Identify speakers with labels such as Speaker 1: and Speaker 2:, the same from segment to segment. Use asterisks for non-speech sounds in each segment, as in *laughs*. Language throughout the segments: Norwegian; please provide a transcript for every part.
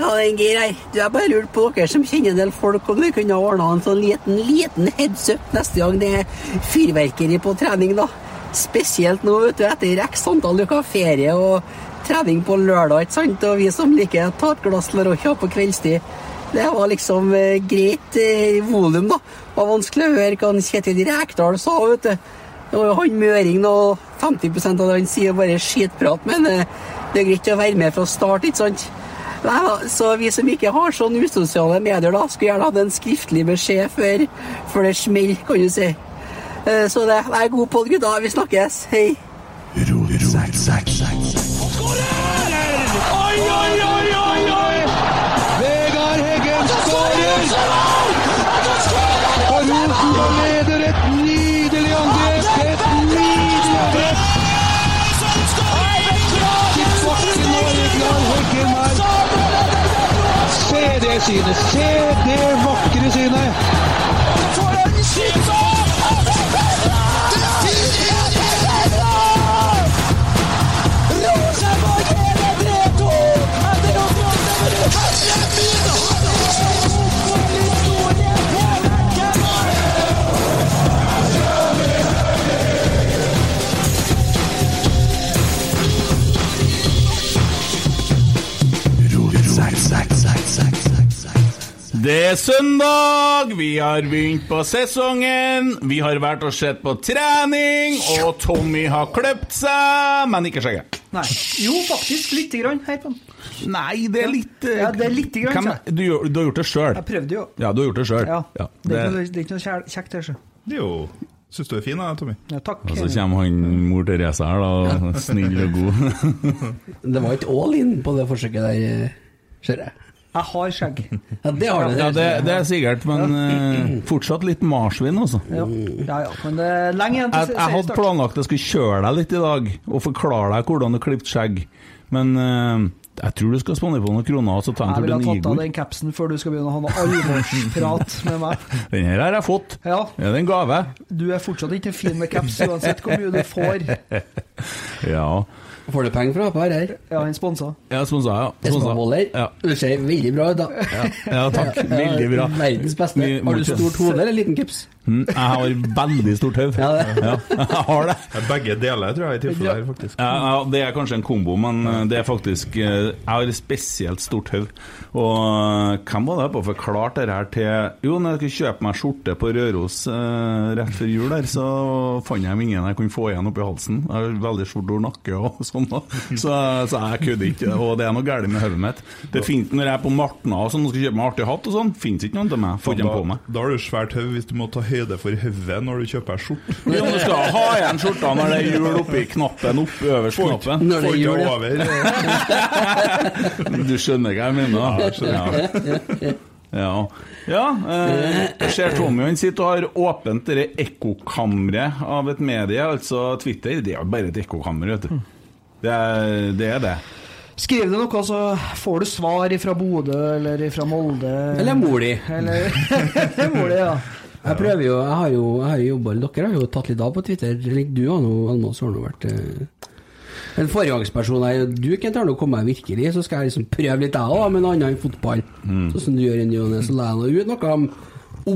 Speaker 1: Ja, det er Geir her. Du, Jeg bare lurte på dere som kjenner en del folk, om dere kunne ha ordna en sånn liten liten heads up neste gang det er fyrverkeri på trening, da. Spesielt nå, vet du, etter x antall uker ferie og trening på lørdag, ikke sant. Og vi som liker å ta et glass Larocca på kveldstid. Det var liksom eh, greit eh, volum, da. Det var vanskelig å høre hva han Kjetil Rekdal sa, vet du. Det var jo han Møring, og 50 av det han sier, bare skitprat, men eh, det er greit å være med fra start, ikke sant? Nei da, så vi som ikke har sånn usosiale medier, da, skulle gjerne hatt en skriftlig beskjed før, før det smeller, kan du si. Eh, Så det det er god pod, gutta. Vi snakkes. Hei.
Speaker 2: Oi, oi, oi, oi, oi! Vegard Heggen skårer! Og Rosenborg leder et nydelig angrep! Et nydelig angrep! Tilbake nå, Vegard Heggen her. Se det synet! Se det vakre synet!
Speaker 3: Det er søndag, vi har begynt på sesongen. Vi har vært og sett på trening, og Tommy har kløpt seg, men ikke skjegget.
Speaker 4: Nei. Jo, faktisk lite grann. Hei på den.
Speaker 3: Nei, det er litt eh,
Speaker 4: Ja, det er litt grann,
Speaker 3: hvem,
Speaker 4: sa jeg.
Speaker 3: du, gjør- du har gjort det sjøl.
Speaker 4: Jeg prøvde jo.
Speaker 3: Ja, du har gjort det sjøl.
Speaker 4: Ja. Det er ikke
Speaker 3: Og
Speaker 4: noe, det er ikke noe kjæl- kjekt her, så.
Speaker 5: Det er jo Syns du er fin, da, Tommy?
Speaker 4: Ja, takk.
Speaker 3: så kommer han mor Therese her, da. *laughs* Snill og god.
Speaker 1: Det var ikke all in på det forsøket der, eh, ser jeg.
Speaker 4: Jeg har skjegg.
Speaker 1: Ja, det har du.
Speaker 3: Ja, det, det er sikkert, men eh, fortsatt litt marsvin, altså.
Speaker 4: Ja,
Speaker 1: Mm.
Speaker 4: ja, ja. men det er lenge igjen
Speaker 3: Jeg,
Speaker 4: til
Speaker 3: jeg hadde
Speaker 4: seriestart.
Speaker 3: planlagt jeg skulle kjøre deg litt i dag og forklare deg hvordan du klippet skjegg, men eh, jeg tror du skal spandere på noen kroner og så ta en tur
Speaker 4: Jeg ville ha
Speaker 3: til
Speaker 4: tatt av
Speaker 3: Nigor.
Speaker 4: den capsen før du skal begynne å ha noe alvorsprat med meg.
Speaker 3: *laughs* Den her har jeg fått.
Speaker 4: Ja,
Speaker 3: Er det en gave?
Speaker 4: du er fortsatt ikke fin med caps, uansett hvor mye du får.
Speaker 3: *laughs* Ja.
Speaker 1: Får du penger for å ha på her? her?
Speaker 4: Ja, han sponsa.
Speaker 3: Ja, sponsa, ja. Sponsa.
Speaker 1: Esmaboller.
Speaker 3: Ja.
Speaker 1: Du ser veldig bra ut, da.
Speaker 3: ja, takk. Veldig bra.
Speaker 1: Verdens beste.
Speaker 3: Vi må
Speaker 1: Har du
Speaker 3: ikke-
Speaker 1: stort hode eller liten kips?
Speaker 3: Mm, Jeg har veldig stort hode.
Speaker 1: Ja, det.
Speaker 3: Ja, jeg har det.
Speaker 5: Begge deler, tror jeg, i tilfellet her, faktisk.
Speaker 3: Ja, ja, det er kanskje en kombo, men eh, det er faktisk eh, Jeg har et spesielt stort hode. Og eh, hvem var det på forklarte det her til Jo, når jeg skulle kjøpe meg skjorte på Røros eh, rett før jul der, så fant jeg ingen jeg kunne få igjen oppi halsen. Jeg har veldig stor nakke og sånn, da. så, så jeg kødder ikke. Og det er noe galt med hodet mitt. Det fin- når jeg er på Martna og sånn og skal kjøpe meg artig hatt og sånn, fins ikke noen til meg. Får ikke dem på meg.
Speaker 5: Da har du svært høv hvis du må ta høyde for hodet når du kjøper skjorte.
Speaker 3: Jo, men du skal ha igjen skjorta når det er hjul oppi knappen, opp øverst knappen.
Speaker 1: Når det
Speaker 5: Får
Speaker 1: er jul,
Speaker 5: ikke
Speaker 1: ja.
Speaker 5: over.
Speaker 3: *laughs* Du skjønner hva jeg mener? Ja. Ja, ja eh, jeg ser Tommy han sitter og har åpent det ekkokammeret av et medie, altså Twitter. Det er jo bare et ekkokammer, vet du. Det er det. Er det.
Speaker 4: Skriv det noe, så får du svar fra Bodø eller fra Molde.
Speaker 1: Eller mor di?
Speaker 4: Eller- Hvor *laughs* det, ja.
Speaker 1: Jeg prøver jo, jeg har jo, jeg har jo jobba Dere har jo tatt litt av på Twitter. Eller du har nå, Almås, har nå vært eh, en foregangsperson her. Du Kent har nå kommet deg virkelig, så skal jeg liksom prøve litt jeg òg, med noe annet enn fotball.
Speaker 3: Mm.
Speaker 1: Sånn som du gjør i ny og ne. Så la jeg nå ut noe om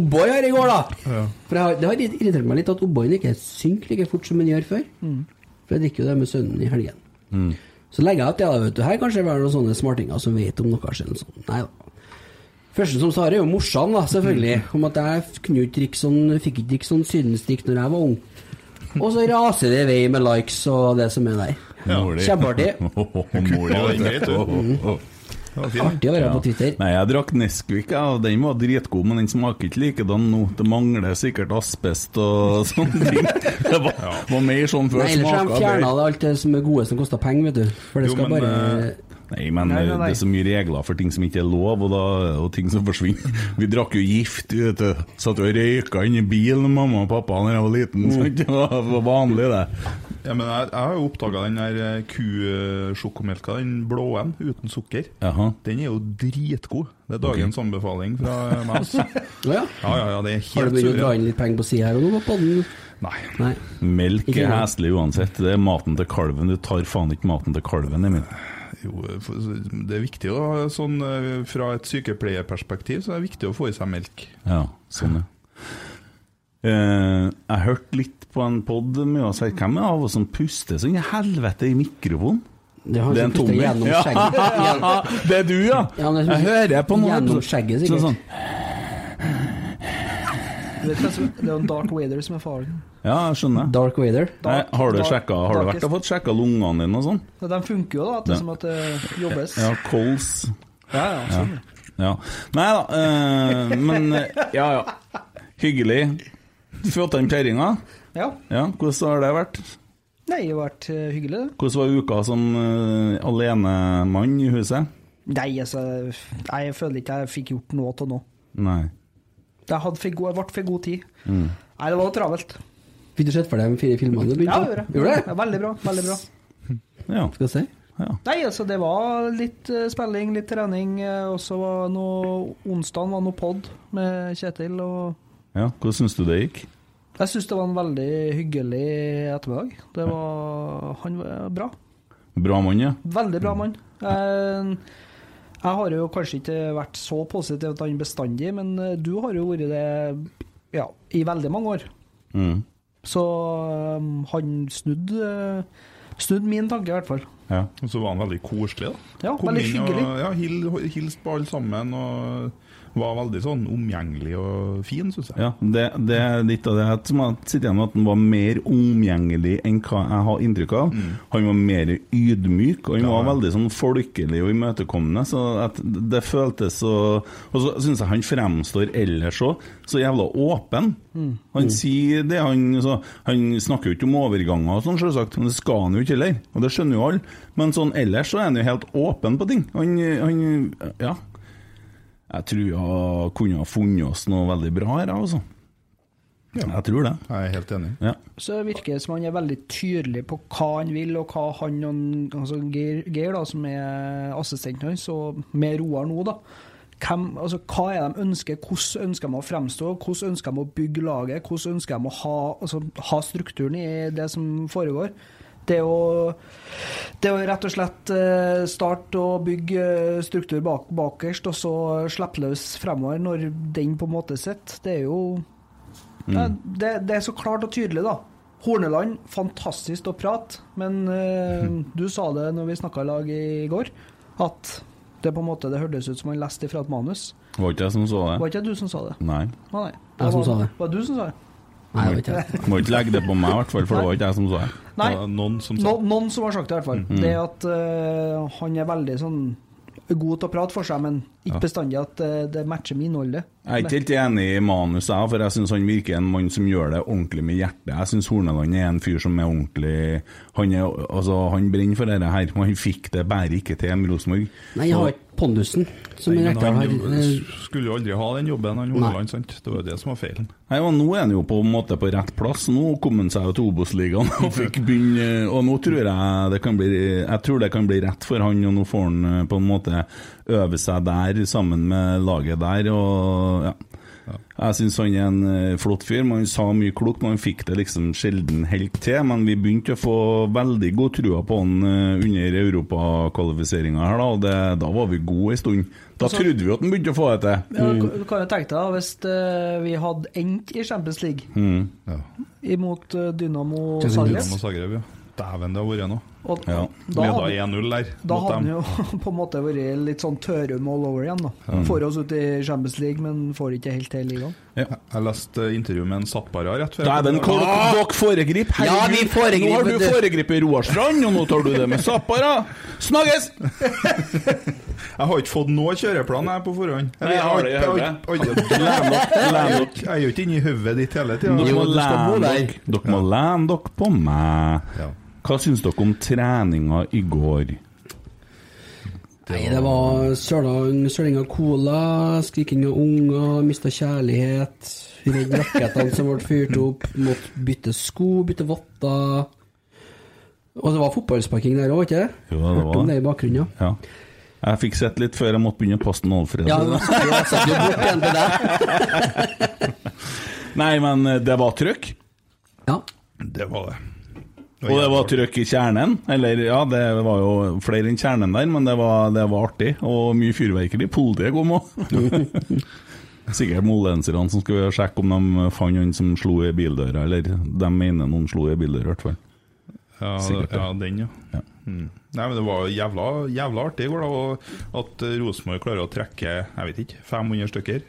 Speaker 1: O'boy her i går, da. For jeg har, det har irritert meg litt at O'boyen ikke synker like fort som han gjør før. For jeg drikker jo det med sønnen i helgen. Så legger jeg opp til det, vet du. Her kanskje det er noen sånne smartinger som vet om noe. Selv, sånn. Nei da. Første som sa det, er jo morsan, da, selvfølgelig. Om at jeg kunne jo ikke drikke sånn, fikk ikke drikke sånn sydenstrikk når jeg var ung. Og så raser det i vei med likes og det som er der.
Speaker 3: *laughs*
Speaker 1: Kjempeartig. Artig å være på Twitter.
Speaker 3: Nei, jeg drakk Nesquik, ja, og den var dritgod, men den smaker ikke likedan nå. Det mangler sikkert asbest og *laughs* sånne ting. Det var, var mer sånn før.
Speaker 1: Nei, ellers har de
Speaker 3: smaket
Speaker 1: fjerna
Speaker 3: bedre.
Speaker 1: alt det som er gode som koster penger, vet du. For det
Speaker 3: Jo,
Speaker 1: skal
Speaker 3: men,
Speaker 1: bare
Speaker 3: eh, Nei, men
Speaker 1: Nei, nei,
Speaker 3: eh,
Speaker 1: nei.
Speaker 3: det er så mye regler for ting som ikke er lov, og, da, og ting som forsvinner.
Speaker 5: *laughs*
Speaker 3: Vi drakk jo gift, vi vet du. Satt og røyka inni bilen, mamma og pappa, da jeg var liten. sant? Det var det var vanlig, det.
Speaker 5: Mm. Ja, men jeg, jeg har jo oppdaga den der eh, kusjokomelka, den blå en uten sukker.
Speaker 3: Jaha.
Speaker 5: Den er jo dritgod. Det er dagens anbefaling fra meg. altså.
Speaker 3: *laughs*
Speaker 1: Å ja.
Speaker 5: Ja, ja, ja, det er
Speaker 1: Har du
Speaker 5: helt
Speaker 1: begynt å dra
Speaker 5: suveren.
Speaker 1: inn litt penger på sida her og nå på podden?
Speaker 5: Nei.
Speaker 1: Nei.
Speaker 3: Melk
Speaker 1: Ikke
Speaker 3: er
Speaker 1: noe.
Speaker 3: heslig uansett. Det er maten til kalven. Du tar faen ikke maten til kalven, Emil.
Speaker 5: Jo, for- det er viktig å ha sånn eh, Fra et sykepleierperspektiv så er det viktig å få i seg melk.
Speaker 3: Ja, sånn, ja. Eh, jeg hørte litt på en pod med oss her. Hvem er det av oss som puster sånn i helvete i mikrofonen?
Speaker 1: Det er han som puster gjennom
Speaker 3: Ja,
Speaker 1: skjegget.
Speaker 3: det er du, ja!
Speaker 1: Ja, men det er
Speaker 3: jeg
Speaker 1: som-
Speaker 3: hører på noen
Speaker 1: gjennom
Speaker 3: episoder.
Speaker 1: skjegget, sikkert.
Speaker 3: Sånn, sånn.
Speaker 4: Du vet hva som- Det er jo en Dark Wader som er faren.
Speaker 3: Ja, jeg skjønner.
Speaker 1: Dark Wader.
Speaker 3: Nei, har du
Speaker 4: dark-
Speaker 3: sjekka Har du vært
Speaker 4: darkest.
Speaker 3: og fått sjekka lungene dine og sånn?
Speaker 4: Ja, De funker jo, da. At
Speaker 3: Ja.
Speaker 4: det er som at det jobbes.
Speaker 3: Ja, kols.
Speaker 4: Ja, ja,
Speaker 3: Ja.
Speaker 4: sånn.
Speaker 3: ja. Nei da, eh, men eh, Ja ja. Hyggelig. Fått den kjerringa?
Speaker 4: ja.
Speaker 3: Ja, hvordan har det vært?
Speaker 4: Nei, det har vært eh, hyggelig, det.
Speaker 3: Hvordan var uka som eh, alenemann i huset?
Speaker 4: Nei, altså, nei, jeg føler ikke jeg fikk gjort noe til nå.
Speaker 3: Nei.
Speaker 4: Jeg hadde for god, jeg ble for god tid.
Speaker 3: Mm.
Speaker 4: Nei, det var travelt.
Speaker 1: Fikk du sett for deg de fire filmene du
Speaker 4: Ja,
Speaker 1: begynte
Speaker 4: det gjorde jeg.
Speaker 1: Gjorde du
Speaker 4: Ja,
Speaker 1: det?
Speaker 4: veldig bra. veldig bra.
Speaker 3: Ja.
Speaker 1: Skal vi se.
Speaker 4: Nei, altså, det var litt eh, spilling, litt trening, eh, og så var noe Onsdagen var noe pod med Kjetil, og
Speaker 3: ja. Hvordan syns du det gikk?
Speaker 4: jeg syns det var en veldig hyggelig ettermiddag. Det var Han var bra.
Speaker 3: Bra mann, ja?
Speaker 4: Veldig bra mann. Jeg, jeg har jo kanskje ikke vært så positiv til han bestandig, men eh, du har jo vært det ja, i veldig mange år.
Speaker 3: Mm.
Speaker 4: Så um, han snudde snudd min tanke, i hvert fall.
Speaker 3: ja.
Speaker 5: Og så var han veldig koselig, da.
Speaker 4: Ja,
Speaker 5: Kom
Speaker 4: veldig
Speaker 5: inn og-
Speaker 4: hyggelig.
Speaker 5: Ja, hil- Hilste på alle sammen og var veldig sånn omgjengelig og fin, syns jeg.
Speaker 3: ja. Det, det er litt av det jeg som jeg sitter igjen med, at han var mer omgjengelig enn hva jeg har inntrykk av. Han var mer ydmyk, og han var veldig sånn folkelig og imøtekommende. Så at det føltes så Og så syns jeg han fremstår ellers òg så jævla åpen.
Speaker 5: Mm.
Speaker 3: Han sier det han så, Han snakker jo ikke om overganger og sånn, selvsagt. Men det skal han jo ikke heller, og det skjønner jo alle. Men sånn ellers så er han jo helt åpen på ting. Han, han Ja. Jeg tror jeg kunne ha funnet oss noe veldig bra her, altså. Jeg tror det.
Speaker 5: Jeg er helt enig.
Speaker 3: Ja.
Speaker 4: Så det virker som han er veldig tydelig på hva han vil, og hva han og en- altså Geir, Geir da, som er assistenten hans, og med Roar nå, da. Hvem, altså, hva er de ønsker? Hvordan ønsker de å fremstå? Hvordan ønsker de å bygge laget? Hvordan ønsker de å ha, altså, ha strukturen i det som foregår? Det å, det å rett og slett eh, starte å bygge eh, struktur bak, bakerst, og så slippe løs fremover når den på en måte sitter, det er jo
Speaker 3: Mm.
Speaker 4: ja, det, det er så klart og tydelig, da. Horneland, fantastisk å prate, men eh,
Speaker 3: Mm.
Speaker 4: du sa det når vi snakka i lag i går, at det på en måte, det hørtes ut som han leste ifra et manus.
Speaker 3: Var ikke jeg som så
Speaker 4: Var
Speaker 3: det?
Speaker 4: ikke det du som sa det?
Speaker 3: Nei.
Speaker 4: Å, nei.
Speaker 1: Jeg som
Speaker 4: var,
Speaker 1: sa det.
Speaker 4: Var det du som sa det?
Speaker 1: Nei, jeg vet ikke.
Speaker 3: Må ikke legge det på meg, i hvert fall, for det var ikke jeg som så det.
Speaker 4: Nei,
Speaker 5: Det var Noen som
Speaker 4: no,
Speaker 5: sa
Speaker 4: noen som har sagt det, i hvert fall.
Speaker 3: Mm.
Speaker 4: Det at eh, han er veldig sånn god til å prate for seg, men ikke bestandig at eh, det matcher med innholdet.
Speaker 3: Jeg er ikke helt enig i manuset, jeg, for jeg syns han virker en mann som gjør det ordentlig med hjertet. Jeg syns Horneland er en fyr som er ordentlig Han, er, altså, han brenner for dette her, men han fikk det bare ikke til med Rosenborg.
Speaker 1: Nei, jeg har ikke pondusen, som
Speaker 5: Men
Speaker 1: Rekdal
Speaker 5: han
Speaker 1: har. eh,
Speaker 5: skulle jo aldri ha den jobben, han Horneland, sant? Det var jo det som var feilen.
Speaker 3: Nei, og Nå er han jo på en måte på rett plass. Nå kom han seg jo til Obos-ligaen
Speaker 5: *laughs*
Speaker 3: og fikk begynne Og nå tror jeg det kan bli Jeg tror det kan bli rett for han, og nå får han eh, på en måte øve seg der sammen med laget der. Og ja Jeg syns han er en eh, flott fyr. men Han sa mye klokt, men han fikk det liksom sjelden helt til. Men vi begynte å få veldig god trua på han eh, under europakvalifiseringa her, da. Og det, da var vi gode en stund. Da
Speaker 4: Altså-
Speaker 3: trodde vi at han begynte å få det
Speaker 4: Ja,
Speaker 3: til.
Speaker 4: du du kan jo tenke deg da, hvis eh, vi hadde endt i Champions League
Speaker 3: Mm.
Speaker 4: imot eh, Dynamo Zagreb,
Speaker 5: Dynamo Zagreb, ja. Dæven, det har vært nå.
Speaker 4: Og-
Speaker 5: Ja.
Speaker 4: da hadde-
Speaker 5: Leda 1-0 der.
Speaker 4: da
Speaker 5: mot
Speaker 4: hadde han
Speaker 5: dem.
Speaker 4: jo *laughs* på en måte vært litt sånn tørum all over igjen. da.
Speaker 5: Mm.
Speaker 4: Får oss ut i Champions League, men får ikke helt til ligaen.
Speaker 5: Jeg- Jeg leste intervju med en Zappara rett før.
Speaker 3: Dæven, hvor- dere foregriper!
Speaker 5: Ja, vi
Speaker 3: Herregud,
Speaker 5: foregriper
Speaker 3: nå har du
Speaker 5: det.
Speaker 3: foregrepet Roar Strand, og nå tar du det med Zappara! Snakkes!
Speaker 5: *laughs* Jeg har ikke fått noe kjøreplan her på forhånd.
Speaker 3: Nei, jeg har det i
Speaker 5: jeg har ikke- jeg har ikke- jeg har ikke- jeg er jo ikke- jeg er jo ikke inni hodet ditt hele tida.
Speaker 3: Dere må lene dere- dere må lene dere på meg. Hva syns dere om treninga i går?
Speaker 6: Nei, det var søling, søling av cola, skriking av unger, mista kjærlighet. Redd rakettene som ble fyrt opp. Måtte bytte sko, bytte votter. Og det var fotballsparking der òg, ikke det?
Speaker 3: Jo, det
Speaker 6: Hørte
Speaker 3: var
Speaker 6: om
Speaker 3: det.
Speaker 6: det i bakgrunnen,
Speaker 3: Ja. Jeg fikk sett litt før jeg måtte begynne å passe den Alfred.
Speaker 6: ja. ja jeg satt jo bort igjen til deg.
Speaker 3: Nei, men eh, det var trøkk.
Speaker 6: Ja.
Speaker 5: Det var det.
Speaker 3: Og det var trøkk i kjernen. Eller ja, det var jo flere enn kjernen der, men det var, det var artig. Og mye fyrverkeri. Politiet kom òg. *laughs* Sikkert moldenserne som skulle sjekke om de fant han som slo i bildøra, eller de mener noen slo i bildøra, i hvert fall.
Speaker 5: Ja,
Speaker 3: Sikkert,
Speaker 5: ja, den, ja. Mm. Nei, men Det var jævla, jævla artig i går, da. og At eh, Rosenborg klarer å trekke jeg vet ikke, 500 stykker.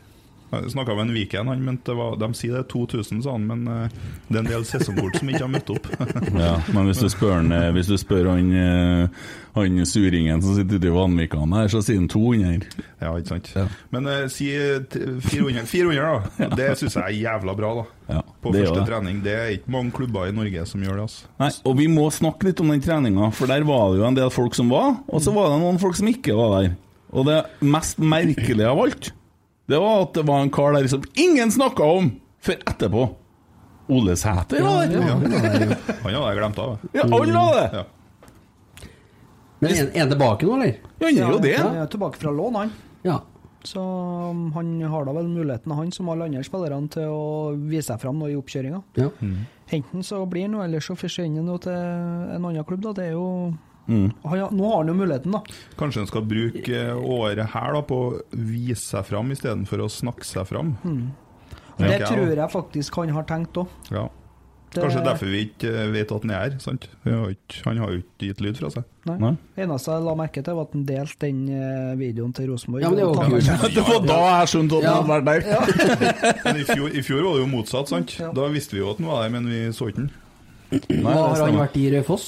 Speaker 5: Jeg snakka med en Viken, han mente det var, de sier det er 2000, sa han, men eh, det er en del sesongkort som ikke har møtt opp.
Speaker 3: *laughs*
Speaker 5: *laughs*
Speaker 3: Ja, men hvis du spør han, hvis du spør han, eh, han suringen som sitter ute i Vanvikan her, så sier han 200.
Speaker 5: Ja, ikke sant. Men eh, si eh, t- 400,
Speaker 3: *laughs*
Speaker 5: 400 da. Det syns jeg er jævla bra, da.
Speaker 3: Ja,
Speaker 5: På
Speaker 3: det er jo
Speaker 5: første
Speaker 3: det.
Speaker 5: trening. Det er ikke mange klubber i Norge som gjør det. altså.
Speaker 3: Nei, og vi må snakke litt om den treninga, for der var det jo en del folk som var, og så var det noen folk som ikke var der. Og det mest merkelige av alt, det var at det var en kar der som ingen snakka om før etterpå. Ole Sæter var der.
Speaker 5: Ja, Han hadde jeg glemt av.
Speaker 3: Ja, alle var det.
Speaker 6: Men er han tilbake nå, eller?
Speaker 3: Ja, han er jo det.
Speaker 4: Han er tilbake fra lån, han.
Speaker 6: Ja.
Speaker 4: Så um, han har da vel muligheten, han som alle andre spillerne, til å vise seg fram nå i oppkjøringa.
Speaker 6: Ja.
Speaker 4: Enten så blir han, nå, eller så forsvinner han nå til en annen klubb. da, det er jo...
Speaker 5: Mm.
Speaker 4: Han, ja, nå har han jo muligheten, da.
Speaker 5: Kanskje en skal bruke eh, året her da, på å vise seg fram istedenfor å snakke seg fram.
Speaker 4: Mm. Og
Speaker 5: Ja.
Speaker 4: Det tror jeg faktisk han har tenkt òg.
Speaker 5: Ja.
Speaker 4: Det-
Speaker 5: Kanskje derfor vi ikke eh, vet at han er her. sant? Vi har ikke- Han har jo ikke gitt lyd fra seg.
Speaker 4: Nei. Det eneste jeg la merke til, var at han delte den eh, videoen til Rosenborg.
Speaker 6: Ja, men det er jo
Speaker 4: Og-
Speaker 6: kult. Det var da jeg skjønte at han hadde vært der.
Speaker 5: Men i fjor, i fjor var det jo motsatt. sant? Da visste vi jo at han var der, men vi så ikke han.
Speaker 6: Hva har han vært i Raufoss?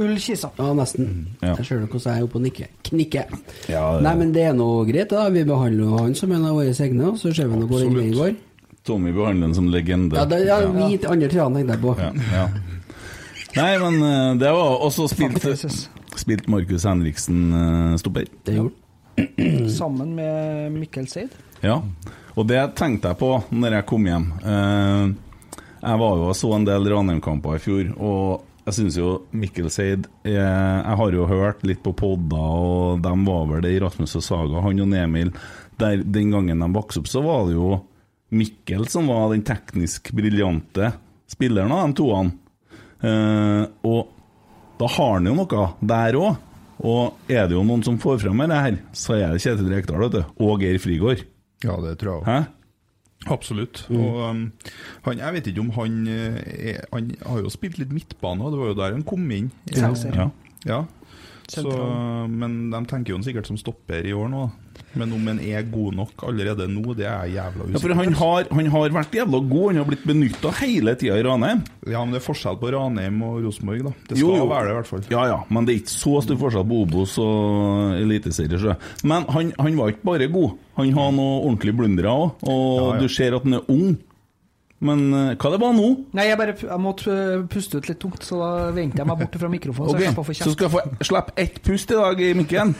Speaker 4: Ullkisa.
Speaker 6: Ja, nesten. Jeg ser hvordan jeg er oppe og nikker. Knikker.
Speaker 3: Mm, Ja,
Speaker 6: Nei, men det er nå greit, da. Vi behandler jo han som en av våre egne, og så ser vi nå hvor den veien går.
Speaker 3: Tommy behandler ham som legende.
Speaker 6: Ja, det, ja, vi andre treene tenkte jeg på.
Speaker 3: Ja. Nei, men eh, det var Og så spilte spilt Markus Henriksen eh, stopper.
Speaker 6: Det gjorde
Speaker 5: Mm.
Speaker 4: Sammen med Mikkel Seid.
Speaker 3: Ja, og det tenkte jeg på når jeg kom hjem. Eh, jeg var jo og så en del Ranheim-kamper i fjor, og jeg syns jo Mikkel Seid eh, Jeg har jo hørt litt på podder, og dem var vel det i Rasmus og Saga, han og Emil. Der, den gangen de vokste opp, så var det jo Mikkel som var den teknisk briljante spilleren av de toene. Eh, og da har han jo noe der òg. Og er det jo noen som får fram med det her, så er det Kjetil Rekdal vet du, og Geir Frigård.
Speaker 5: Ja, det tror jeg
Speaker 3: Hæ?
Speaker 5: Absolutt.
Speaker 3: Mm.
Speaker 5: Og um, han, jeg vet ikke om han eh, er, Han har jo spilt litt midtbane, og det var jo der han kom inn.
Speaker 4: I Sandnes.
Speaker 5: ja. ja. Så,
Speaker 4: Sentral.
Speaker 5: men de tenker jo han sikkert som stopper i år nå. da. Men om han er god nok allerede nå, det er jeg jævla
Speaker 3: Ja, for
Speaker 5: usikker
Speaker 3: han har, han har vært jævla god, han har blitt benytta hele tida i Ranheim.
Speaker 5: Ja, men det er forskjell på Ranheim og Rosenborg, da. Det skal
Speaker 3: Jo, jo.
Speaker 5: være det, i hvert fall.
Speaker 3: Ja, ja, men det er ikke så stor forskjell på Obos og Eliteserie. tror jeg. Men han, han var ikke bare god, han har noe ordentlig blundere òg. Og
Speaker 5: Ja, ja.
Speaker 3: du ser at han er ung. Men eh, hva det var nå?
Speaker 4: Nei, jeg bare jeg måtte eh, puste ut litt tungt, så da vendte jeg meg bort fra mikrofonen.
Speaker 3: Ok,
Speaker 4: Så jeg slapp å få
Speaker 3: så
Speaker 4: kjeft.
Speaker 3: skal jeg få slippe ett pust i dag,
Speaker 5: *laughs*
Speaker 3: Mikken.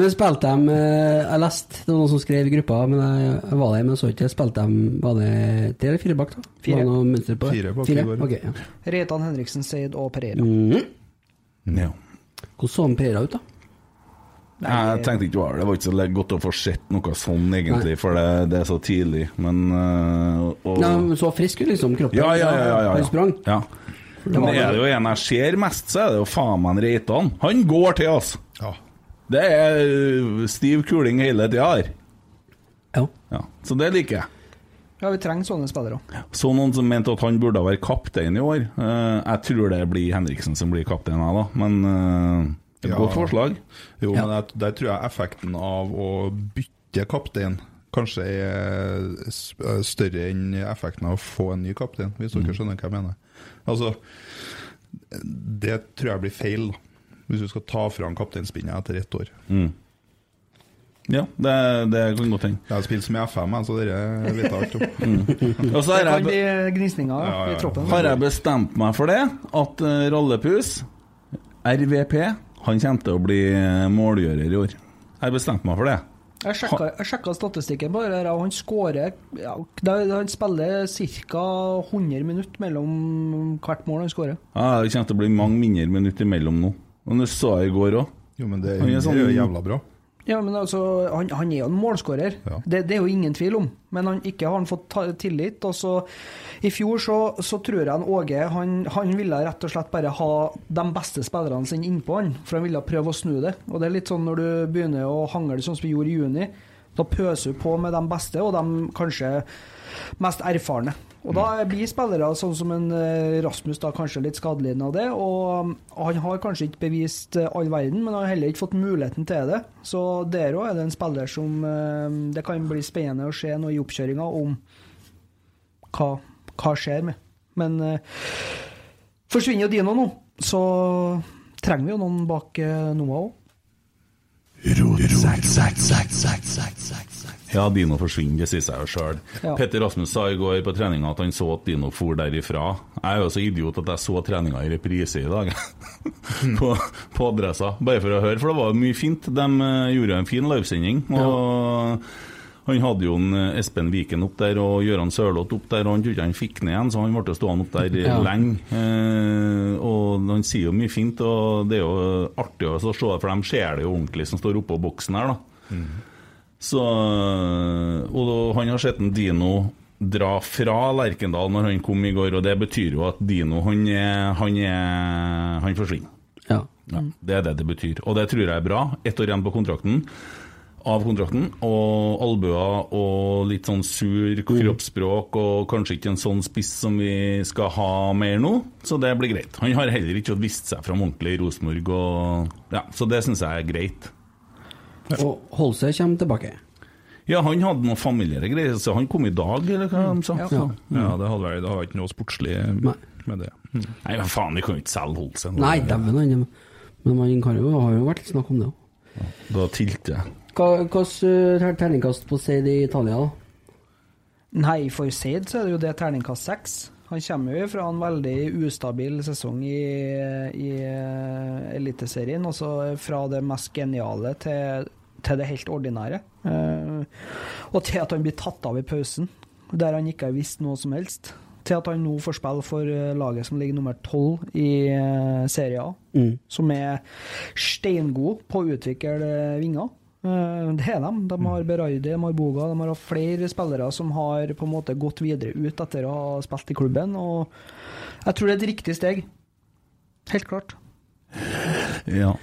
Speaker 6: Men spilte de eh, Jeg leste, det var noen som skrev i gruppa, men jeg, jeg var der, men jeg så ikke. Spilte de Var det tre eller fire bak, da?
Speaker 4: Fire.
Speaker 6: Var det noe mønster på det?
Speaker 5: Fire bak i
Speaker 6: fire?
Speaker 5: går.
Speaker 6: Ok, ja.
Speaker 4: Reitan
Speaker 3: Mm.
Speaker 4: Henriksen, Seid og Pereira.
Speaker 6: Mhm.
Speaker 3: Ja.
Speaker 6: Hvordan så han Pereira ut, da?
Speaker 3: Jeg tenkte ikke over det. Det var ikke så le- godt å få sett noe sånn, egentlig, for det, det er så tidlig. Men øh, og,
Speaker 1: Nei, men så frisk ut, liksom, kroppen.
Speaker 3: Ja, ja, ja, ja, ja.
Speaker 1: Han sprang.
Speaker 3: Ja. Men er det jo en jeg ser mest, så er det jo faen meg en Reitan. Han går til, altså! Det er øh, stiv kuling hele tida her.
Speaker 1: Ja.
Speaker 3: Så det liker jeg.
Speaker 4: Ja, vi trenger sånne spillere òg.
Speaker 3: Så noen som mente at han burde ha vært kaptein i år. Eh, jeg tror det blir Henriksen som blir kaptein, jeg, da. Men eh, et
Speaker 5: Ja.
Speaker 3: godt forslag.
Speaker 5: Jo, men der, der tror jeg effekten av å bytte kaptein kanskje er s- eh, større enn effekten av å få en ny kaptein, hvis
Speaker 4: Mm.
Speaker 5: dere skjønner hva jeg mener. Altså, det tror jeg blir feil, da. Hvis du skal ta fra en kapteinspinnet etter ett år.
Speaker 3: Mm. Ja, det, det kan godt hende.
Speaker 5: Jeg har spilt som i FM, jeg, så dere vet alt om.
Speaker 3: Mm. *laughs* Og så er jeg
Speaker 4: det kan bli gnisninger
Speaker 5: Ja, ja, ja.
Speaker 4: i troppen.
Speaker 3: Har jeg bestemt meg for det? At eh, Rallepus, RVP, han kommer til å bli eh, målgjører i år. Jeg har bestemt meg for det.
Speaker 4: Jeg sjekka, jeg sjekka statistikken på det der, og han skårer ja, da- da Han spiller ca. 100 minutter mellom hvert mål han skårer.
Speaker 3: Ja, det kommer til å bli mange mindre minutter imellom nå. Men det så jeg i går òg.
Speaker 5: Jo, men det,
Speaker 3: Han er
Speaker 5: det
Speaker 3: sånn-
Speaker 5: er jo jævla bra.
Speaker 4: Ja, men altså, han, han er jo en målskårer, det, det er jo ingen tvil om. Men han, ikke har han fått ta, tillit. Og så, I fjor så, så tror jeg han Åge han, han ville rett og slett bare ha de beste spillerne sine innpå han, for han ville prøve å snu det. Og det er litt sånn når du begynner å hangle sånn som vi gjorde i juni, da pøser du på med de beste, og de kanskje mest erfarne. Og da
Speaker 3: Mm.
Speaker 4: blir spillere sånn som en eh, Rasmus da kanskje litt skadelidende av det. Og um, han har kanskje ikke bevist eh, all verden, men han har heller ikke fått muligheten til det. Så der òg er det en spiller som eh, det kan bli spennende å se noe i oppkjøringa om hva, hva skjer med. Men eh, forsvinner jo Dino nå, så trenger vi jo noen bak eh, Noah òg.
Speaker 3: Ja, Dino forsvinner, det sier seg jo sjøl.
Speaker 4: Ja.
Speaker 3: Petter Rasmus sa i går på treninga at han så at Dino for derifra. Jeg er jo så idiot at jeg så treninga i reprise i dag, på, på adressa. Bare for å høre, for det var mye fint. De eh, gjorde en fin livesending. Og han hadde jo en eh, Espen Viken opp der og Gøran Sørloth opp der, og han trodde ikke han fikk ned igjen, så han ble stående opp der
Speaker 5: Ja.
Speaker 3: lenge. Eh, og han sier jo mye fint, og det er jo eh, artig å se, for de ser det jo ordentlig som står oppå boksen her, da. Så, eh, og da, han har sett en Dino dra fra Lerkendal når han kom i går, og det betyr jo at Dino han, er, han, er, han forsvinner.
Speaker 1: Ja.
Speaker 3: Det er det det betyr, og det tror jeg er bra. Ett år igjen på kontrakten. Av kontrakten, og albuer og litt sånn sur
Speaker 1: Mm.
Speaker 3: kroppsspråk, og kanskje ikke en sånn spiss som vi skal ha mer nå, så det blir greit. Han har heller ikke fått vist seg fram ordentlig i Rosenborg, og ja, så det syns jeg er greit.
Speaker 1: Og Holse kommer tilbake.
Speaker 3: Ja, han hadde noen familiære greier, så han kom i dag, eller hva de sa.
Speaker 1: Ja.
Speaker 3: Ja,
Speaker 5: Ja, det hadde vært, det hadde vært ikke noe sportslig med det. Mm.
Speaker 3: Nei, men faen, vi kan jo ikke selge Holsen.
Speaker 1: Nei, dæven, han Men man kan jo, har jo vært litt snakk om det òg.
Speaker 3: Da tilte jeg.
Speaker 1: Hvilket eh, terningkast på Seid i Italia, da?
Speaker 4: Nei, for Seid så er det jo det terningkast seks. Han kommer jo fra en veldig ustabil sesong i, i eh, Eliteserien. Altså fra det mest geniale til, til det helt ordinære. Eh, Og til at han blir tatt av i pausen, der han ikke har visst noe som helst. Til at han nå får spille for eh, laget som ligger nummer tolv i eh, Serie A.
Speaker 1: Mm.
Speaker 4: Som er steingod på å utvikle vinger. Eh, Det er dem. De har Berardi, de har Boga. De har hatt flere spillere som har på en måte gått videre ut etter å ha spilt i klubben. Og jeg tror det er et riktig steg. Helt klart.
Speaker 3: Ja.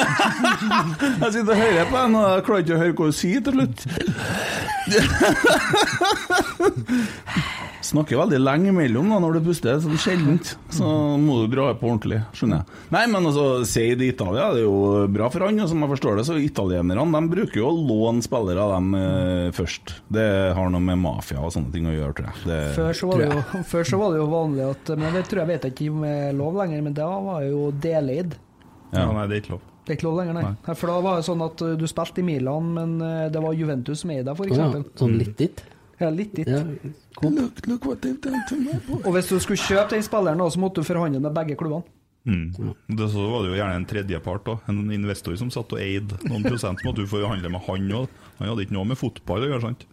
Speaker 3: jeg sitter og hører på henne, og jeg klarer ikke å høre hva hun sier til
Speaker 4: *laughs*
Speaker 3: slutt. Snakker veldig lenge imellom da, når du puster, sånn sjeldent. Så må du dra på ordentlig, skjønner jeg. Nei, men altså, Seid i Italia det er jo bra for han, og som jeg forstår det, så italienerne de bruker jo å låne spillere av dem eh, først. Det har noe med mafia og sånne ting å gjøre, tror jeg. Det,
Speaker 4: Før så,
Speaker 3: tror
Speaker 4: var det
Speaker 3: jeg.
Speaker 4: jo, *laughs* før så var det jo vanlig at Men det tror jeg vet jeg ikke om er lov lenger, men da var jo deleid.
Speaker 5: Ja, nei, det er ikke lov.
Speaker 4: Det er ikke lov lenger, nei.
Speaker 5: Nei.
Speaker 4: Nei, For da var det sånn at uh, du spilte i Milan, men uh, det var Juventus som eide
Speaker 1: Å
Speaker 4: deg,
Speaker 1: ja,
Speaker 4: f.eks.
Speaker 1: sånn litt dit?
Speaker 4: Ja, litt dit.
Speaker 1: Ja.
Speaker 4: Og hvis du skulle kjøpe den spilleren, da, så måtte du forhandle med begge klubbene.
Speaker 5: Mm. Det så var det jo gjerne en tredjepart, da. en investor som satt og eide noen prosent. Så måtte du forhandle med han òg. Han hadde ikke noe med fotball å gjøre, sant?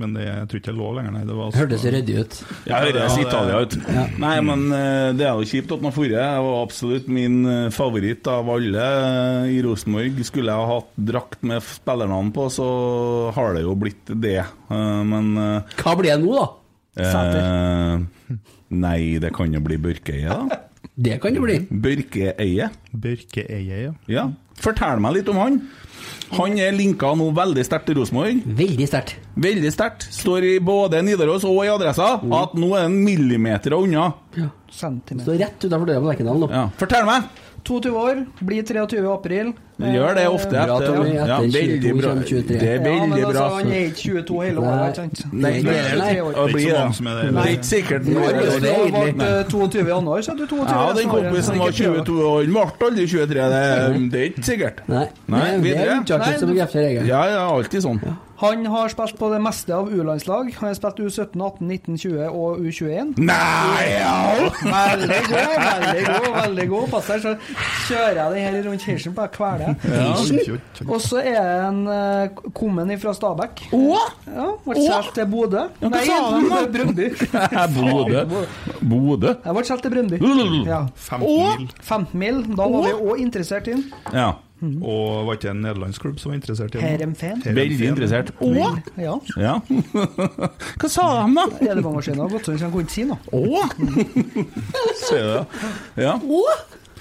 Speaker 5: Men det, jeg tror ikke det er lov lenger, nei. Det var
Speaker 1: Hørtes ryddig ut.
Speaker 3: Jeg høres
Speaker 5: Ja, det-
Speaker 3: Italia ut.
Speaker 5: Ja.
Speaker 3: Nei, men eh, det er jo kjipt at man forrige Jeg var absolutt min eh, favoritt av alle eh, i Rosenborg. Skulle jeg ha hatt drakt med spillernavn på, så har det jo blitt det. Eh, Men
Speaker 1: Hva blir det nå, da?
Speaker 3: Eh, Nei, det kan jo bli Børkeøye, da.
Speaker 1: Det kan det bli.
Speaker 3: Børkeøye.
Speaker 5: Børkeøye, ja.
Speaker 3: Ja. Fortell meg litt om han. Han er linka nå veldig sterkt til Rosenborg.
Speaker 1: Veldig sterkt.
Speaker 3: Veldig sterkt. Står i både Nidaros og i Adressa
Speaker 4: Oh.
Speaker 3: at nå er han millimeter unna.
Speaker 4: Centimeter.
Speaker 1: rett utenfor døra på Lekendal nå.
Speaker 3: Ja. Fortell meg!
Speaker 4: 22 år, blir 23 i april.
Speaker 3: Det gjør det ofte.
Speaker 4: Eh,
Speaker 3: Bra, etter- Tommy. ja, Etter veldig 22 bra. kommer 23. Det er
Speaker 4: Ja, men
Speaker 3: veldig bra,
Speaker 4: altså, han
Speaker 3: så-
Speaker 4: er ikke 22 hele året, ikke sant?
Speaker 3: Nei,
Speaker 4: Han
Speaker 3: det
Speaker 4: er
Speaker 3: er- det er
Speaker 4: 23 år.
Speaker 3: ikke så mange som er det.
Speaker 4: Nei.
Speaker 3: Det er ikke sikkert.
Speaker 4: Nå er det-
Speaker 3: Det er
Speaker 4: det
Speaker 3: egentlig-
Speaker 4: ble 22 Eh, i januar, så er du 22
Speaker 3: Ja,
Speaker 4: resten
Speaker 3: den
Speaker 4: av året, så
Speaker 3: kompisen var
Speaker 4: ikke prøv.
Speaker 3: 22 år, han ble aldri 23. Det, er- det er ikke sikkert. Nei,
Speaker 4: Nei, det er
Speaker 3: videre.
Speaker 4: unntaket som bekrefter regelen.
Speaker 3: Ja, ja, alltid sånn.
Speaker 4: Han har spilt på det meste av U-landslag. Han har spilt U17, 18, 19, 20 og U21.
Speaker 3: Nei, ja!
Speaker 4: Veldig god, veldig god. veldig god. Pass deg, så kjører jeg den her rundt kirsen, bare kveler
Speaker 3: sånn.
Speaker 4: jeg. Og så er han eh, kommet fra Stabæk. Ja, ble solgt til Bodø.
Speaker 3: hva
Speaker 4: Nei,
Speaker 3: sa han da?
Speaker 4: *laughs*
Speaker 3: *laughs*
Speaker 4: Brøndby.
Speaker 3: Bodø. Bodø.
Speaker 4: Jeg ble solgt til Brøndby.
Speaker 3: Lulul.
Speaker 4: Ja.
Speaker 5: 15
Speaker 4: Og-
Speaker 5: mil.
Speaker 4: 15 mil. Da var vi òg interessert i den. Mhm.
Speaker 3: Ja.
Speaker 5: Og var ikke en nederlandsk klubb som var interessert i
Speaker 4: Heerenveen.
Speaker 3: Veldig interessert. Å!
Speaker 4: Ja.
Speaker 3: Ja. *laughs* Hva sa de, da?
Speaker 4: Elvemaskinen har gått så han kunne ikke si noe.
Speaker 3: Å! Ser du det? Ja.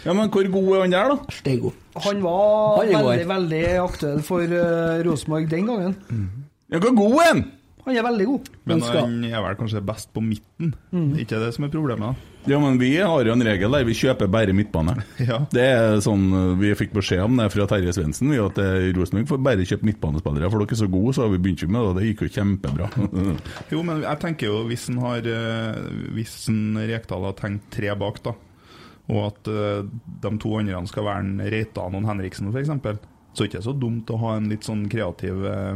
Speaker 3: ja, men hvor god er han der, da?
Speaker 1: Steingod.
Speaker 4: Han var
Speaker 3: Han er god.
Speaker 4: veldig, veldig aktuell for eh, Rosenborg den gangen.
Speaker 3: Ja, hvor god er han?
Speaker 4: Han er veldig god.
Speaker 5: Men han er vel kanskje best på midten. Ikke det som er problemet, da.
Speaker 3: Ja, men vi har jo en regel der vi kjøper bare midtbane.
Speaker 5: *laughs*
Speaker 3: Det er sånn eh, Vi fikk beskjed om det fra Terje Svendsen, vi, at eh, Rosenborg får bare kjøpe midtbanespillere, for dere er så gode, så har vi begynt med det, og det gikk jo kjempebra.
Speaker 5: *laughs* Jo, men jeg tenker jo hvis en har eh, Hvis en Rekdal har tenkt tre bak, da, og at eh, de to andre skal være en Reitan og en Henriksen f.eks., så er det ikke så dumt å ha en litt sånn kreativ eh,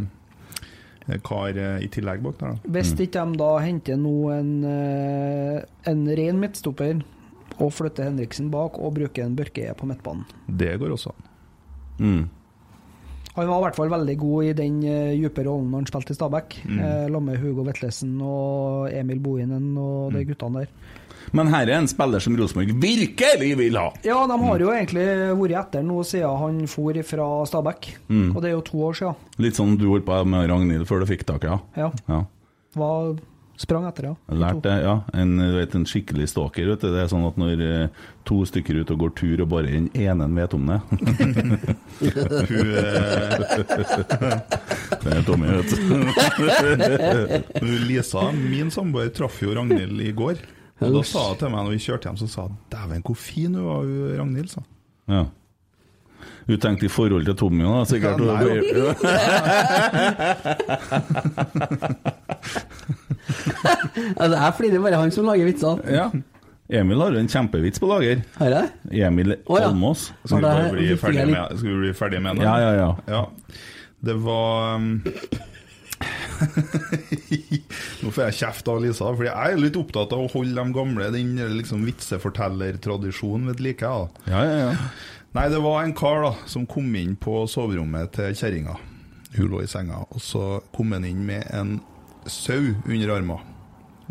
Speaker 5: kar eh, i tillegg bak der, da.
Speaker 3: Mm.
Speaker 4: Hvis ikke de da henter nå en, eh, en ren midtstopper og flytter Henriksen bak og bruker en Børke på midtbanen.
Speaker 5: Det går også an.
Speaker 4: Han var i hvert fall veldig god i den eh, dype rollen når han spilte i Stabæk.
Speaker 3: Mm.
Speaker 4: Eh, Sammen med Hugo Vetlesen og Emil Bohinen og
Speaker 3: Mm.
Speaker 4: de guttene der.
Speaker 3: Men her er en spiller som Rosenborg virkelig vil ha!
Speaker 4: Ja, de
Speaker 3: Mm.
Speaker 4: har jo egentlig vært etter nå siden han for fra Stabæk.
Speaker 3: Mm.
Speaker 4: Og det er jo to år siden.
Speaker 3: Litt sånn du holdt på med Ragnhild før du fikk tak i henne.
Speaker 4: Ja.
Speaker 3: Ja.
Speaker 4: Var, sprang etter, ja.
Speaker 3: Jeg lærte det, ja. En, du vet, en skikkelig stalker. Vet du. Det er sånn at når eh, to stykker er ute og går tur, og bare den ene vet om det
Speaker 5: Hun, eh,
Speaker 3: *laughs* Det er Tommy, vet du.
Speaker 5: *laughs* Men Lisa, min samboer, traff jo Ragnhild i går. Og da sa hun til meg når vi kjørte hjem, så sa hun 'dæven, hvor fin hun var, hun Ragnhild', sa hun.
Speaker 3: Ja. Du tenkte i forhold til Tommy da, sikkert?
Speaker 5: Ja, nei.
Speaker 1: Altså, jeg flirer bare han som lager vitser.
Speaker 3: ja. Emil har jo en kjempevits på lager.
Speaker 1: Har jeg?
Speaker 3: Emil
Speaker 1: Å, ja.
Speaker 3: Almås.
Speaker 5: Skal vi bare
Speaker 1: det-
Speaker 5: bli
Speaker 1: vi fikk
Speaker 5: ferdig
Speaker 1: jeg
Speaker 5: med, skal vi bli ferdig med den?
Speaker 3: Ja, ja, ja.
Speaker 5: Det var um, *laughs* Nå får jeg kjeft av Lisa, Fordi jeg er litt opptatt av å holde de gamle, den liksom vitsefortellertradisjonen ved like. Da.
Speaker 3: Ja, ja, ja.
Speaker 5: Nei, det var en kar da som kom inn på soverommet til kjerringa. Hun lå i senga, og så kom han inn med en sau under armen.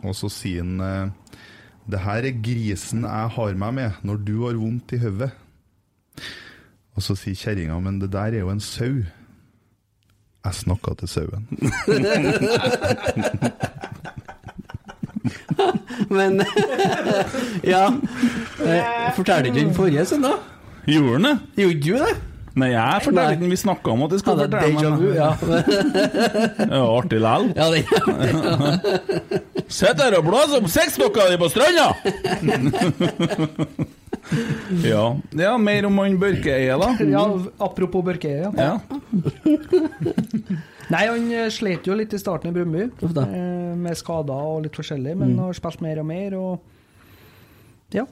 Speaker 5: Og så sier han eh, Det her er grisen jeg har meg med når du har vondt i hodet. Og så sier kjerringa, men det der er jo en sau. Jeg snakka til sauen.
Speaker 1: Men *laughs* Ja. Eh, Fortalte ikke den forrige søndag?
Speaker 3: Gjorde han det?
Speaker 1: Gjorde du det?
Speaker 3: Nei, jeg fortalte ikke Vi snakka om at jeg skulle
Speaker 1: Hadde
Speaker 3: fortelle
Speaker 1: déjà vu, ja.
Speaker 3: *laughs* Det er jo artig likevel.
Speaker 1: Ja, det
Speaker 3: *laughs* Sitt her og blås opp sexdokka di på stranda!
Speaker 5: *laughs*
Speaker 3: ja. ja, mer om han Børkeøye, da.
Speaker 4: Ja, apropos Børkeøye.
Speaker 3: Ja.
Speaker 4: *laughs* Nei, han eh, slet jo litt i starten i Brumby,
Speaker 1: da.
Speaker 4: eh, med skader og litt forskjellig, men
Speaker 1: Mm.
Speaker 4: har spilt mer og mer. og ja.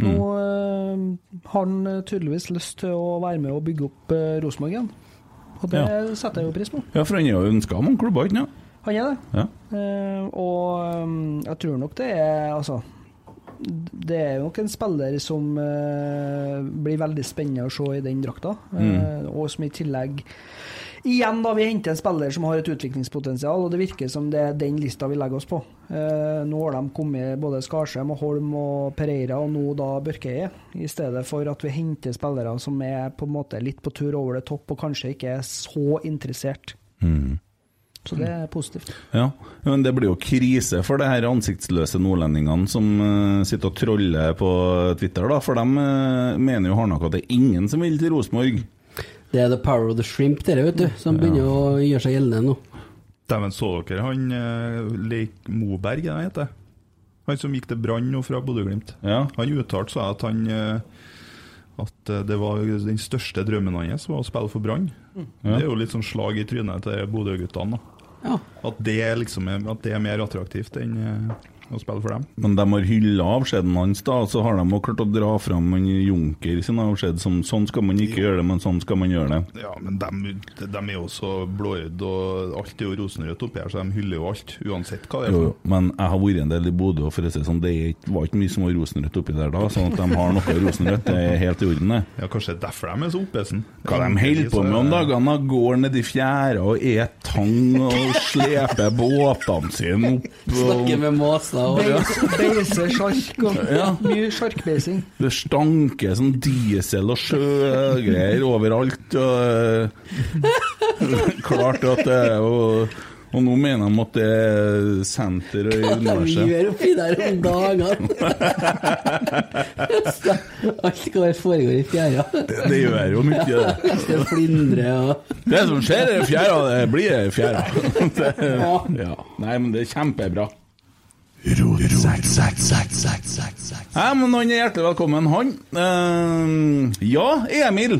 Speaker 4: Nå eh, har han eh, tydeligvis lyst til å være med og bygge opp eh, Rosenborg igjen. Og det
Speaker 3: Ja.
Speaker 4: setter jeg jo pris på.
Speaker 3: ja, for han er jo ønska om han klubba, ikke sant?
Speaker 4: Han er det.
Speaker 3: Ja.
Speaker 4: Eh, og um, jeg tror nok det er Altså. Det er jo nok en spiller som eh, blir veldig spennende å se i den drakta, eh,
Speaker 3: Mm.
Speaker 4: og som i tillegg Igjen, da, vi henter en spiller som har et utviklingspotensial, og det virker som det er den lista vi legger oss på. Eh, nå har de kommet både Skarsheim og Holm og Pereira, og nå da Børkeie, i stedet for at vi henter spillere som er på en måte litt på tur over det topp, og kanskje ikke er så interessert.
Speaker 3: Mm.
Speaker 4: Så det er positivt.
Speaker 3: Ja, men det blir jo krise for det her ansiktsløse nordlendingene som eh, sitter og troller på Twitter, da. For de eh, mener jo hardnakka at det er ingen som vil til Rosenborg.
Speaker 1: Det er the power of the shrimp, dere, vet du, som begynner å gjøre seg gjeldende nå.
Speaker 5: Dæven, så dere han eh, Leik Moberg, er det han heter? Han som gikk til Brann nå fra Bodø-Glimt. Han uttalte seg at han eh, At eh, det var den største drømmen hans var å spille for Brann.
Speaker 1: Mm.
Speaker 5: Det er jo litt sånn slag i trynet til Bodø-guttene. da. At, det er liksom, er- at det er mer attraktivt enn eh, å spille for dem.
Speaker 3: Men de har hylla avskjeden hans, da, og så har de jo klart å dra fram en Junker sin avskjed som sånn skal man ikke gjøre det, men sånn skal man gjøre det.
Speaker 5: Ja, men de, de er jo så blåøyde, og alt er jo rosenrødt oppi her, så de hyller jo alt. Uansett hva det er.
Speaker 3: Jo, jo, men jeg har vært en del i Bodø, og for å si det sånn, det er ikke- var ikke mye som var rosenrødt oppi der da, sånn at de har noe rosenrødt, det er helt i orden, det.
Speaker 5: Ja, Kanskje det er derfor de er så oppesen.
Speaker 3: Hva de holder på med om dagene? da? Går ned i fjæra og et tang og sleper båtene sine opp.
Speaker 1: Snakker med måsa og
Speaker 4: Beis- Beise sjark og
Speaker 3: Ja.
Speaker 4: mye sjarkbeising.
Speaker 3: Det stanker sånn diesel og sjøgreier overalt. Og eh, klart at det er jo Og nå mener de at det er senter og
Speaker 1: Hva de
Speaker 3: universet.
Speaker 1: gjør oppi der om dagene? Alt hva det foregår i fjæra.
Speaker 3: Det, det gjør jo mye, det.
Speaker 1: Det flindrer og
Speaker 3: Det som skjer i fjæra, det blir i fjæra. Det, ja. Nei, men det er kjempebra. Hei, men han er hjertelig velkommen, han. Eh, ja, Emil.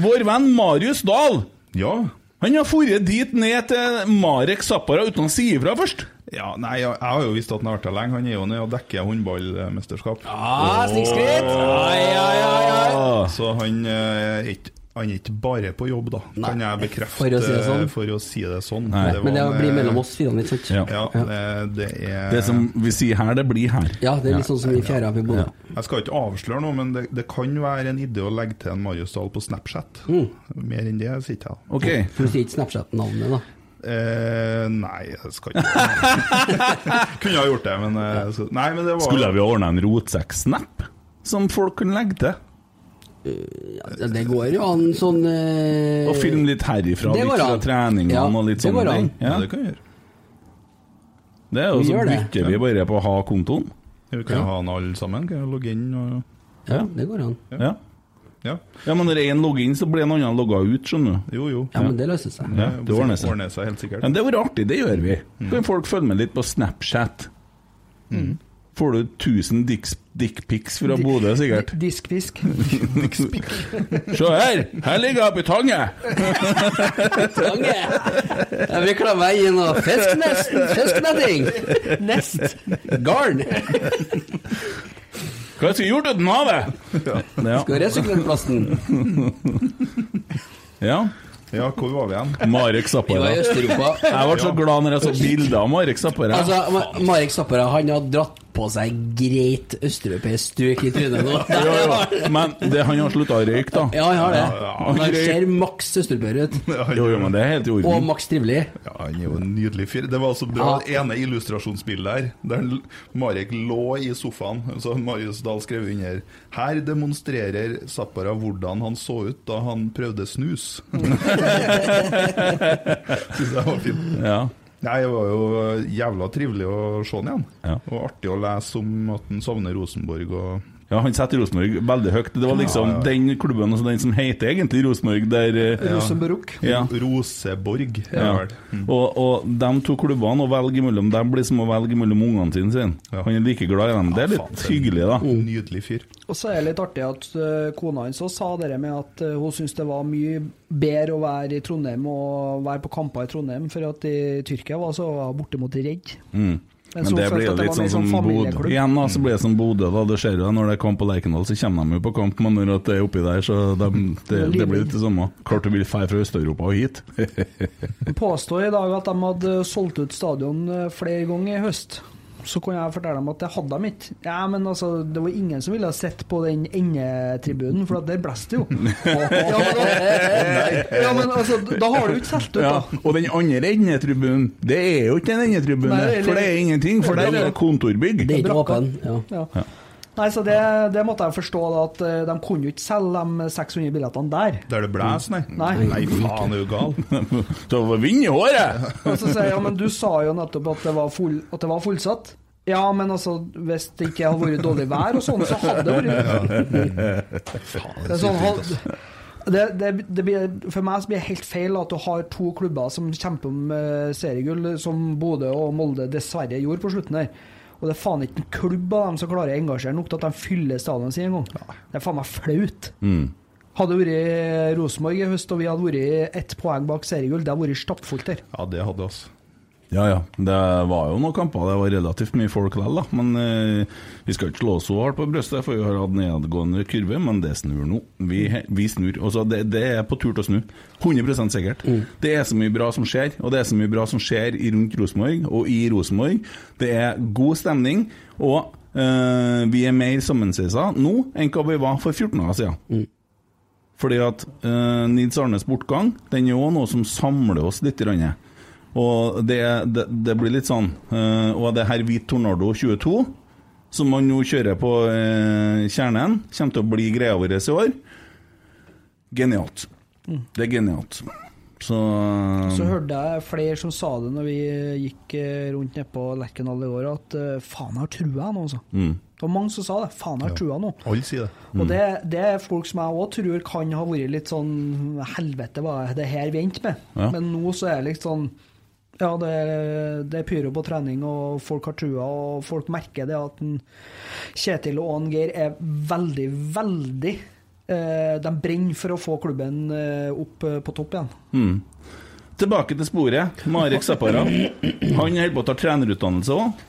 Speaker 3: Vår venn Marius Dahl. Han har dratt dit ned til Marek Zappara uten å si ifra først.
Speaker 5: Ja, nei, jeg, jeg har jo visst at han har vært der lenge. Han er jo nede og dekker håndballmesterskap.
Speaker 1: Ah, snikskritt! Ai, ai, ai, ai.
Speaker 5: Så han eh, er ikke han er ikke bare på jobb, da, kan jeg bekrefte.
Speaker 1: for å si det sånn.
Speaker 5: For å si det sånn.
Speaker 3: Nei.
Speaker 1: Men det
Speaker 5: var en,
Speaker 1: blir
Speaker 5: eh,
Speaker 1: mellom oss fire, sånn. ikke sant?
Speaker 5: Ja, eh, det er
Speaker 3: Det som vi sier her, det blir her.
Speaker 1: Ja, det er litt sånn som i fjæra vi bodde.
Speaker 5: Jeg skal ikke avsløre noe, men det, det kan være en idé å legge til en Marius Dahl på Snapchat.
Speaker 1: Mm.
Speaker 5: Mer enn det sier ikke jeg.
Speaker 1: For du sier ikke Snapchat-navnet, da?
Speaker 5: *laughs* Eh, nei, jeg skal ikke Kunne ha gjort det, *laughs* men, eh, så- nei, men det var
Speaker 3: Skulle vi ha ordna en rotsekk-snap som folk kunne legge til?
Speaker 1: Ja, det går jo an sånn eh,
Speaker 3: Og film litt herifra,
Speaker 1: det
Speaker 3: litt
Speaker 1: går
Speaker 3: fra
Speaker 1: an.
Speaker 3: treningene
Speaker 1: Ja,
Speaker 3: og litt
Speaker 1: det går
Speaker 3: sånne ting.
Speaker 1: an.
Speaker 5: Ja, det kan vi gjøre.
Speaker 3: Det er jo
Speaker 1: Vi
Speaker 3: så
Speaker 1: gjør det.
Speaker 3: bytter vi bare på å ha kontoen.
Speaker 5: Vi kan jo ha den alle sammen. Kan jo logge inn og
Speaker 1: Ja, det går an.
Speaker 3: Ja.
Speaker 5: Ja.
Speaker 3: men når én logger inn, så blir en annen logga ut, skjønner du.
Speaker 5: Jo, jo.
Speaker 1: Ja, men det løser seg.
Speaker 3: Ja, det ordner seg.
Speaker 5: Ordner seg helt sikkert. Mm.
Speaker 3: Men det var artig, det gjør vi. Kan folk følge med litt på Snapchat? Får du 1000 dicks- dickpics fra
Speaker 4: Di-
Speaker 3: Bodø, sikkert?
Speaker 4: di- *laughs* Diskfisk.
Speaker 3: Se her! Her ligger jeg på tanget!
Speaker 1: Tange! Jeg vil klare meg inn og fisk nesten! Fisknetting! Nest! Garn!
Speaker 3: Hva skulle jeg gjort uten havet? Ja.
Speaker 1: Skal resykle plasten.
Speaker 3: ja.
Speaker 5: Ja, hvor var vi igjen?
Speaker 3: Marek
Speaker 1: Vi
Speaker 3: Zappara.
Speaker 1: var i Øst-Europa.
Speaker 3: Jeg ble så glad når jeg så bilder av Marek Zappara.
Speaker 1: Altså, Ma- Marek Zappara han har dratt på seg greit østeuropeisk strøk i trynet nå.
Speaker 3: jo, jo. Men det, han har slutta å røyke, da.
Speaker 1: Ja, han har det.
Speaker 3: han
Speaker 1: Men Han
Speaker 3: røyker.
Speaker 1: ser maks østeuropeer ut.
Speaker 3: Jo, jo, men det er helt i
Speaker 1: Og
Speaker 3: orden.
Speaker 1: maks trivelig.
Speaker 5: Ja, han er jo en nydelig fyr. Det var så bra det ene illustrasjonsbildet her, der l- Marek lå i sofaen. Så Marius Dahl skrev under Her demonstrerer Zappara hvordan han så ut da han prøvde snus. *laughs* Syns jeg var fint.
Speaker 3: Ja.
Speaker 5: Nei, Det var jo jævla trivelig å se han igjen.
Speaker 3: Ja.
Speaker 5: Og artig å lese om at han savner Rosenborg og
Speaker 3: Ja, Han setter Rosenborg veldig høyt. Det var liksom den klubben altså den som heter egentlig Rosenborg, der eh,
Speaker 4: Rosenborg.
Speaker 3: Ja.
Speaker 5: Roseborg. er det
Speaker 3: Ja.
Speaker 5: vel. Mm.
Speaker 3: Og, og de to klubbene å velge imellom, de blir som å velge mellom ungene sine. Sin. Han er like glad i dem. Det er litt hyggelig, da.
Speaker 5: Nydelig fyr.
Speaker 4: Og så er det litt artig at eh, kona hans også sa det der med at eh, hun syntes det var mye bedre å være i Trondheim og være på kamper i Trondheim, for at i Tyrkia var så var hun bortimot redd.
Speaker 3: Mm.
Speaker 4: Men
Speaker 3: Men
Speaker 4: så
Speaker 3: det
Speaker 4: følte
Speaker 3: blir jo
Speaker 4: at det
Speaker 3: litt
Speaker 4: var
Speaker 3: sånn
Speaker 4: mer
Speaker 3: som
Speaker 4: sånn
Speaker 3: Bodø.
Speaker 4: familieklubb.
Speaker 3: Igjen da, så blir det som Bodø, da. Det skjer jo det når det er kamp på Lerkendal, så kommer de jo på kamp, men når at det er oppi der, så de, det, det blir litt det samme. Klart du vil dra fra Øst-Europa og hit.
Speaker 4: De påstår i dag at de hadde solgt ut stadion eh, flere ganger i høst. Så kunne jeg fortelle dem at det hadde de ikke. Ja, men altså, det var ingen som ville ha sett på den endetribunen, for at der blåste det jo. Ja, men, da, ja, men altså, da har du ikke solgt ut, da.
Speaker 3: og den andre endetribunen, det er jo ikke en endetribune,
Speaker 4: Nei, eller-
Speaker 3: for det er ingenting, for det er kontorbygg.
Speaker 4: Det er ikke
Speaker 1: åpen,
Speaker 4: Ja. Nei, så det, det måtte jeg forstå, da, at eh, de kunne jo ikke selge de 600 billettene der.
Speaker 5: Der det blæs, nei?
Speaker 4: Nei.
Speaker 5: faen, er du gal?
Speaker 4: *laughs*
Speaker 3: Det var vind i håret!
Speaker 4: Og så sier jeg ja, men du sa jo nettopp at det var, full, at det var fullsatt. Ja, men altså, hvis det ikke hadde vært dårlig vær og sånn, så hadde det vært *laughs* Det er sånn, hal- det, det, det blir, for meg så blir det helt feil at du har to klubber som kjemper om eh, seriegull, som Bodø og Molde dessverre gjorde på slutten der. Og det er faen ikke en klubb av dem som klarer å engasjere nok til at de fyller stadionet sitt engang. Det er faen meg flaut.
Speaker 3: Mm.
Speaker 4: Hadde det vært Rosenborg i høst og vi hadde vært ett poeng bak seriegull, det hadde vært stappfullt der.
Speaker 5: Ja, det hadde oss.
Speaker 3: Ja, ja. Det var jo noen kamper det var relativt mye folk likevel, da. Men eh, vi skal ikke slå oss så hardt på brystet, for vi har hatt nedadgående kurve. Men det snur nå. Vi, vi snur. Altså, det, det er på tur til å snu. 100 sikkert. Det er så mye bra som skjer, og det er så mye bra som skjer i rundt Rosenborg og i Rosenborg. Det er god stemning, og eh, vi er mer sammensveisa nå enn hva vi var for 14 dager siden. Fordi at eh, Nils Arnes bortgang Den er jo noe som samler oss litt grann. Og det, det, det blir litt sånn eh, Og det her hvit Tornado 22 Som man nå kjører på eh, kjernen Kommer til å bli greia vår i år Genialt
Speaker 4: Mm.
Speaker 3: Det er genialt Så,
Speaker 4: Så
Speaker 5: Mm.
Speaker 4: hørte jeg flere som sa det når vi gikk eh, rundt nede på Lerkendal i år, at eh, faen, jeg har trua nå, altså.
Speaker 3: Mm.
Speaker 4: Det var mange som sa det. Faen, jeg har trua nå.
Speaker 5: Alle sier det. Mm.
Speaker 4: Og det, det er folk som jeg òg tror kan ha vært litt sånn Helvete, hva er det her vi endte med?
Speaker 3: Ja.
Speaker 4: Men nå så er det litt sånn Ja, det, er- det er pyro på trening, og folk har trua, og folk merker det at en Kjetil og Ann Geir er veldig, veldig eh, De brenner for å få klubben eh, opp eh, på topp igjen.
Speaker 3: Mm. Tilbake til sporet. Marek Zappara. Han holder på å ta trenerutdannelse òg.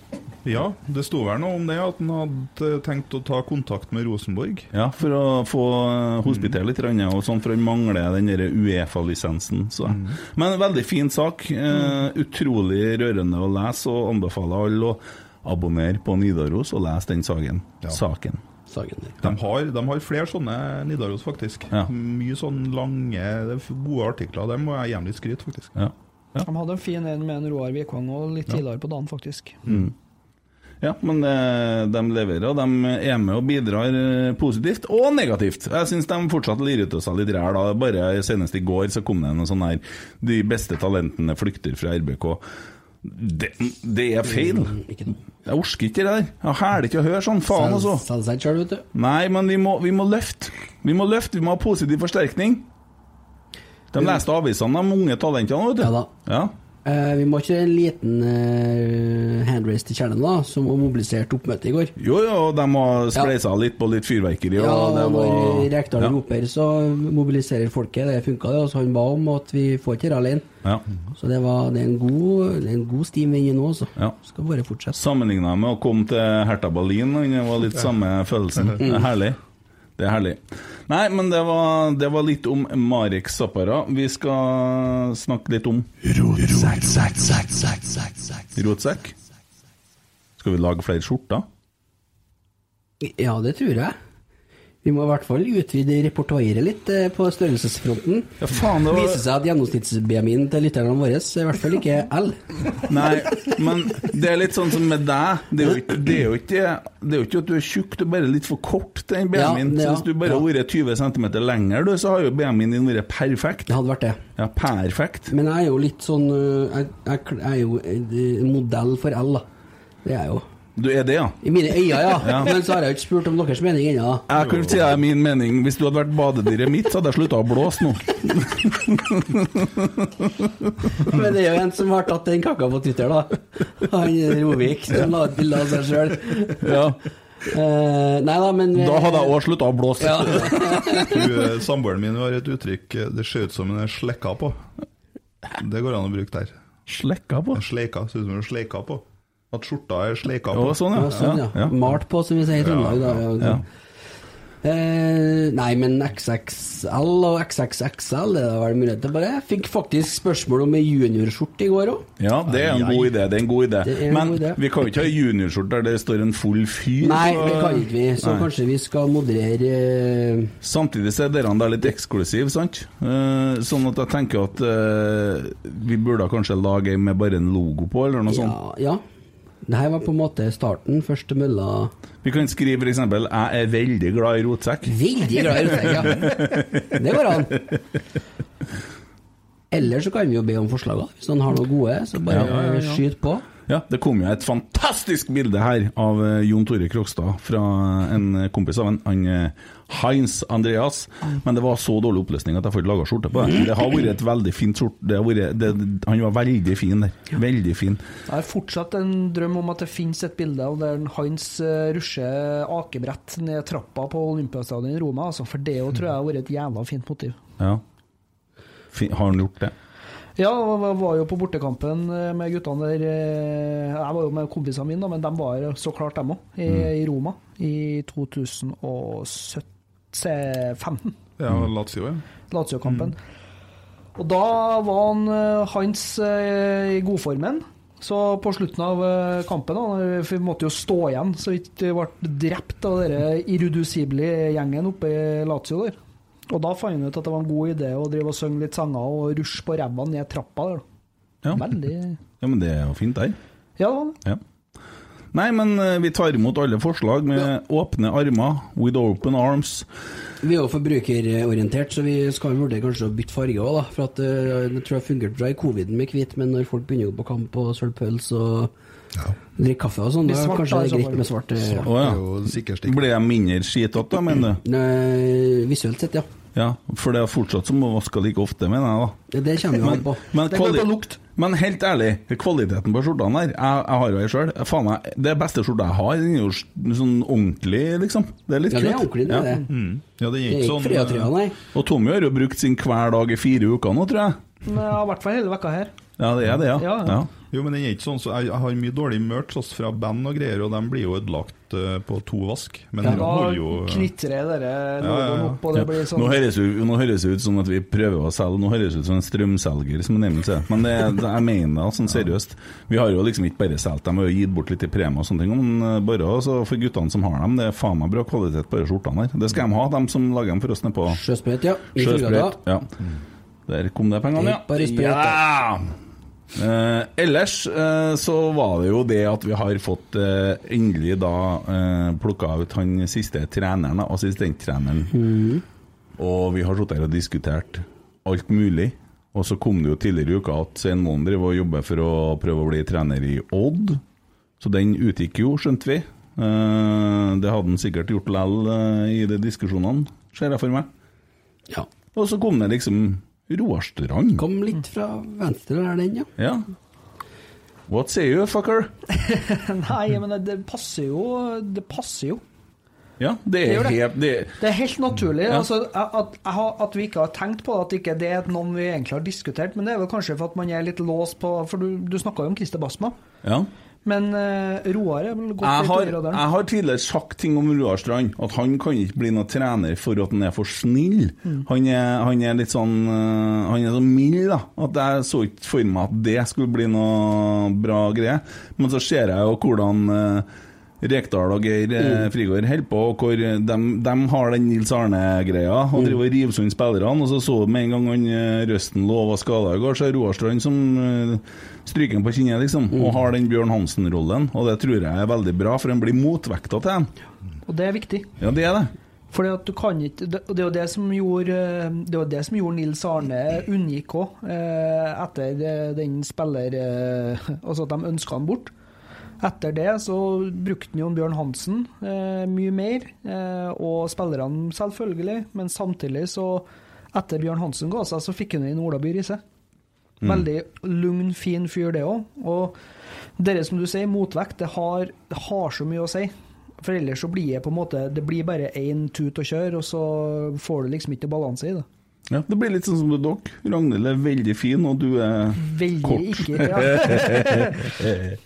Speaker 5: Ja, det sto vel noe om det, at han hadde tenkt å ta kontakt med Rosenborg. Mm.
Speaker 3: Ja, for å få eh, hospitere litt, grann, og sånn, for han mangler den der Uefa-lisensen. så.
Speaker 5: Mm.
Speaker 3: Men en veldig fin sak. Eh, utrolig rørende å lese, og anbefaler alle å abonnere på Nidaros og lese den saken. saken.
Speaker 5: De har, de har flere sånne Nidaros, faktisk.
Speaker 3: Ja.
Speaker 5: Mye sånn lange, det er gode artikler. Det må jeg gjerne litt skryte, faktisk.
Speaker 3: Ja.
Speaker 4: De hadde en fin en med en Roar Vikvang og litt tidligere på dagen, faktisk.
Speaker 3: Mm. Ja, men eh, de leverer, og de er med og bidrar eh, positivt og negativt. Jeg syns de fortsatt lirer ut av seg litt ræl. da. Bare senest i går så kom det en sånn her De beste talentene flykter fra RBK. Det, det er feil. Jeg orker ikke det der. Jeg hæler ikke å høre sånn. Faen, altså. Nei, men vi må, vi må løfte. Vi må løfte, vi må ha positiv forsterkning. De leste avisene, de unge talentene, vet du. Ja da.
Speaker 1: Eh, vi må ikke en liten eh, handraise til kjernen, da, som mobiliserte oppmøtet i går.
Speaker 3: Jo, jo, og de har spleisa litt på litt fyrverkeri.
Speaker 1: Ja,
Speaker 3: og det
Speaker 1: og når
Speaker 3: var-
Speaker 1: Rekdal
Speaker 3: ja.
Speaker 1: roper, så mobiliserer folket. Det funka, det. Altså, han ba om at vi får ikke dette alene.
Speaker 3: Ja.
Speaker 1: Så det, var, det, er en god, det er en god stim inni nå, altså.
Speaker 3: Ja.
Speaker 1: Skal bare fortsette.
Speaker 3: Sammenligna med å komme til Hertha Berlin, og det var litt samme følelsen. Det er herlig. Det er herlig. Nei, men det var, det var litt om Marek Zappara. Vi skal snakke litt om rotsekk. Skal vi lage flere skjorter?
Speaker 1: Ja, det tror jeg. Vi må i hvert fall utvide repertoaret litt eh, på størrelsesfronten.
Speaker 3: Ja, faen, det var-
Speaker 1: viser seg at gjennomsnitts-BMI-en til lytterne våre er i hvert fall ikke L.
Speaker 3: Nei, men det er litt sånn som med deg. Det er jo ikke, det er jo ikke, det er jo ikke at du er tjukk, du er bare litt for kort til den
Speaker 1: Ja,
Speaker 3: BMI-en.
Speaker 1: ja,
Speaker 3: så hvis du bare hadde vært 20 cm lenger, du, så har jo BMI-en din vært perfekt.
Speaker 1: Det hadde vært det.
Speaker 3: Ja, perfekt.
Speaker 1: Men jeg er jo litt sånn øh, Jeg, jeg, kl- jeg er jo øh, modell for L, da. Det er jeg jo.
Speaker 3: Du er det, ja?
Speaker 1: I mine øyne, ja.
Speaker 3: Ja.
Speaker 1: Men så har jeg jo ikke spurt om deres mening ennå. da.
Speaker 3: Jeg kan si deg min mening. Hvis du hadde vært badedyret mitt, så hadde jeg slutta å blåse nå.
Speaker 1: Men det er jo en som har tatt den kaka på Twitter, da. Han Rovik, som la ut bilde av seg sjøl.
Speaker 3: Ja.
Speaker 1: nei da, men
Speaker 5: Da hadde jeg
Speaker 3: òg slutta å blåse.
Speaker 5: Hun, eh, Samboeren min har et uttrykk eh, Det ser ut som hun er slekka på. Det går an å bruke der.
Speaker 3: Slekka på?
Speaker 5: Sleika, ser ut som hun er sleika på. At skjorta er sleika på.
Speaker 3: sånn,
Speaker 1: sånn, Ja, sånn, ja. Malt på, som vi sier i Trøndelag. da.
Speaker 5: Ja.
Speaker 1: Eh, nei, men XXL og XXXL er det vel mulighet til bare. Jeg fikk faktisk spørsmål om ei juniorskjorte i går òg.
Speaker 3: Ja, det er en
Speaker 1: Ai, ai.
Speaker 3: god idé. Det er en god idé.
Speaker 1: Det er en
Speaker 3: Men
Speaker 1: god idé.
Speaker 3: vi kan jo ikke ha juniorskjorte der det står en full fyr.
Speaker 1: Nei,
Speaker 3: så-
Speaker 1: det kan ikke vi, så
Speaker 3: Nei.
Speaker 1: kanskje vi skal moderere eh,
Speaker 3: Samtidig så er dere der litt eksklusive, sant? Eh, sånn at jeg tenker at eh, vi burde kanskje lage en med bare en logo på, eller noe sånt.
Speaker 1: Ja. Det her var på en måte starten. Første mølla
Speaker 3: Vi kan skrive f.eks.: Jeg er veldig glad i rotsekk.
Speaker 1: Veldig glad i rotsekk, ja. Det går an. Eller så kan vi jo be om forslag, da. hvis noen har noe gode. Så bare skyt på.
Speaker 3: Ja, det kom jo et fantastisk bilde her av eh, Jon Tore Krokstad fra en eh, kompis av en, han eh, Heinz Andreas. Men det var så dårlig oppløsning at jeg får ikke laga skjorte på det. Det har vært et veldig fint skjorte. Det har vært, det, han var veldig fin der. Veldig fin.
Speaker 4: Jeg har fortsatt en drøm om at det finnes et bilde av der Hans eh, rusher akebrett ned trappa på Olympiastadion i Roma, altså, for det jo tror jeg har vært et jævla fint motiv.
Speaker 3: Ja. Fin, har han gjort det?
Speaker 4: Ja, og jeg var jo på bortekampen eh, med guttene der eh, Jeg var jo med kompisene mine, da, men de var jo så klart, dem òg, i,
Speaker 3: Mm.
Speaker 4: i Roma i 2015.
Speaker 5: Ja, Lazio, ja.
Speaker 4: Lazio-kampen. Og da var han eh, Hans eh, i godformen. Så på slutten av eh, kampen, da, for vi måtte jo stå igjen så vi ikke ble drept av den irredusible gjengen oppe i Lazio der. Og da fant han ut at det var en god idé å drive og synge litt sanger og rushe på ræva ned trappa der.
Speaker 3: Ja.
Speaker 4: Veldig
Speaker 3: Ja, men det er jo fint der.
Speaker 4: Ja, det var det.
Speaker 3: Ja. Nei, men eh, vi tar imot alle forslag med åpne armer, with open arms.
Speaker 1: Vi er jo forbrukerorientert, så vi skal jo vurdere kanskje å bytte farge òg, da. For at eh, det tror jeg fungerte bra i coviden med hvit, men når folk begynner å gå på kamp og sølve pølse og drikke kaffe og sånn,
Speaker 4: Blir
Speaker 1: da
Speaker 4: svart,
Speaker 1: kanskje
Speaker 4: da,
Speaker 1: det
Speaker 4: i
Speaker 1: er
Speaker 4: så
Speaker 1: greit
Speaker 4: fall.
Speaker 1: med svart.
Speaker 3: Å
Speaker 1: eh,
Speaker 3: ja. Blir jeg mindre skitete da, mener du?
Speaker 1: Nei, visuelt sett, ja.
Speaker 3: Ja, for det er fortsatt som å vaske like ofte, mener jeg da.
Speaker 1: Det- Det kommer jo an på.
Speaker 3: Men,
Speaker 1: Det går
Speaker 3: kvali-
Speaker 1: på
Speaker 3: men helt ærlig, kvaliteten på skjortene her Jeg, jeg har jo ei sjøl. Faen meg, det beste skjorta jeg har, den er jo s- sånn ordentlig, liksom. Det er litt
Speaker 1: Ja, det er
Speaker 3: kult.
Speaker 1: ordentlig, det er det.
Speaker 3: Mm.
Speaker 5: Ja,
Speaker 1: Det er ikke sånn, fria trøya, nei.
Speaker 3: Og Tommy har jo brukt sin hver dag i fire uker nå, tror jeg.
Speaker 4: Men jeg har i hvert fall hele vekka her.
Speaker 3: Ja, det er det, ja.
Speaker 4: Ja, ja.
Speaker 3: ja.
Speaker 5: Jo, men den er ikke sånn, så jeg, jeg har mye dårlig merch også fra band og greier, og de blir jo ødelagt eh, på to vask. Men den
Speaker 4: da
Speaker 5: holder jo
Speaker 4: knitrer dere
Speaker 5: Ja, ja,
Speaker 4: logoen
Speaker 5: ja.
Speaker 4: opp, og det blir sånn
Speaker 3: Nå høres det nå høres det ut som at vi prøver å selge, nå høres det ut som en strømselger, som Emil sier. Men det, det, jeg mener det, sånn seriøst. Vi har jo liksom ikke bare solgt dem, vi har jo gitt bort litt i premie og sånne ting. Men eh, bare altså, for guttene som har dem, det er faen meg bra kvalitet på de skjortene her. Det skal de ha, de som lager dem for oss nede på
Speaker 1: Sjøsprøyt, ja. I Torgata.
Speaker 3: Sjøsprøyt. Ja. Der kom det pengene, ja.
Speaker 1: Bare sprøyt,
Speaker 3: ja. Eh, ellers eh, så var det jo det at vi har fått eh, endelig da eh, plukka ut han siste treneren, da, assistenttreneren.
Speaker 1: Mm.
Speaker 3: Og vi har sittet her og diskutert alt mulig. Og så kom det jo tidligere i uka at Svein Moen drev og jobber for å prøve å bli trener i Odd. Så den utgikk jo, skjønte vi. Eh, Det hadde han sikkert gjort lell eh, i de diskusjonene, ser jeg for meg.
Speaker 1: Ja.
Speaker 3: Og så kom det liksom Roar Strand.
Speaker 1: Kom litt fra venstre der, den, ja.
Speaker 3: Ja. What say you, fucker?
Speaker 4: Nei, men det, det passer jo. Det passer jo.
Speaker 3: Ja, det
Speaker 4: Det
Speaker 3: er
Speaker 4: gjør det.
Speaker 3: helt det,
Speaker 4: Det er helt naturlig.
Speaker 3: Ja.
Speaker 4: Altså, at, jeg har- at vi ikke har tenkt på det, at ikke det er et navn vi egentlig har diskutert. Men det er vel kanskje for at man er litt låst på For du, du snakka jo om Christer Basma.
Speaker 3: Ja.
Speaker 4: Men eh, Roar er vel
Speaker 3: Jeg
Speaker 4: godt
Speaker 3: har,
Speaker 4: litt over radaren.
Speaker 3: jeg har tidligere sagt ting om Roar Strand, at han kan ikke bli noen trener for at han er for snill. Han, er, han er litt sånn øh, Han er så mild, da. At jeg så ikke for meg at det skulle bli noe bra greie. Men så ser jeg jo hvordan øh, Rekdal og Geir mm. Frigård holder på, og hvor de, har den Nils Arne-greia. Og driver og river sund spillerne. Og så så du med en gang han eh, Røsten lå og var skada i går, så er Roar Strand som eh, stryker ham på kinnet, liksom. Og har den Bjørn Hansen-rollen. Og det tror jeg er veldig bra, for han blir motvekta til dem.
Speaker 4: Og det er viktig.
Speaker 3: Ja, det er det.
Speaker 4: Fordi at du kan ikke Det, og det er jo det som gjorde eh, Det er jo det som gjorde Nils Arne unngikk òg, etter eh, den spiller... eh, Altså at de ønska han bort. Etter det så brukte han Jon Bjørn Hansen eh, mye mer, eh, og spillerne selvfølgelig, men samtidig så Etter Bjørn Hansen ga seg, så fikk han inn Ola By Riise.
Speaker 7: Mm.
Speaker 4: Veldig lugn, fin fyr, det òg. Og det som du sier, motvekt, det har, det har så mye å si. For ellers så blir det på en måte Det blir bare én tut å kjøre, og så får du liksom ikke balanse i det.
Speaker 3: Ja, det blir litt sånn som med dere. *laughs* Ragnhild er veldig fin, og du er
Speaker 4: Veldig
Speaker 3: kort.
Speaker 4: ikke, ja.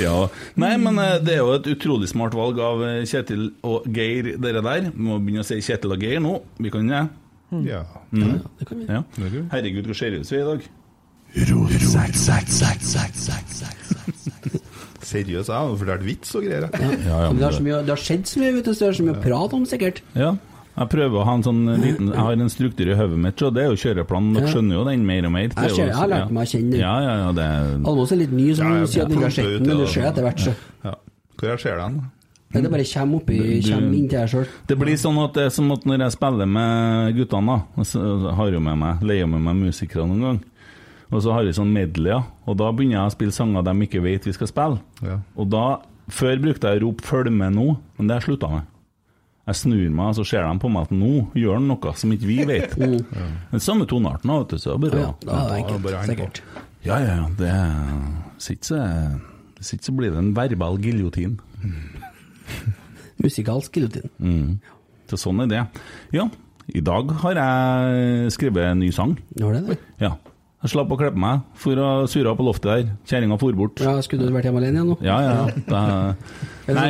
Speaker 3: ja. Nei, men eh, det er jo et utrolig smart valg av eh, Kjetil og Geir, dere der. Vi må begynne å si Kjetil og Geir nå. Vi kan det?
Speaker 5: Ja.
Speaker 3: Mm. Ja. Herregud, hvor seriøse vi er i dag.
Speaker 5: Seriøs, jeg har fortalt vits og greier.
Speaker 3: Ja, ja, men
Speaker 1: det, har
Speaker 3: det-
Speaker 1: så mye, det har skjedd så mye, vet du, så det er så mye å prate om, sikkert.
Speaker 3: Ja. Jeg prøver å ha en sånn liten Jeg har en struktur i hodet mitt, så det er jo kjøreplanen. Dere
Speaker 1: Ja.
Speaker 3: skjønner jo den mer og mer. Det er
Speaker 1: Jeg ser-
Speaker 3: jo-
Speaker 1: jeg har lært
Speaker 3: ja.
Speaker 1: meg å kjenne den.
Speaker 3: Ja, ja, ja, det er
Speaker 1: Almås er litt ny, som
Speaker 3: Ja, ja,
Speaker 1: sier at den
Speaker 3: plumper
Speaker 1: har sett
Speaker 3: ut,
Speaker 1: den, men
Speaker 3: ja,
Speaker 1: det skjer
Speaker 3: ja.
Speaker 1: etter hvert, så.
Speaker 5: Ja. Hvor jeg ser den?
Speaker 1: Men det bare kommer oppi,
Speaker 3: Du-
Speaker 1: kommer inn til deg sjøl.
Speaker 3: Det blir sånn at det er som at når jeg spiller med guttene, da, og så har jo med meg, leier med meg musikere noen gang, og så har vi sånn medleyer, og da begynner jeg å spille sanger de ikke vet vi skal spille. Og da, før brukte jeg å rope 'følg med nå', men det har jeg slutta med. Jeg snur meg, og så ser de på meg at nå gjør han noe som ikke vi
Speaker 1: *laughs*
Speaker 3: vet.
Speaker 1: Mm.
Speaker 3: Den samme tonearten, da, vet du, så bare
Speaker 1: Ja, da er det enkelt,
Speaker 3: bare heng på.
Speaker 1: sikkert.
Speaker 3: Ja, ja, ja. Det er- hvis ikke så- Hvis ikke så blir det en verbal giljotin.
Speaker 1: Musikalsk giljotin.
Speaker 3: Mm. Så sånn er det. Ja, i dag har jeg skrevet en ny sang.
Speaker 1: Gjør det det?
Speaker 3: Ja. Jeg slapp å klippe meg, for å surre på loftet der. Kjerringa for bort.
Speaker 1: Ja, skulle du vært hjemme alene igjen nå?
Speaker 3: Ja, ja. Det,
Speaker 1: Nei,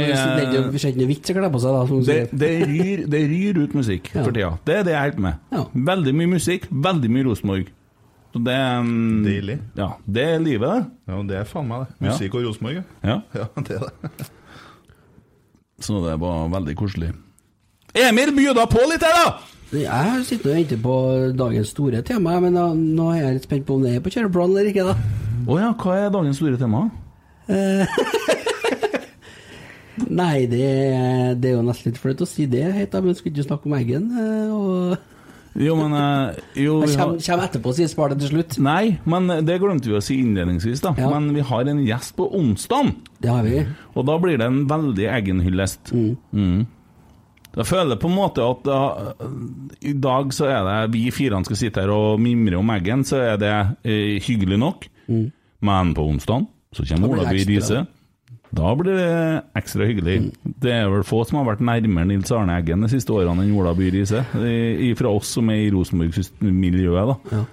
Speaker 3: Nei,
Speaker 1: det er ikke
Speaker 3: eh,
Speaker 1: det er ikke noe vits å kle på seg, da. Som du
Speaker 3: det,
Speaker 1: sier.
Speaker 3: det, ryr, det ryr ut musikk for tida. Det er det jeg holder med. Veldig mye musikk, veldig mye Rosenborg. Så det mm,
Speaker 5: Deilig.
Speaker 3: Ja, det er livet, det.
Speaker 5: Ja, det er faen meg det.
Speaker 3: Ja.
Speaker 5: Musikk og Rosenborg, ja.
Speaker 3: Ja.
Speaker 5: ja. *laughs* Det er det.
Speaker 3: Så det var veldig koselig. Emil, bjuda på litt her, da!
Speaker 1: Jeg sitter og venter på dagens store tema, men da, nå er jeg litt spent på om det er på kjøreplanen eller ikke, da.
Speaker 3: Å ja, hva er dagens store tema?
Speaker 1: Nei, det, er- det er jo nesten litt flaut å si det, helt, da, men skulle ikke snakke om eggen. eh, Og
Speaker 3: Jo, men eh, jo,
Speaker 1: jeg
Speaker 3: vi har-
Speaker 1: kommer, kommer etterpå og sier spar det til slutt.
Speaker 3: Nei, men det glemte vi å si innledningsvis, da. Men vi har en gjest på onsdag.
Speaker 1: Det har vi.
Speaker 3: Og da blir det en veldig egen hyllest. Mm. Jeg føler på en måte at da, i dag så er det vi fire som skal sitte her og mimre om Eggen, så er det eh, hyggelig nok. Men på onsdag så
Speaker 1: Da
Speaker 3: kommer
Speaker 1: blir det
Speaker 3: Ola By
Speaker 1: ekstra.
Speaker 3: Riise. Da blir det ekstra hyggelig. Det er vel få som har vært nærmere Nils Arne Eggen de siste årene enn Ola By Riise, i- fra oss som er i Rosenborg-miljøet. da.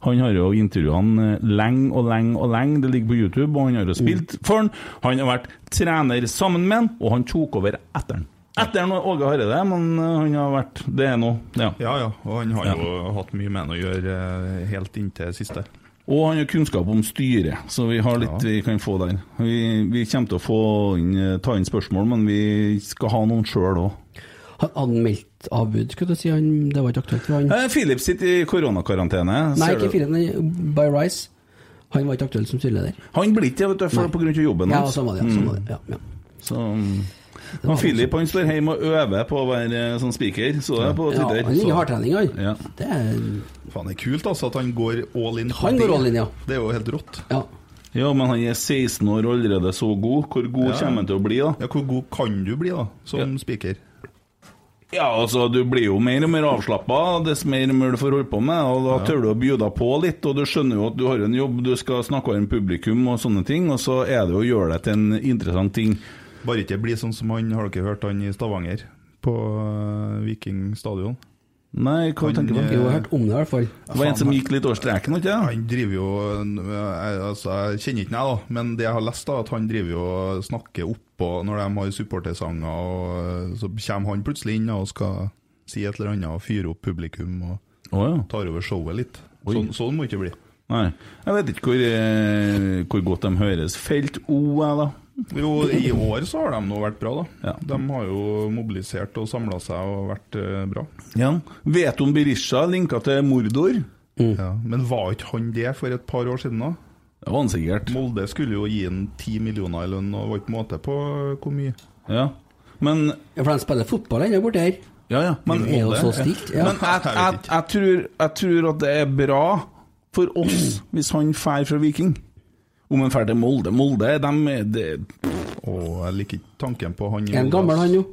Speaker 3: Han har jo intervjua han eh, lenge og lenge og lenge, det ligger på YouTube, og han har jo spilt
Speaker 5: Mm.
Speaker 3: for han. Han har vært trener sammen med han, og han tok over etter han. Etter han var Åge Hareide, men eh, han har vært Det er nå, ja.
Speaker 5: Ja ja, og han har
Speaker 3: Ja.
Speaker 5: jo hatt mye med han å gjøre eh, helt inntil siste.
Speaker 3: Og han har kunnskap om styret, så vi har litt vi kan få der. Vi, vi kommer til å få inn, eh, ta inn spørsmål, men vi skal ha noen sjøl òg.
Speaker 1: Han anmeldt avbud, skulle du si. Han, det var ikke aktuelt for han.
Speaker 3: Eh, Philip sitter i koronakarantene.
Speaker 1: Mm. Nei,
Speaker 3: ser
Speaker 1: ikke
Speaker 3: du.
Speaker 1: Philip, men By Rice. Han var ikke aktuell som styreleder.
Speaker 3: Han blir ikke det, vet du, for
Speaker 1: Nei.
Speaker 3: på grunn av jobben
Speaker 1: Ja,
Speaker 3: hans.
Speaker 1: sånn var det, ja, sånn var det, ja,
Speaker 3: Så, han Philip han står hjemme og øver på å være eh, sånn speaker, så jeg på
Speaker 1: Ja,
Speaker 3: Twitter.
Speaker 1: han ligger
Speaker 3: så-
Speaker 1: hardtrening, han.
Speaker 3: Ja.
Speaker 1: Det er
Speaker 5: Faen, det er kult altså at han går all in. på
Speaker 1: Han
Speaker 5: det.
Speaker 1: går all in, ja.
Speaker 5: Det er jo helt rått.
Speaker 1: Ja.
Speaker 3: Ja, men han er 16 år og allerede så god. Hvor god
Speaker 5: Ja.
Speaker 3: kommer han til å bli, da?
Speaker 5: Ja, Hvor god kan du bli, da, som speaker?
Speaker 3: Ja, altså, du blir jo mer og mer avslappa dess mer og mer du får holde på med, og da tør du å bjuda på litt, og du skjønner jo at du har en jobb, du skal snakke med publikum og sånne ting, og så er det jo å gjøre det til en interessant ting.
Speaker 5: Bare ikke bli sånn som han, har dere hørt han i Stavanger? På eh, Viking stadion? eh,
Speaker 3: Nei, hva tenker du på?
Speaker 1: Jo, jeg har hørt om det, i hvert fall.
Speaker 3: Det var en som gikk litt over streken, ikke sant?
Speaker 5: Han driver jo eh, jeg- altså, Jeg kjenner ikke ham, da, men det jeg har lest, da, at han driver jo og snakker oppå når de har supportersanger, og eh, så kommer han plutselig inn da, og skal si et eller annet og fyre opp publikum og tar over showet litt. Sånn, sånn må det ikke bli.
Speaker 3: Nei. Jeg vet ikke hvor, eh, hvor godt de høres. Felt O, jeg, da.
Speaker 5: Jo, i år så har de nå vært bra, da.
Speaker 3: Ja.
Speaker 5: De har jo mobilisert og samla seg og vært eh, bra.
Speaker 3: Ja. Veton Berisha linka til Mordor.
Speaker 1: Mm.
Speaker 5: Ja, men var ikke han det for et par år siden, da?
Speaker 3: Det var han sikkert.
Speaker 5: Molde skulle jo gi han ti millioner i lønn, og det var ikke måte på hvor mye.
Speaker 3: Ja. Men
Speaker 1: Ja, for de spiller fotball ennå borti her.
Speaker 3: Ja, ja. Men,
Speaker 1: Det er jo så stilt, ja.
Speaker 3: men
Speaker 5: *laughs*
Speaker 3: jeg, jeg, jeg, tror, jeg tror at det er bra for oss hvis han drar fra Viking. Om han drar til Molde Molde, de, de
Speaker 5: Og jeg liker ikke tanken på han i
Speaker 1: Er han
Speaker 5: Molde,
Speaker 1: gammel,
Speaker 5: ass.
Speaker 1: han jo?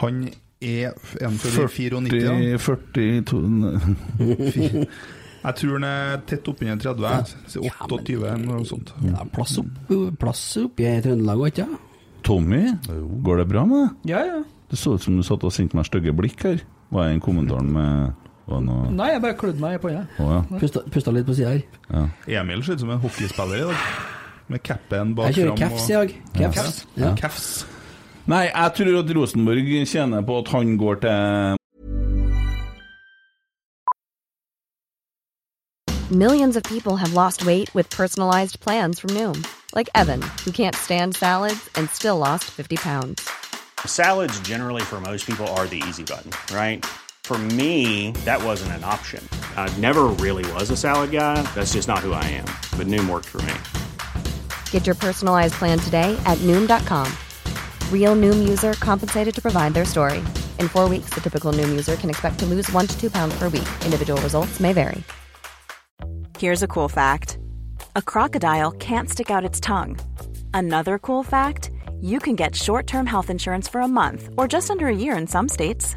Speaker 5: Han er en født i 94, ja.
Speaker 3: 40, 42
Speaker 5: Fy- Jeg tror han er tett oppunder 30, jeg. 28 eller noe sånt.
Speaker 1: Ja, plass, opp, plass oppi i Trøndelag òg, ikke sant?
Speaker 3: Tommy, går det bra med deg?
Speaker 4: Ja, ja.
Speaker 3: Det så ut som du satt og sendte meg stygge blikk her. Var jeg i kommentaren med Var det noe
Speaker 4: Nei, jeg bare klødde meg i panna.
Speaker 3: Å,
Speaker 4: ja.
Speaker 1: Pusta, pusta litt på sida her.
Speaker 3: ja.
Speaker 5: Emil ser ut som en hockeyspiller i dag. Med capen bak
Speaker 1: Jeg kjører
Speaker 5: fram
Speaker 1: caps i dag. Caps. Ja.
Speaker 5: Caps.
Speaker 3: Nei, jeg tror at Rosenborg tjener på at han går til
Speaker 7: Millions of people have lost weight with personalized plans from Noom, like Evan, who can't stand salads and still lost 50 pounds.
Speaker 8: Salads, generally, for most people, are the easy button, right? For me, that wasn't an option. I never really was a salad guy. That's just not who I am. But Noom worked for me.
Speaker 7: Get your personalized plan today at Noom.com. Real Noom user compensated to provide their story. In four weeks, the typical Noom user can expect to lose one to two pounds per week. Individual results may vary.
Speaker 9: Here's a cool fact a crocodile can't stick out its tongue. Another cool fact you can get short term health insurance for a month or just under a year in some states.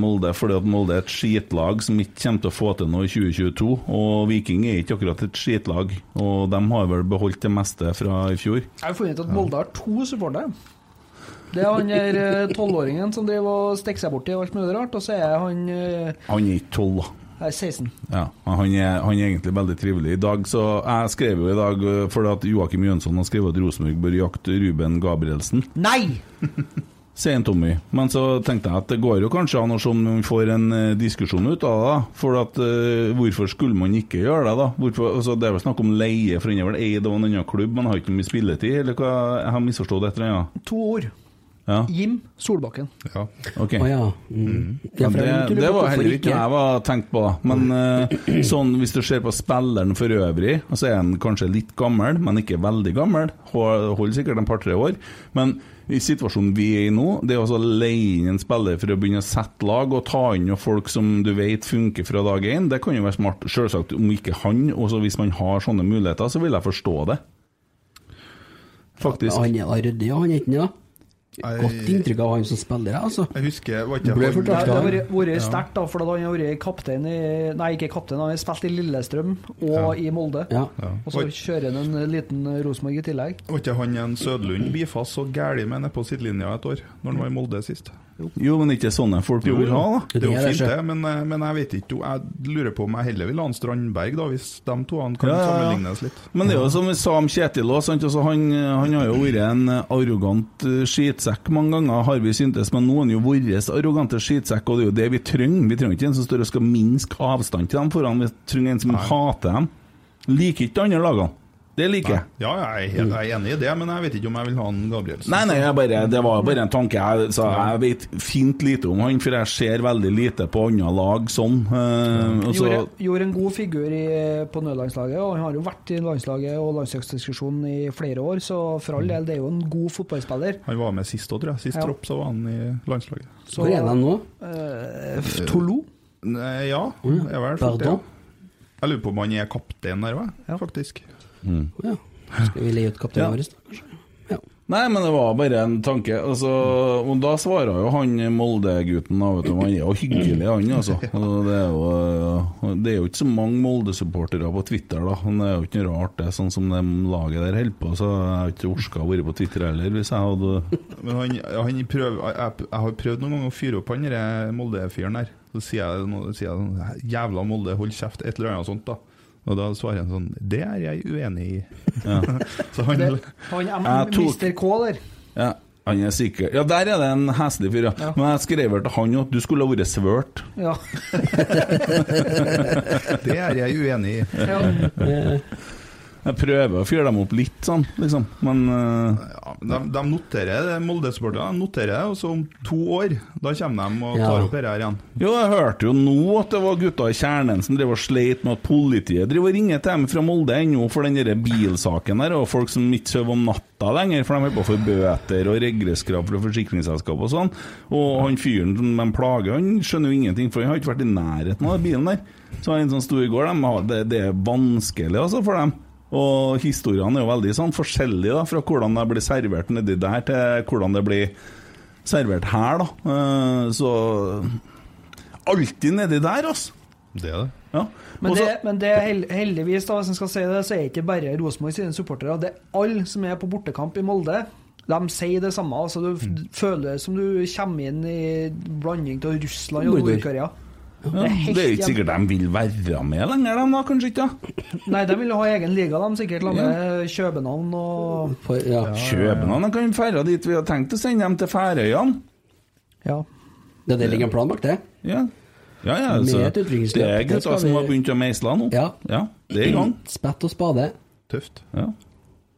Speaker 3: Molde fordi at Molde er et skitlag som ikke kommer til å få til noe i 2022. Og Viking er ikke akkurat et skitlag, og de har vel beholdt det meste fra i fjor.
Speaker 4: Jeg har funnet ut at Molde har to supportere. Det er han der eh, tolvåringen som driver og stikker seg borti alt mulig rart, og så er han eh,
Speaker 3: Han er ikke tolv, da.
Speaker 4: jeg er 16.
Speaker 3: Ja, han er, han er egentlig veldig trivelig. I dag så Jeg skrev jo i dag øh, fordi at Joakim Jønsson har skrevet at Rosenborg bør jakte Ruben Gabrielsen.
Speaker 4: Nei!
Speaker 3: Sier en Tommy. Men så tenkte jeg at det går jo kanskje an å se om vi får en eh, diskusjon ut av det. da. For at, eh, hvorfor skulle man ikke gjøre det, da? Hvorfor, altså, det er vel snakk om leie, for han er vel eid av en annen klubb, men har ikke mye spilletid? Eller hva? Jeg har misforstått et eller annet?
Speaker 4: To ord.
Speaker 3: Ja.
Speaker 4: Jim Solbakken.
Speaker 3: Ja. Ok.
Speaker 1: Å ja. mm, Ja,
Speaker 3: Ja,
Speaker 1: for
Speaker 3: Mm. det,
Speaker 1: jeg lurte
Speaker 3: det
Speaker 1: på
Speaker 3: var
Speaker 1: hvorfor
Speaker 3: heller ikke
Speaker 1: ikke.
Speaker 3: noe jeg var tenkt på. da. Men eh, sånn, hvis du ser på spilleren for øvrig, og så er han kanskje litt gammel, men ikke veldig gammel. Hå- Holder sikkert en par-tre år. Men i situasjonen vi er i nå, det er altså å leie inn en spiller for å begynne å sette lag, og ta inn noen folk som du vet funker fra dag én, det kan jo være smart. Selvsagt om ikke han, og hvis man har sånne muligheter, så vil jeg forstå det. Faktisk.
Speaker 1: Han er da ryddig, og han er ikke det. Godt inntrykk av han som spiller, altså.
Speaker 5: Jeg husker, var
Speaker 1: Det ble
Speaker 4: Det det
Speaker 1: fortalt
Speaker 4: har
Speaker 1: av
Speaker 4: vært vært
Speaker 1: Ja.
Speaker 4: sterkt, da, for at han har vært kaptein i Nei, ikke kaptein, han har spilt i Lillestrøm og i Molde. Og så
Speaker 5: Var-
Speaker 4: kjører han en liten Rosenborg i tillegg.
Speaker 5: Var ikke han en Sødlund bifast så gæli med nede på sidelinja et år, når han var i Molde sist?
Speaker 3: Jo, men ikke sånne folk vi vil ha, da.
Speaker 5: Det er jo fint, det, men, eh, men jeg vet ikke jo, Jeg lurer på om jeg heller vil ha en Strandberg, da, hvis de to han kan
Speaker 3: Ja, ja, ja.
Speaker 5: sammenlignes litt.
Speaker 3: Men det er jo som Sam Kjetil òg. Altså han, han har jo vært en arrogant eh, skitsekk mange ganger, har vi syntes. Men nå er han jo vår arrogante skitsekk, og det er jo det vi trenger. Vi trenger ikke en som står og skal minske avstand til dem foran. Vi trenger en som hater dem. Liker ikke de andre lagene. Det liker jeg.
Speaker 5: Ja, jeg er, helt, jeg er enig i det, men jeg vet ikke om jeg vil ha en Gabrielsen.
Speaker 3: Nei, nei, jeg bare, det var bare en tanke. Jeg, sa, jeg vet fint lite om han, for jeg ser veldig lite på andre lag sånn. Eh, og så,
Speaker 4: Gjorde, gjorde en god figur i, på nødlandslaget, og han har jo vært i landslaget og landslagsdiskusjonen i flere år, så for all del, det er jo en god fotballspiller.
Speaker 5: Han var med sist òg, tror jeg. Sist
Speaker 4: Ja.
Speaker 5: tropp så var han i landslaget.
Speaker 4: Så- Hvor er de nå?
Speaker 5: Uh,
Speaker 4: Tolo?
Speaker 5: Nei, ja,
Speaker 1: Mm.
Speaker 5: jeg, var fort,
Speaker 1: Pardon?
Speaker 5: ja. jeg lurer på om han er kaptein der, hva? faktisk.
Speaker 1: Ja. Skal vi leie ut kapteinen vår, da?
Speaker 3: Nei, men det var bare en tanke. Altså, og da svarer jo han Molde-gutten, da, vet du. Han er jo hyggelig, han, altså. Og Det er jo, det er jo ikke så mange Molde-supportere på Twitter, da. Men det er jo ikke noe rart, det, sånn som det laget der holder på. Så jeg har ikke orka å være på Twitter heller, hvis jeg hadde
Speaker 5: Men han, han prøv, jeg, jeg har prøvd noen ganger å fyre opp han der Molde-fyren der. Så sier jeg, noe- sier jeg sånn Jævla Molde, hold kjeft, et eller annet sånt, da. Og da svarer han sånn Det er jeg uenig i. *laughs* så han
Speaker 4: Det, han er
Speaker 3: Jeg tok-
Speaker 4: Mr. K, der.
Speaker 3: Ja, han er sikker. Ja, der er det en heslig fyr, ja. Men jeg skrev vel til han jo at du skulle ha vært svørt.
Speaker 4: Ja.
Speaker 5: Det er jeg uenig i.
Speaker 4: Ja.
Speaker 3: Jeg prøver å fyre dem opp litt, sånn, liksom. Men
Speaker 5: De, de noterer det, Molde-supporterne noterer det, og så om to år da kommer de og tar opp dette her igjen.
Speaker 3: Jo, jeg hørte jo nå at det var gutta i kjernen som drev og sleit med at politiet driver og ringer til dem fra Molde ennå for den der bilsaken der, og folk som ikke sover om natta lenger, for de holder på å få bøter og regresskrav fra forsikringsselskap og sånn. Og han fyren som de plager, han skjønner jo ingenting, for han har ikke vært i nærheten av den bilen der. Så en sånn stor gård, de har, det, det er vanskelig altså for dem. Og historiene er jo veldig sånn forskjellige da, fra hvordan det blir servert nedi der, til hvordan det blir servert her, da. Eh, Så Alltid nedi der, altså.
Speaker 5: Det er det.
Speaker 3: Ja.
Speaker 4: Men,
Speaker 3: Og så-
Speaker 4: det, men det er hel- heldigvis, da, hvis en skal si det, så er ikke bare Rosenborg sine supportere. Det er alle som er på bortekamp i Molde. De sier det samme. altså Du f-
Speaker 3: Mm.
Speaker 4: føler som du kommer inn i blanding av Russland og
Speaker 3: Morder.
Speaker 4: Nord-Korea.
Speaker 3: Ja, det er jo ikke sikkert
Speaker 4: det.
Speaker 3: de vil være med lenger, de da, kanskje ikke? da?
Speaker 4: Nei, de vil jo ha egen liga, de sikkert. La med København og
Speaker 3: København, de kan jo ferde dit vi har tenkt å sende dem til Færøyene.
Speaker 4: Ja.
Speaker 1: Det, det ligger en plan bak det?
Speaker 3: Ja. Ja, ja, altså,
Speaker 1: Med et
Speaker 3: det
Speaker 1: utviklingsløp,
Speaker 3: er
Speaker 1: det
Speaker 3: gutta
Speaker 1: skal
Speaker 3: som
Speaker 1: vi-
Speaker 3: har begynt å meisle nå. Ja. det er i gang.
Speaker 1: Spett og spade.
Speaker 5: Tøft.
Speaker 3: Ja.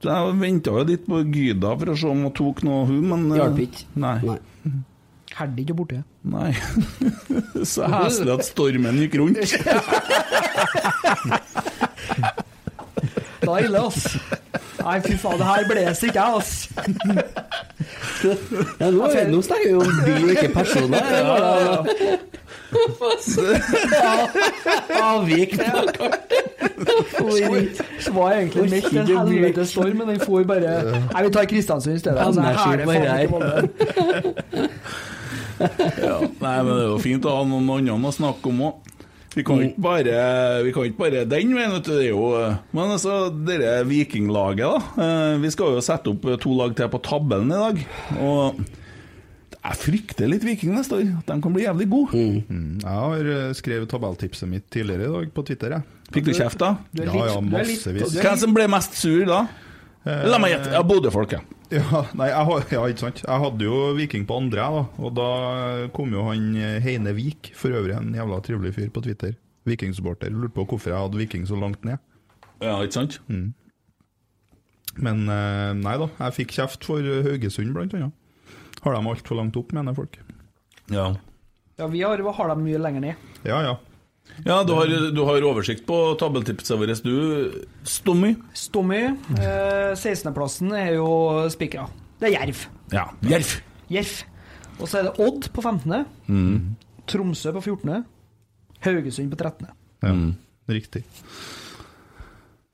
Speaker 3: Så Jeg venta jo litt på Gyda for å se om hun tok noe, hun, men eh,
Speaker 4: Mm.
Speaker 1: Hjalp ikke.
Speaker 3: Nei.
Speaker 4: Herdig ikke borti.
Speaker 3: Nei. *laughs* Så heslig at stormen gikk rundt.
Speaker 4: Da er det ille, ass. Nei, fy faen, det her blåser ikke jeg, ass.
Speaker 1: Ja, nå, er- nå snakker vi om by og ikke personer. Det var da- *laughs* Avvik det var
Speaker 4: Svai- Svai er egentlig midt i en helvetes storm, men den får bare Nei, vi tar Kristiansund i stedet. Altså,
Speaker 3: Energi
Speaker 4: her er
Speaker 3: bare
Speaker 4: faen
Speaker 3: her.
Speaker 4: ikke Molde.
Speaker 3: Ja, nei, men det er jo fint å ha noen andre å snakke om òg. Vi kan ikke bare, vi kan ikke bare den veien, vet du. Det er jo Men altså, dette vikinglaget, da. eh, Vi skal jo sette opp to lag til på tabellen i dag. Og jeg frykter litt Viking neste år. At de kan bli jævlig gode.
Speaker 5: Mm. Jeg har eh, skrevet tabelltipset mitt tidligere i dag på Twitter. Jeg.
Speaker 3: Fikk du kjeft, da?
Speaker 5: Du er litt- Ja, ja, du er litt- massevis. du er
Speaker 3: Hvem som ble mest sur da?
Speaker 5: Eh,
Speaker 3: La meg gjette. Ja, Bodø-folk, ja.
Speaker 5: Ja, nei, jeg, har- ja, ikke sant. Jeg hadde jo Viking på andre, jeg, da. Og da kom jo han eh, Heine Vik, for øvrig en jævla trivelig fyr på Twitter. Vikingsupporter. Lurte på hvorfor jeg hadde Viking så langt ned. Mm.
Speaker 3: Ja, ikke sant?
Speaker 5: Men eh, nei da, jeg fikk kjeft for eh, Haugesund, blant annet. Har de altfor langt opp, mener folk.
Speaker 3: Ja.
Speaker 4: Ja, vi har, har dem mye lenger ned.
Speaker 5: Ja, ja.
Speaker 3: Ja, du har, du har oversikt på tabelltipset vårt, du, Stommy.
Speaker 4: Stommy, eh, 16.-plassen er jo spikra. Det er Jerv.
Speaker 3: Ja. Jerv.
Speaker 4: Jerv. Og så er det Odd på 15.,
Speaker 3: Mm.
Speaker 4: Tromsø på 14., Haugesund på 13.
Speaker 5: Ja, Riktig.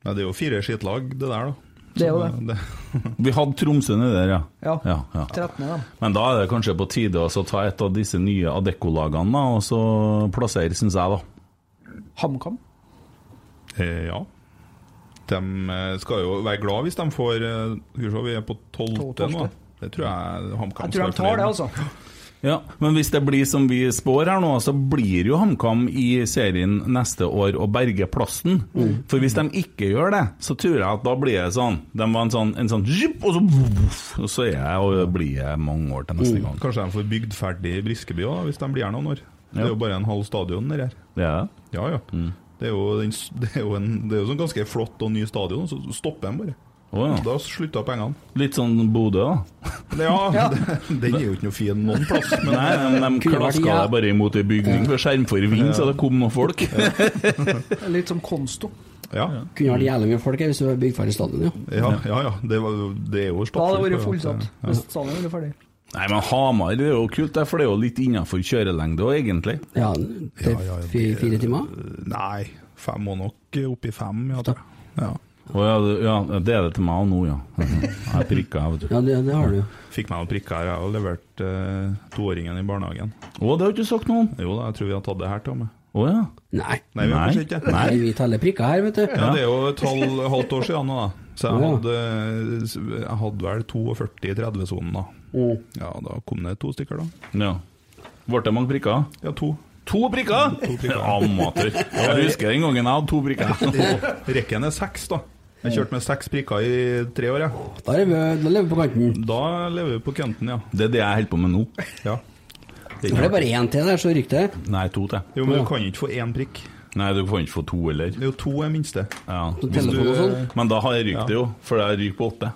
Speaker 5: Ja, det er jo fire skittlag, det der, da.
Speaker 4: Det er jo
Speaker 5: Så, det.
Speaker 3: Vi hadde Tromsø nedi der, ja.
Speaker 4: Ja.
Speaker 3: ja.
Speaker 4: 13. da.
Speaker 3: Men da er det kanskje på tide å så ta et av disse nye Adecco-lagene da, og så plassere, syns jeg, da.
Speaker 4: HamKam.
Speaker 5: Eh, ja. De eh, skal jo være glad hvis de får eh, Skal vi se, vi er på tolvte nå. Det tror jeg HamKam skal være
Speaker 4: Jeg tror de tar det,
Speaker 5: fornøyd med.
Speaker 4: altså.
Speaker 3: Ja, Men hvis det blir som vi spår her nå, så blir jo HamKam i serien neste år å berge plassen.
Speaker 5: Mm.
Speaker 3: For hvis de ikke gjør det, så tror jeg at da blir det sånn De var en sånn, en sånn zjup, og så, voff, og så er jeg, og blir jeg mange år til neste gang.
Speaker 5: Mm. Kanskje de får bygd ferdig Briskeby òg, hvis de blir her noen år. Det er jo bare en halv stadion der her.
Speaker 3: Det er det. Mm.
Speaker 5: Ja, ja. Det er jo, den, s- det er jo, en, det er jo sånn ganske flott og ny stadion, så stopper de bare.
Speaker 3: Å, ja.
Speaker 5: Da slutter pengene.
Speaker 3: Litt sånn Bodø, da.
Speaker 5: Ja, *laughs* den er jo ikke noe fin noen plass. Men
Speaker 3: Nei, *laughs* de, de klaska deg bare imot ei bygning ved skjermforving, så det kom noen folk.
Speaker 4: Litt som Konsto.
Speaker 5: Ja.
Speaker 1: Kunne vært jævlig mye folk her hvis du hadde bygd ferdig stadion, ja.
Speaker 5: Ja, ja. ja. Det, var, det er jo
Speaker 4: Da hadde det vært
Speaker 5: stappfullt, ja.
Speaker 4: fullsatt.
Speaker 5: Ja.
Speaker 4: Hvis salen hadde vært ferdig.
Speaker 3: Nei, men Hamar det er jo kult, der, for det er jo litt innafor kjørelengde òg, egentlig.
Speaker 1: Ja,
Speaker 5: Ja, ja, ja,
Speaker 1: fire, fire timer?
Speaker 5: Nei, fem må nok opp i fem, ja. tror jeg. ja.
Speaker 3: Å ja, det- ja, det er det til meg også nå, ja. Jeg prikka, vet du.
Speaker 1: Ja, det, det har du jo.
Speaker 5: Fikk meg noen prikker her, jeg har levert eh, toåringen i barnehagen.
Speaker 3: Å, det har du ikke sagt noe om?
Speaker 5: Jo da, jeg tror vi har tatt det her til meg.
Speaker 3: Å ja.
Speaker 1: Nei.
Speaker 5: Nei, vi har kanskje ikke det.
Speaker 1: Nei, vi teller prikker her, vet du.
Speaker 5: Ja, det er jo et halv, halvt år siden nå, da. Så jeg
Speaker 1: Ja.
Speaker 5: hadde, jeg hadde vel 42 i 30-sonen da. Ja, da kom det to stykker, da.
Speaker 3: ja. Ble det mange prikker?
Speaker 5: Ja, to.
Speaker 3: To prikker?
Speaker 5: To prikker.
Speaker 3: *laughs* Amatør. Jeg husker den gangen jeg hadde to prikker.
Speaker 5: Rekken er seks, da. Jeg kjørte med seks prikker i tre år, jeg.
Speaker 1: Da lever vi, da lever vi på kanten.
Speaker 5: Da lever vi på kønten, ja.
Speaker 3: Det er det jeg holder på med nå.
Speaker 5: ja.
Speaker 1: Da er det bare én til der, så rykker det.
Speaker 3: Nei, to til.
Speaker 5: Jo, men du kan jo ikke få én prikk.
Speaker 3: Nei, du får ikke få to heller.
Speaker 5: Det er jo to er minste.
Speaker 3: Ja.
Speaker 5: Så telefon og sånn?
Speaker 3: Men da har jeg rykt det jo, for jeg ryker på åtte.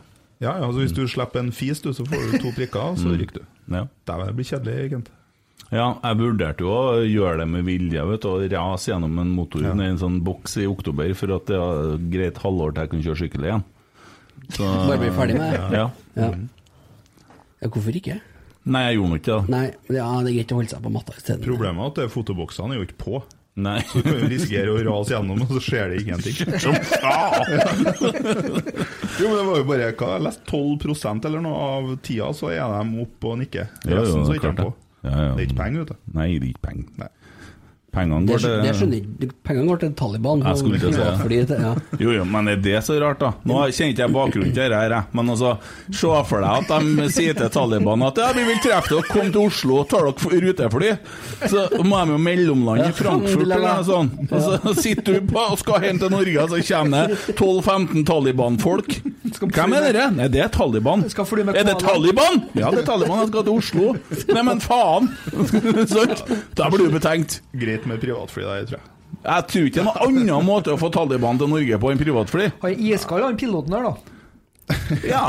Speaker 5: Ja, ja, så Hvis du slipper en fis, du, så får du to prikker, så
Speaker 3: Mm.
Speaker 5: ryker du.
Speaker 3: Ja.
Speaker 5: Dæven, det blir kjedelig, egentlig.
Speaker 3: Ja, jeg vurderte jo å gjøre det med vilje, vet du, og rase gjennom en motor
Speaker 5: Ja.
Speaker 3: ned i en sånn boks i oktober for at det er greit halvår til jeg kan kjøre sykkel igjen. Så-
Speaker 1: Bare bli ferdig med det?
Speaker 3: Ja.
Speaker 1: Ja. Ja, hvorfor ikke?
Speaker 3: Nei, jeg gjorde nå ikke det.
Speaker 1: Nei, ja, det er greit å holde seg på matta isteden.
Speaker 5: Problemet er at det er fotoboksene er jo ikke på.
Speaker 3: Nei.
Speaker 5: Så du kan jo risikere å rase gjennom, og så skjer det ingenting.
Speaker 3: Som
Speaker 5: *laughs* Jo, men det var jo bare hva, jeg leste 12 eller noe av tida, så er de oppe og nikker.
Speaker 3: Jo, jo,
Speaker 5: Resten så
Speaker 3: det er
Speaker 5: ikke
Speaker 3: klart
Speaker 5: de på.
Speaker 3: det. Ja, ja.
Speaker 5: Det er ikke penger, vet du.
Speaker 3: Nei, det er ikke penger. Pengene
Speaker 1: Det,
Speaker 3: går til
Speaker 1: skj- det skjønner jeg ikke. Pengene går til Taliban.
Speaker 3: Jeg skulle til å si det.
Speaker 1: Fordi det. Ja.
Speaker 3: Jo, jo, men er det så rart, da? Nå kjenner ikke jeg bakgrunnen til dette, her, jeg. men altså, se for deg at de sier til Taliban at ja, vi vil treffe dere, kom til Oslo og tar dere f- rutefly. Så må de jo mellomlande i Frankfurt eller noe sånt. Og så sitter du på og skal hjem til Norge, og så kommer det 12-15 Taliban-folk. Hvem er dere? Nei, det er Taliban. Er det
Speaker 5: koala.
Speaker 3: Taliban? Ja, det er Taliban. Jeg skal til Oslo. Nei, men faen! Sant? Da blir du betenkt.
Speaker 5: Greit med privatfly der, tror jeg.
Speaker 3: Jeg tror ikke det er noen annen måte å få Taliban til Norge på enn privatfly.
Speaker 4: Han er iskald, han piloten her, da.
Speaker 3: *laughs* Ja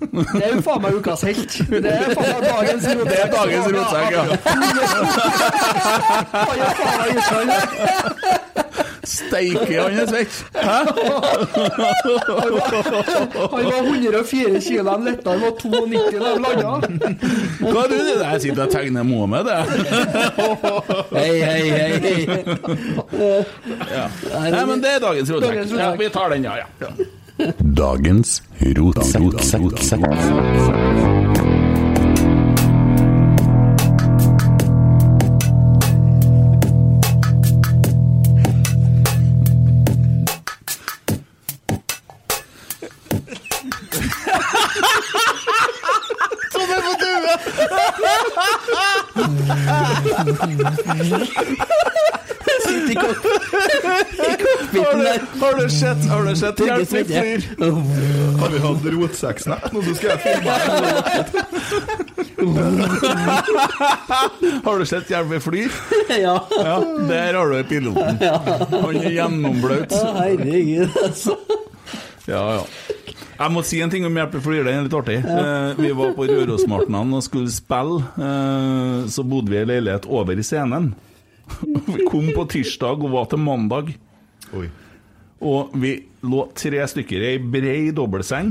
Speaker 4: Det er jo faen meg ukas helt. Det er faen meg dagens rotsekk.
Speaker 3: Det er dagens rotsekk, ja.
Speaker 4: Han er faen meg iskald.
Speaker 3: Steike, han er svett. Hæ?
Speaker 4: Han var, han var 104 kilo, han letta, han var 92 da han landa.
Speaker 3: Hva er det du Jeg sitter og tegner Mohammed, jeg.
Speaker 1: Hei, hei, hei.
Speaker 3: Ja. Nei, men det er dagens
Speaker 1: Dagens
Speaker 3: rotsekk.
Speaker 1: rotsekk.
Speaker 3: Ja, vi tar den, ja. ja.
Speaker 10: Dagens rotsekk.
Speaker 2: Tommy på
Speaker 1: Sitt i kok- i
Speaker 3: Har
Speaker 1: cockpiten
Speaker 3: du,
Speaker 1: der.
Speaker 3: har du sett, har du sett
Speaker 1: Trygge
Speaker 3: Hjelp, vi
Speaker 1: Svedje.
Speaker 3: flyr?
Speaker 5: Har vi hatt rotsekksnapp nå, så skal jeg filme
Speaker 3: *laughs* Har du sett Hjelp, vi flyr?
Speaker 1: Ja.
Speaker 3: ja. Der har du piloten. Han er gjennomblaut.
Speaker 1: Å, herregud, altså.
Speaker 3: Ja, ja. Jeg må si en ting om Hjelp i flyr, den er litt artig. Eh, vi var på Rørosmartnan og skulle spille. Eh, så bodde vi i leilighet over i scenen. vi kom på tirsdag og var til mandag. Og vi lå tre stykker i ei brei dobbeltseng.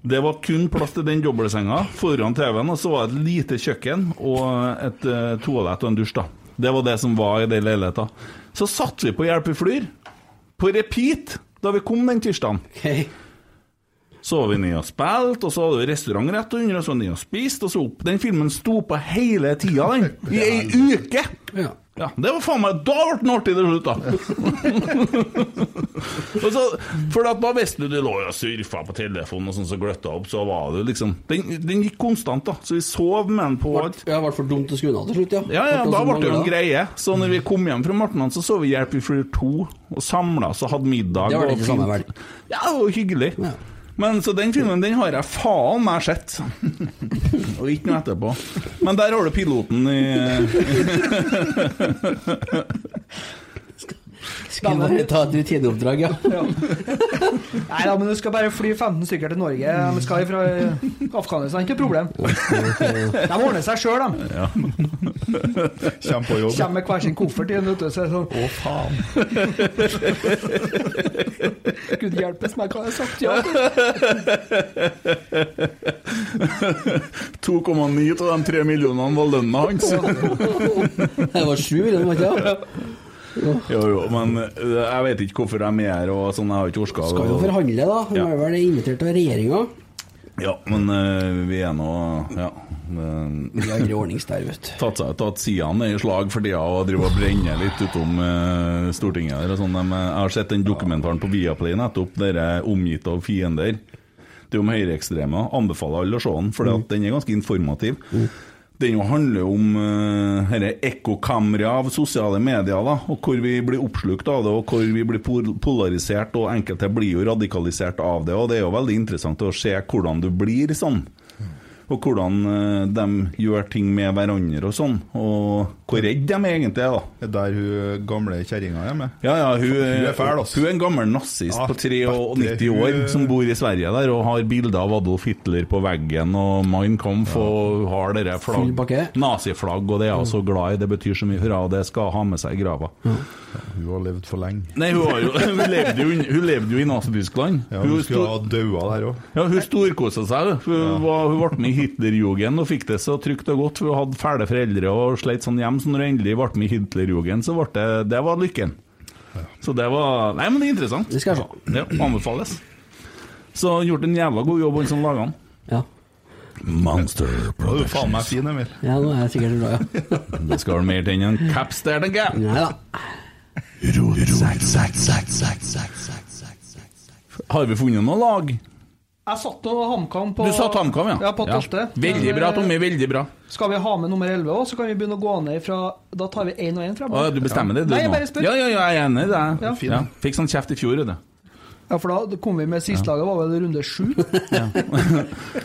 Speaker 3: Det var kun plass til den dobbeltsenga foran TV-en, og så var det et lite kjøkken og et eh, toalett og en dusj, da. Det var det som var i den leiligheta. Så satte vi på Hjelp i flyr, på repeat, da vi kom den tirsdagen. Så var vi ned og spilte, og så hadde vi restaurant rett under, og så ned og spiste, og så opp. Den filmen sto på hele tida, den. I ei uke!
Speaker 1: Ja.
Speaker 3: det var faen meg Da ble den artig til slutt, da. *laughs* og så, for at da visste du du lå jo og surfa på telefonen, og sånn så gløtta opp, så var du liksom Den, den gikk konstant, da. Så vi sov med den på alt.
Speaker 1: Ja, det ble for dumt å skru den av til slutt, ja.
Speaker 3: Ja, ja,
Speaker 1: Akkurat
Speaker 3: da
Speaker 1: som
Speaker 3: ble det jo
Speaker 1: man
Speaker 3: en
Speaker 1: gjør da.
Speaker 3: greie. Så når vi kom hjem fra Martnan, så så vi Hjelp i flyr 2, og samla oss og hadde middag.
Speaker 1: Det var
Speaker 3: og
Speaker 1: det ikke samme,
Speaker 3: fint. Ja, det var hyggelig. Men så den filmen den har jeg faen meg sett. *laughs* Og ikke noe etterpå. Men der har du piloten i
Speaker 1: Skulle bare ta et rutineoppdrag, ja.
Speaker 4: Nei da, men du skal bare fly 15 stykker til Norge. De skal fra eh, Afghanistan, ikke
Speaker 3: *laughs*
Speaker 4: noe problem. De ordner seg sjøl, de.
Speaker 3: Ja. *laughs*
Speaker 5: Kjem på jobb.
Speaker 4: Kommer med hver sin koffert i en vet du, så er det sånn
Speaker 5: Å, faen.
Speaker 4: *laughs* Gud hjelpes meg, hva har jeg sagt ja
Speaker 3: *laughs*
Speaker 4: til?
Speaker 3: 2,9 av de 3 millionene var lønna hans.
Speaker 1: *laughs* Det var sju, eller var det ikke?
Speaker 3: *laughs* Jo, jo, men eh, jeg vet ikke hvorfor de er her, og sånn, jeg har ikke orka
Speaker 1: Skal jo forhandle, da. Hun
Speaker 3: Ja.
Speaker 1: er vel invitert av regjeringa.
Speaker 3: Ja, men eh, vi er nå Ja. Vi
Speaker 1: har ikke ordningstær, vet du.
Speaker 3: Tatt, seg- tatt sidene i slag for tida og driver og brenner litt utom eh, Stortinget. Der, og sånn. De, eh, jeg har sett den dokumentaren på Viaplay nettopp, der jeg er omgitt av fiender. Det er om høyreekstreme. Anbefaler alle å se den, for den er ganske informativ. Den jo handler om uh, ekkokamera av sosiale medier, da, og hvor vi blir oppslukt av det, og hvor vi blir pol- polarisert, og enkelte blir jo radikalisert av det. og Det er jo veldig interessant å se hvordan du blir eh, sånn og hvordan eh, de gjør ting med hverandre og sånn. Og Hvor redd de er egentlig er, da.
Speaker 5: Det er der hun gamle kjerringa er med.
Speaker 3: Ja, ja, hun,
Speaker 5: Hun er fæl, altså.
Speaker 3: hun er en gammel nazist
Speaker 5: Ja,
Speaker 3: på 93
Speaker 5: bedre,
Speaker 3: år
Speaker 5: hun-
Speaker 3: som bor i Sverige der og har bilder av Adolf Hitler på veggen og Mein Kampf og har dere
Speaker 1: Full
Speaker 3: flagg,
Speaker 1: pakke.
Speaker 3: naziflagg, og det er hun så glad i. Det betyr så mye. Hurra, det skal ha med seg i grava.
Speaker 5: Hun har levd for lenge.
Speaker 3: Nei, hun, har jo, *laughs* hun, levde jo, hun levde jo i Nazi-Tyskland.
Speaker 5: Ja, hun skulle ha daua der òg.
Speaker 3: Ja, hun storkosa seg. hun. Hun, var, hun ble med i Hitlerjugend og fikk det så trygt og godt. Hun hadde fæle foreldre og sleit sånn hjem, så når hun endelig ble med i Hitlerjugend, så ble det, det var lykken. Så det var Nei, men det er interessant.
Speaker 1: Det skal jeg se.
Speaker 3: Ja, anbefales. Så han gjort en jævla god jobb, han som laga den.
Speaker 1: Ja.
Speaker 3: Monster
Speaker 5: Da er du faen meg fin, Emil.
Speaker 1: Ja, nå er jeg sikkert bra, ja.
Speaker 3: Det skal vel mer til enn en caps der, tenker jeg.
Speaker 1: Nei da.
Speaker 3: Har vi funnet noe lag?
Speaker 4: Jeg satt og HamKam på
Speaker 3: Du sa HamKam, ja.
Speaker 4: Ja, på tolvte. Eh,
Speaker 3: Veldig bra, Tommy. Veldig bra.
Speaker 4: Skal vi ha med nummer 11 òg, så kan vi begynne å gå ned fra Da tar vi én og én
Speaker 3: Å,
Speaker 4: fremover.
Speaker 3: du bestemmer det, du
Speaker 4: Nei, jeg
Speaker 3: nå?
Speaker 4: bare spør.
Speaker 3: Ja, ja, ja, jeg er enig i det.
Speaker 4: Ja.
Speaker 3: Ja. Fikk sånn kjeft i fjor, det.
Speaker 4: Ja, for da kom vi med sistelaget, var vel runde sju?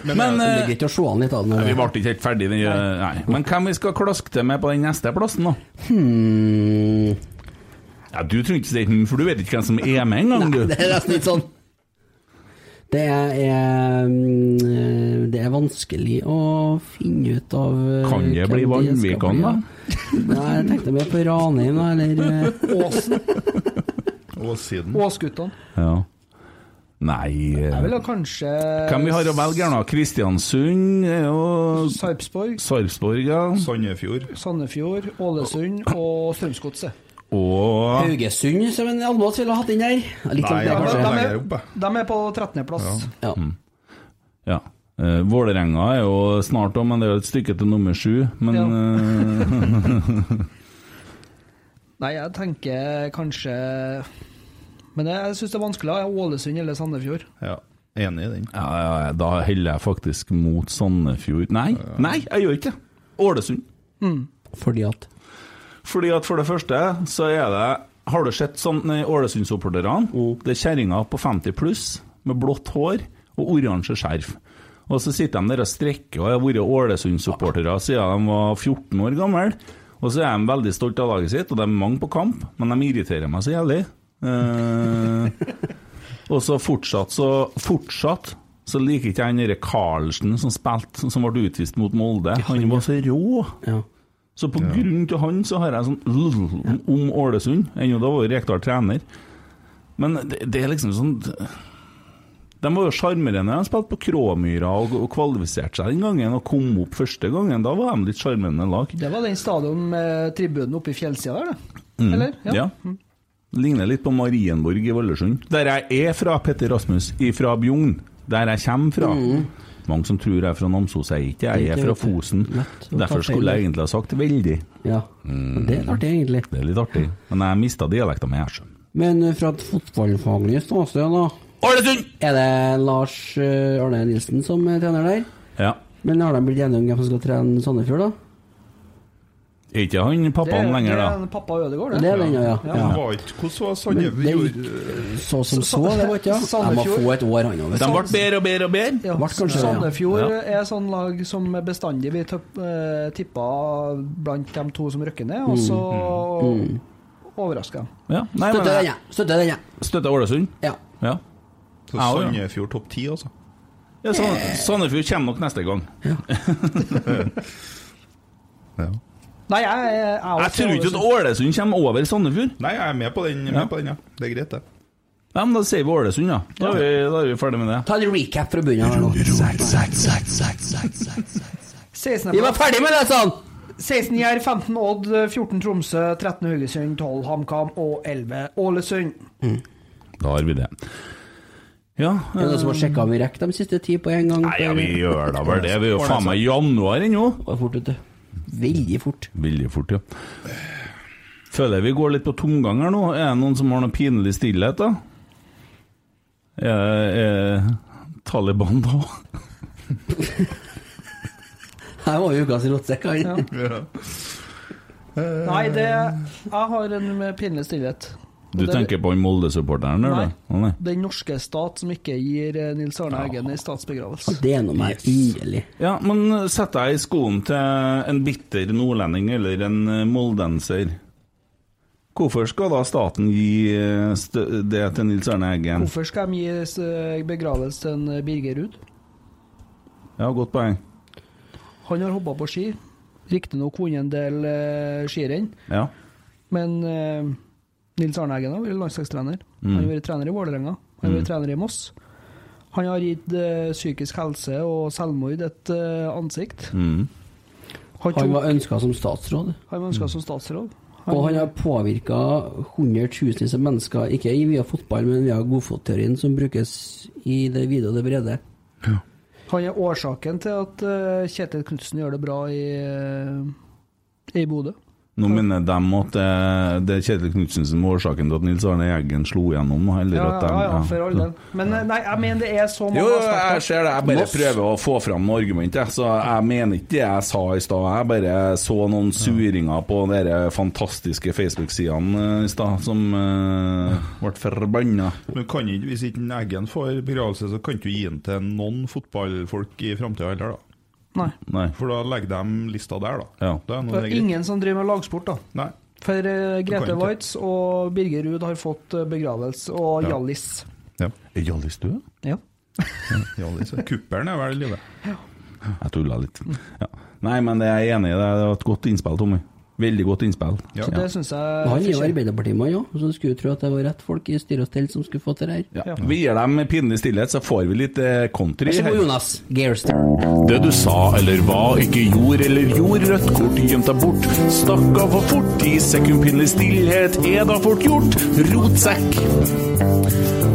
Speaker 3: Men, eh,
Speaker 1: det er greit å se an litt av den.
Speaker 3: vi ble ikke helt ferdig den, eh, nei. Men hvem vi skal klaske til med på den neste plassen, da?
Speaker 1: Hmm.
Speaker 3: Ja, Du trenger ikke si hm, for du vet ikke hvem som er med engang, du.
Speaker 1: Det er nesten litt sånn. Det er, mm, det er vanskelig å finne ut av eh,
Speaker 3: Kan det
Speaker 1: hvem
Speaker 3: bli
Speaker 1: skal
Speaker 3: Vanvikan,
Speaker 1: bli,
Speaker 3: da?
Speaker 1: Nei, jeg tenkte mer på Ranheim,
Speaker 3: *laughs*
Speaker 1: da, eller eh,
Speaker 4: Åsen.
Speaker 5: Åssiden.
Speaker 4: Åsguttene.
Speaker 3: Ja. Nei eh,
Speaker 4: Jeg ville kanskje
Speaker 3: Hvem vi har å velge her nå? Kristiansund eh, og
Speaker 4: Sarpsborg,
Speaker 3: Sarpsborg, ja.
Speaker 5: Sandefjord.
Speaker 4: Sandefjord, Ålesund og Strømsgodset.
Speaker 3: Og
Speaker 1: Haugesund, som en Almås ville ha hatt inn der. Ja, Litt
Speaker 5: Nei,
Speaker 1: sånn,
Speaker 5: jeg
Speaker 1: det,
Speaker 5: har
Speaker 1: kanskje.
Speaker 5: sånn
Speaker 4: de,
Speaker 5: lenger
Speaker 4: er,
Speaker 5: oppe.
Speaker 4: de er på 13.-plass.
Speaker 1: Ja.
Speaker 3: Mm. Ja. Eh, Vålerenga er jo snart òg, men det er jo et stykke til nummer sju. Men eh,
Speaker 4: Nei, jeg tenker kanskje Men jeg syns det er vanskelig. ja, Ålesund eller Sandefjord.
Speaker 5: Ja, enig i den.
Speaker 3: ja, ja, ja, Da heller jeg faktisk mot Sandefjord Nei, nei, jeg gjør ikke det! Ålesund.
Speaker 1: Fordi at
Speaker 3: Fordi at for det første så er det Har du sett sånn nei, Ålesund-supporterne? Det er kjerringer på 50 pluss med blått hår og oransje skjerf. Og så sitter de der og strekker og har vært Ålesund-supportere siden de var 14 år gamle. Og så er de veldig stolte av laget sitt, og det er mange på kamp, men de irriterer meg så jævlig. Eh, *laughs* og så fortsatt så Fortsatt så liker ikke jeg han derre Carlsen som spilte, som ble utvist mot Molde. Han var så rå.
Speaker 1: Ja.
Speaker 3: Så på grunn til han så har jeg sånn lll om Ålesund. Ennå da var jo Rekdal trener. Men det, det er liksom sånn De var jo sjarmerende. De spilte på Kråmyra og, og kvalifiserte seg den gangen og kom opp første gangen. Da var de litt sjarmerende lag.
Speaker 4: Det var den stadion med tribunen oppe i fjellsida der, det.
Speaker 3: Mm.
Speaker 4: Eller? Ja.
Speaker 3: Ligner litt på Marienborg i Valdresund. Der jeg er fra, Petter Rasmus, ifra Bjugn. Der jeg kommer fra. Mange som tror jeg er fra Namsos, jeg er ikke det. Jeg
Speaker 1: Ikke
Speaker 3: er fra
Speaker 1: vet du.
Speaker 3: Fosen.
Speaker 1: Lett å ta
Speaker 3: Derfor
Speaker 1: feil.
Speaker 3: skulle jeg egentlig ha sagt veldig.
Speaker 1: Ja. Det
Speaker 3: Mm.
Speaker 1: er artig, egentlig.
Speaker 3: Det er litt artig. Men jeg mista dialekta mi, jeg, sjø.
Speaker 1: Men eh, fra et fotballfaglig ståsted, da.
Speaker 3: Ålesund!
Speaker 1: Er det Lars eh, Arne Nilsen som er trener der?
Speaker 3: Ja.
Speaker 1: Men har de blitt enige om hvem som skal trene Sandefjord, da?
Speaker 3: Er ikke han pappaen
Speaker 4: det,
Speaker 3: lenger,
Speaker 4: Det
Speaker 3: da?
Speaker 4: er pappa Ødegaard,
Speaker 1: Det
Speaker 4: det.
Speaker 1: er den, ja.
Speaker 5: Ja.
Speaker 1: ja. ja.
Speaker 5: Var ikke, hvordan var
Speaker 1: Men det
Speaker 5: Sandefjord?
Speaker 1: gikk så som så, det var ikke ja. Jeg må
Speaker 4: Sandefjord.
Speaker 1: få et år, han òg.
Speaker 3: De ble bedre og bedre og bedre.
Speaker 4: Ja.
Speaker 1: Vart kanskje det, ja.
Speaker 4: Sandefjord
Speaker 3: Ja.
Speaker 4: er sånn lag som bestandig blir tøpp- eh, tippa blant de to som røkker ned,
Speaker 1: Mm.
Speaker 4: og så overrasker de.
Speaker 3: Ja. Nei, men
Speaker 1: Støtter den,
Speaker 3: jeg
Speaker 1: ja. Støtter den, ja.
Speaker 3: støtter Ålesund.
Speaker 1: ja.
Speaker 3: Ja.
Speaker 5: Så
Speaker 3: Ja, ja.
Speaker 5: Sandefjord topp ti, altså.
Speaker 3: Ja, San- Sandefjord kommer nok neste gang. *laughs*
Speaker 5: Ja.
Speaker 4: Nei, jeg, jeg, jeg,
Speaker 3: Jeg tror ikke at Ålesund kommer over Sandefjord.
Speaker 5: Nei, jeg er med på den. jeg er Med på den ja. Det er greit, det.
Speaker 3: Ja, men da sier vi Ålesund, ja. Da er vi, da er vi ferdig med det.
Speaker 1: Ta en recap fra bunnen her nå. Vi
Speaker 4: 16.
Speaker 1: var ferdig med det, sa han!
Speaker 4: 16 Jerv, 15 Odd, 14 Tromsø, 13 Haugesund, 12 HamKam og 11 Ålesund.
Speaker 3: Da har vi det. Ja,
Speaker 1: Er det
Speaker 3: eh,
Speaker 1: noen som har sjekka om vi rekker de siste ti på en gang?
Speaker 3: nei, ja vi gjør da vel det. Vi er jo faen meg i januar ennå.
Speaker 1: Det var fort, vet du. Veldig fort.
Speaker 3: Veldig fort, ja. Føler jeg vi går litt på tomgang her nå. Er det noen som har noe pinlig stillhet, da? Er, er Taliban da?
Speaker 1: Her var jo ukas rotsekk, han.
Speaker 4: Nei, det Jeg har en pinlig stillhet.
Speaker 3: Du
Speaker 4: det-
Speaker 3: tenker på han Molde-supporteren der,
Speaker 4: Nei.
Speaker 3: du? Å, nei.
Speaker 4: Den norske stat som ikke gir eh, Nils Arne Eggen
Speaker 3: *laughs*
Speaker 4: en statsbegravelse.
Speaker 1: Det er noe meg inderlig.
Speaker 3: Ja, men sett deg i skoen til en bitter nordlending eller en eh, moldenser. Hvorfor skal da staten gi eh, stø- det til Nils Arne Eggen?
Speaker 4: Hvorfor skal de gi eh, begravelse til en eh, Birger Ruud?
Speaker 3: Ja, godt poeng.
Speaker 4: Han har hoppa på ski. Riktignok vunnet en del eh, skirenn,
Speaker 3: Ja.
Speaker 4: men eh, Nils Arne Eggen har vært landslagstrener.
Speaker 3: Mm.
Speaker 4: Han har vært trener i Vålerenga. Han har
Speaker 3: Mm.
Speaker 4: vært trener i Moss. Han har gitt eh, psykisk helse og selvmord et eh, ansikt.
Speaker 3: Mm.
Speaker 1: Han var ønska som statsråd,
Speaker 4: Han var ønska som statsråd.
Speaker 1: og han har påvirka hundretusenvis av mennesker, ikke i via fotball, men via godfotteorien som brukes i det vide og det brede.
Speaker 4: Han er årsaken til at eh, Kjetil Knutsen gjør det bra i, eh, i Bodø.
Speaker 3: Nå minner de at det, det er Kjetil Knutsen som er årsaken til at Nils Arne Eggen slo gjennom. da, Eller
Speaker 4: Ja,
Speaker 3: at
Speaker 4: ja,
Speaker 3: de,
Speaker 4: ja, for all del. Men eh, nei, jeg mener det er så mange
Speaker 3: Jo, jo, jeg
Speaker 4: aspekter.
Speaker 3: ser det. Jeg bare
Speaker 4: Moss-
Speaker 3: prøver å få fram noe argument. Jeg. Så jeg mener ikke det jeg sa i stad. Jeg bare så noen suringer på de fantastiske Facebook-sidene eh, i stad som eh, ble forbanna.
Speaker 5: Men kan ikke, hvis ikke en Eggen får begravelse, så kan du gi den til noen fotballfolk i framtida heller, da.
Speaker 4: Nei.
Speaker 5: For da legger de lista der, da. Det er noe det
Speaker 4: Det er
Speaker 5: er greit.
Speaker 4: ingen som driver med lagsport, da. For
Speaker 5: kan
Speaker 4: eh, Grete
Speaker 5: ikke.
Speaker 4: Waitz og Birger Ruud har fått eh, begravelse, og
Speaker 5: Ja.
Speaker 4: Hjallis.
Speaker 5: Ja.
Speaker 3: Er Hjallis død?
Speaker 4: Ja.
Speaker 5: Kuppelen er vel i live.
Speaker 3: Jeg tulla litt. Ja. Nei, men det er jeg enig i. Det Det var et godt innspill, Tommy. Veldig godt innspill.
Speaker 1: Ja.
Speaker 4: Så det syns jeg
Speaker 1: Og han er jo
Speaker 4: fortjener-
Speaker 1: Arbeiderpartimann òg, så du skulle jo tro at det var rett folk i styre og stell som skulle få til det her.
Speaker 3: Ja. Vi gir dem pinlig stillhet, så får vi litt eh, country.
Speaker 1: Vær så
Speaker 3: her.
Speaker 1: god, Jonas. Geirstad.
Speaker 10: Det du sa eller hva ikke gjorde eller gjorde, rødt kort gjemt deg bort. Stakk av for fort, i sekundpinnelig stillhet er da fort gjort. Rotsekk.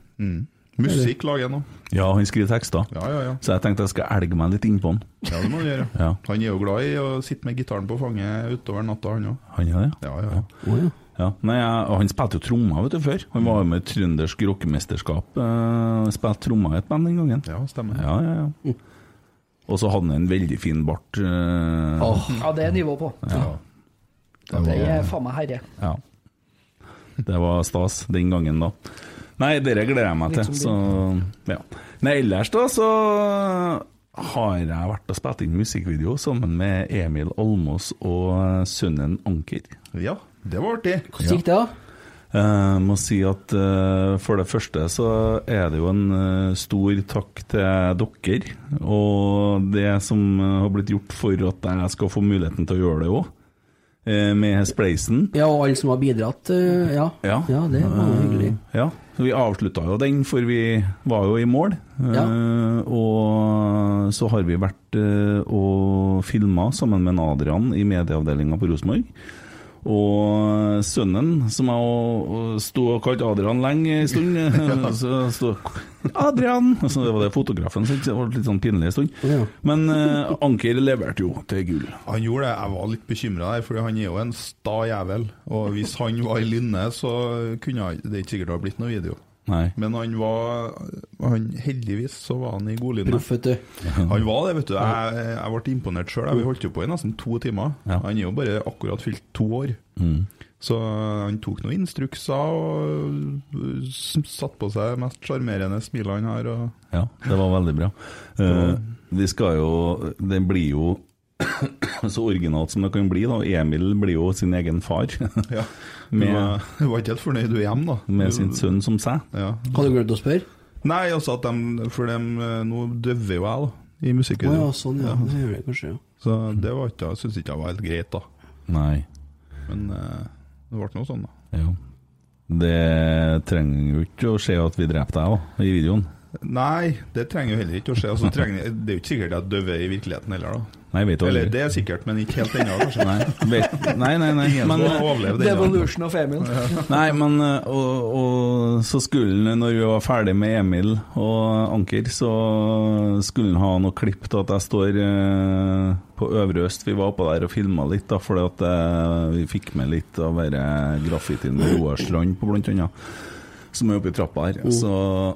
Speaker 5: Musikk lager jeg nå.
Speaker 3: Ja, han skriver tekster.
Speaker 5: Ja, ja, ja.
Speaker 3: Så jeg tenkte jeg skal elge meg litt innpå han.
Speaker 5: Ja, det må du gjøre.
Speaker 3: Ja.
Speaker 5: Han er jo glad i å sitte med gitaren på fanget utover natta, han òg.
Speaker 3: Han er det?
Speaker 5: Ja, ja,
Speaker 1: ja.
Speaker 3: Ja, nei, jeg, og Han spilte jo trommer vet du, før. Han var jo med i trøndersk rockemesterskap. Uh, spilte trommer i et band den gangen.
Speaker 5: Ja, stemmer. Oh.
Speaker 3: Ja, ja, ja. Og så hadde han en veldig fin bart. eh,
Speaker 5: Ah.
Speaker 4: Ja, det er nivå på.
Speaker 3: ja.
Speaker 4: Ja, Det er faen meg herre.
Speaker 3: ja. Det var stas den gangen, da. Nei, dette gleder jeg meg
Speaker 4: Litt
Speaker 3: til. Så,
Speaker 4: som
Speaker 3: ja. Nei, ellers da, så har jeg vært og spilt inn musikkvideo sammen med Emil Almås og eh, sønnen Anker.
Speaker 5: Ja, det var artig.
Speaker 1: Hvordan gikk det, da?
Speaker 3: Jeg må si at eh, for det første så er det jo en eh, stor takk til dere, og det som eh, har blitt gjort for at jeg skal få muligheten til å gjøre det òg, med spleisen.
Speaker 1: Ja, og alle som har bidratt. eh, Ja,
Speaker 3: Ja.
Speaker 1: ja det var jo hyggelig.
Speaker 3: Eh, Ja, så vi avslutta jo den, for vi var jo i mål. Eh, og så har vi vært eh, og filma sammen med en Adrian i medieavdelinga på Rosenborg. Og sønnen, som jeg og- og sto og kalte Adrian lenge en stund eh, Så sto Adrian! Så det var det fotografen syntes. Det var litt sånn pinlig en stund. Men eh, Anker leverte jo til gull.
Speaker 5: Han gjorde det. Jeg var litt bekymra der, for han er jo en sta jævel. Og hvis han var i Lynne, så kunne han, det er ikke sikkert det hadde blitt noe video.
Speaker 3: Nei.
Speaker 5: Men han var han, Heldigvis så var han i godlinja.
Speaker 1: Proff, vet du.
Speaker 5: Han var det, vet du. Jeg, jeg ble imponert sjøl. Vi holdt jo på i nesten to timer. Han er jo bare akkurat fylt to år.
Speaker 3: Mm.
Speaker 5: Så han tok noen instrukser og eh, s- satte på seg det mest sjarmerende smilet han har. Og *laughs*
Speaker 3: Ja, det var veldig bra. Eh, vi skal jo Det blir jo *clears throat* så originalt som det kan bli. da Emil blir jo sin egen far.
Speaker 5: *laughs* Ja.
Speaker 3: *laughs* med,
Speaker 5: Du var- du var ikke helt fornøyd du hjem, da?
Speaker 3: med sin sønn som seg.
Speaker 1: Hadde du glemt å spørre?
Speaker 5: Nei, altså at de, for de, nå døver jo jeg, da, i musikkvideoen.
Speaker 1: Å ja, sånn, ja. Det gjør jeg kanskje, ja.
Speaker 5: Så det var ikke, jeg syns ikke det var helt greit, da.
Speaker 3: Nei.
Speaker 5: Men eh, det ble nå sånn, da.
Speaker 3: Jo. Det trenger jo ikke å skje at vi dreper deg òg, i videoen.
Speaker 5: Nei, det trenger jo heller ikke å skje. Altså, trenger, det er jo ikke sikkert jeg døver i virkeligheten heller, da.
Speaker 3: Nei, vet du
Speaker 5: Eller
Speaker 3: aldri.
Speaker 5: det er sikkert, men ikke helt ennå, kanskje.
Speaker 4: *laughs*
Speaker 3: Nei, vet- nei, nei,
Speaker 5: *laughs*
Speaker 3: nei,
Speaker 5: Ingen
Speaker 3: men-
Speaker 5: som har overlevd ennå.
Speaker 4: Devolution of Emil.
Speaker 3: Nei, men eh, og, og så skulle han, når vi var ferdig med Emil og Anker, så skulle han ha noe klipp til at jeg står eh, på Øvre Øst. Vi var oppå der og filma litt, da, fordi at eh, vi fikk med litt av denne graffitien med Roar Strand på, blant annet, som er oppe i trappa her.
Speaker 4: Oh.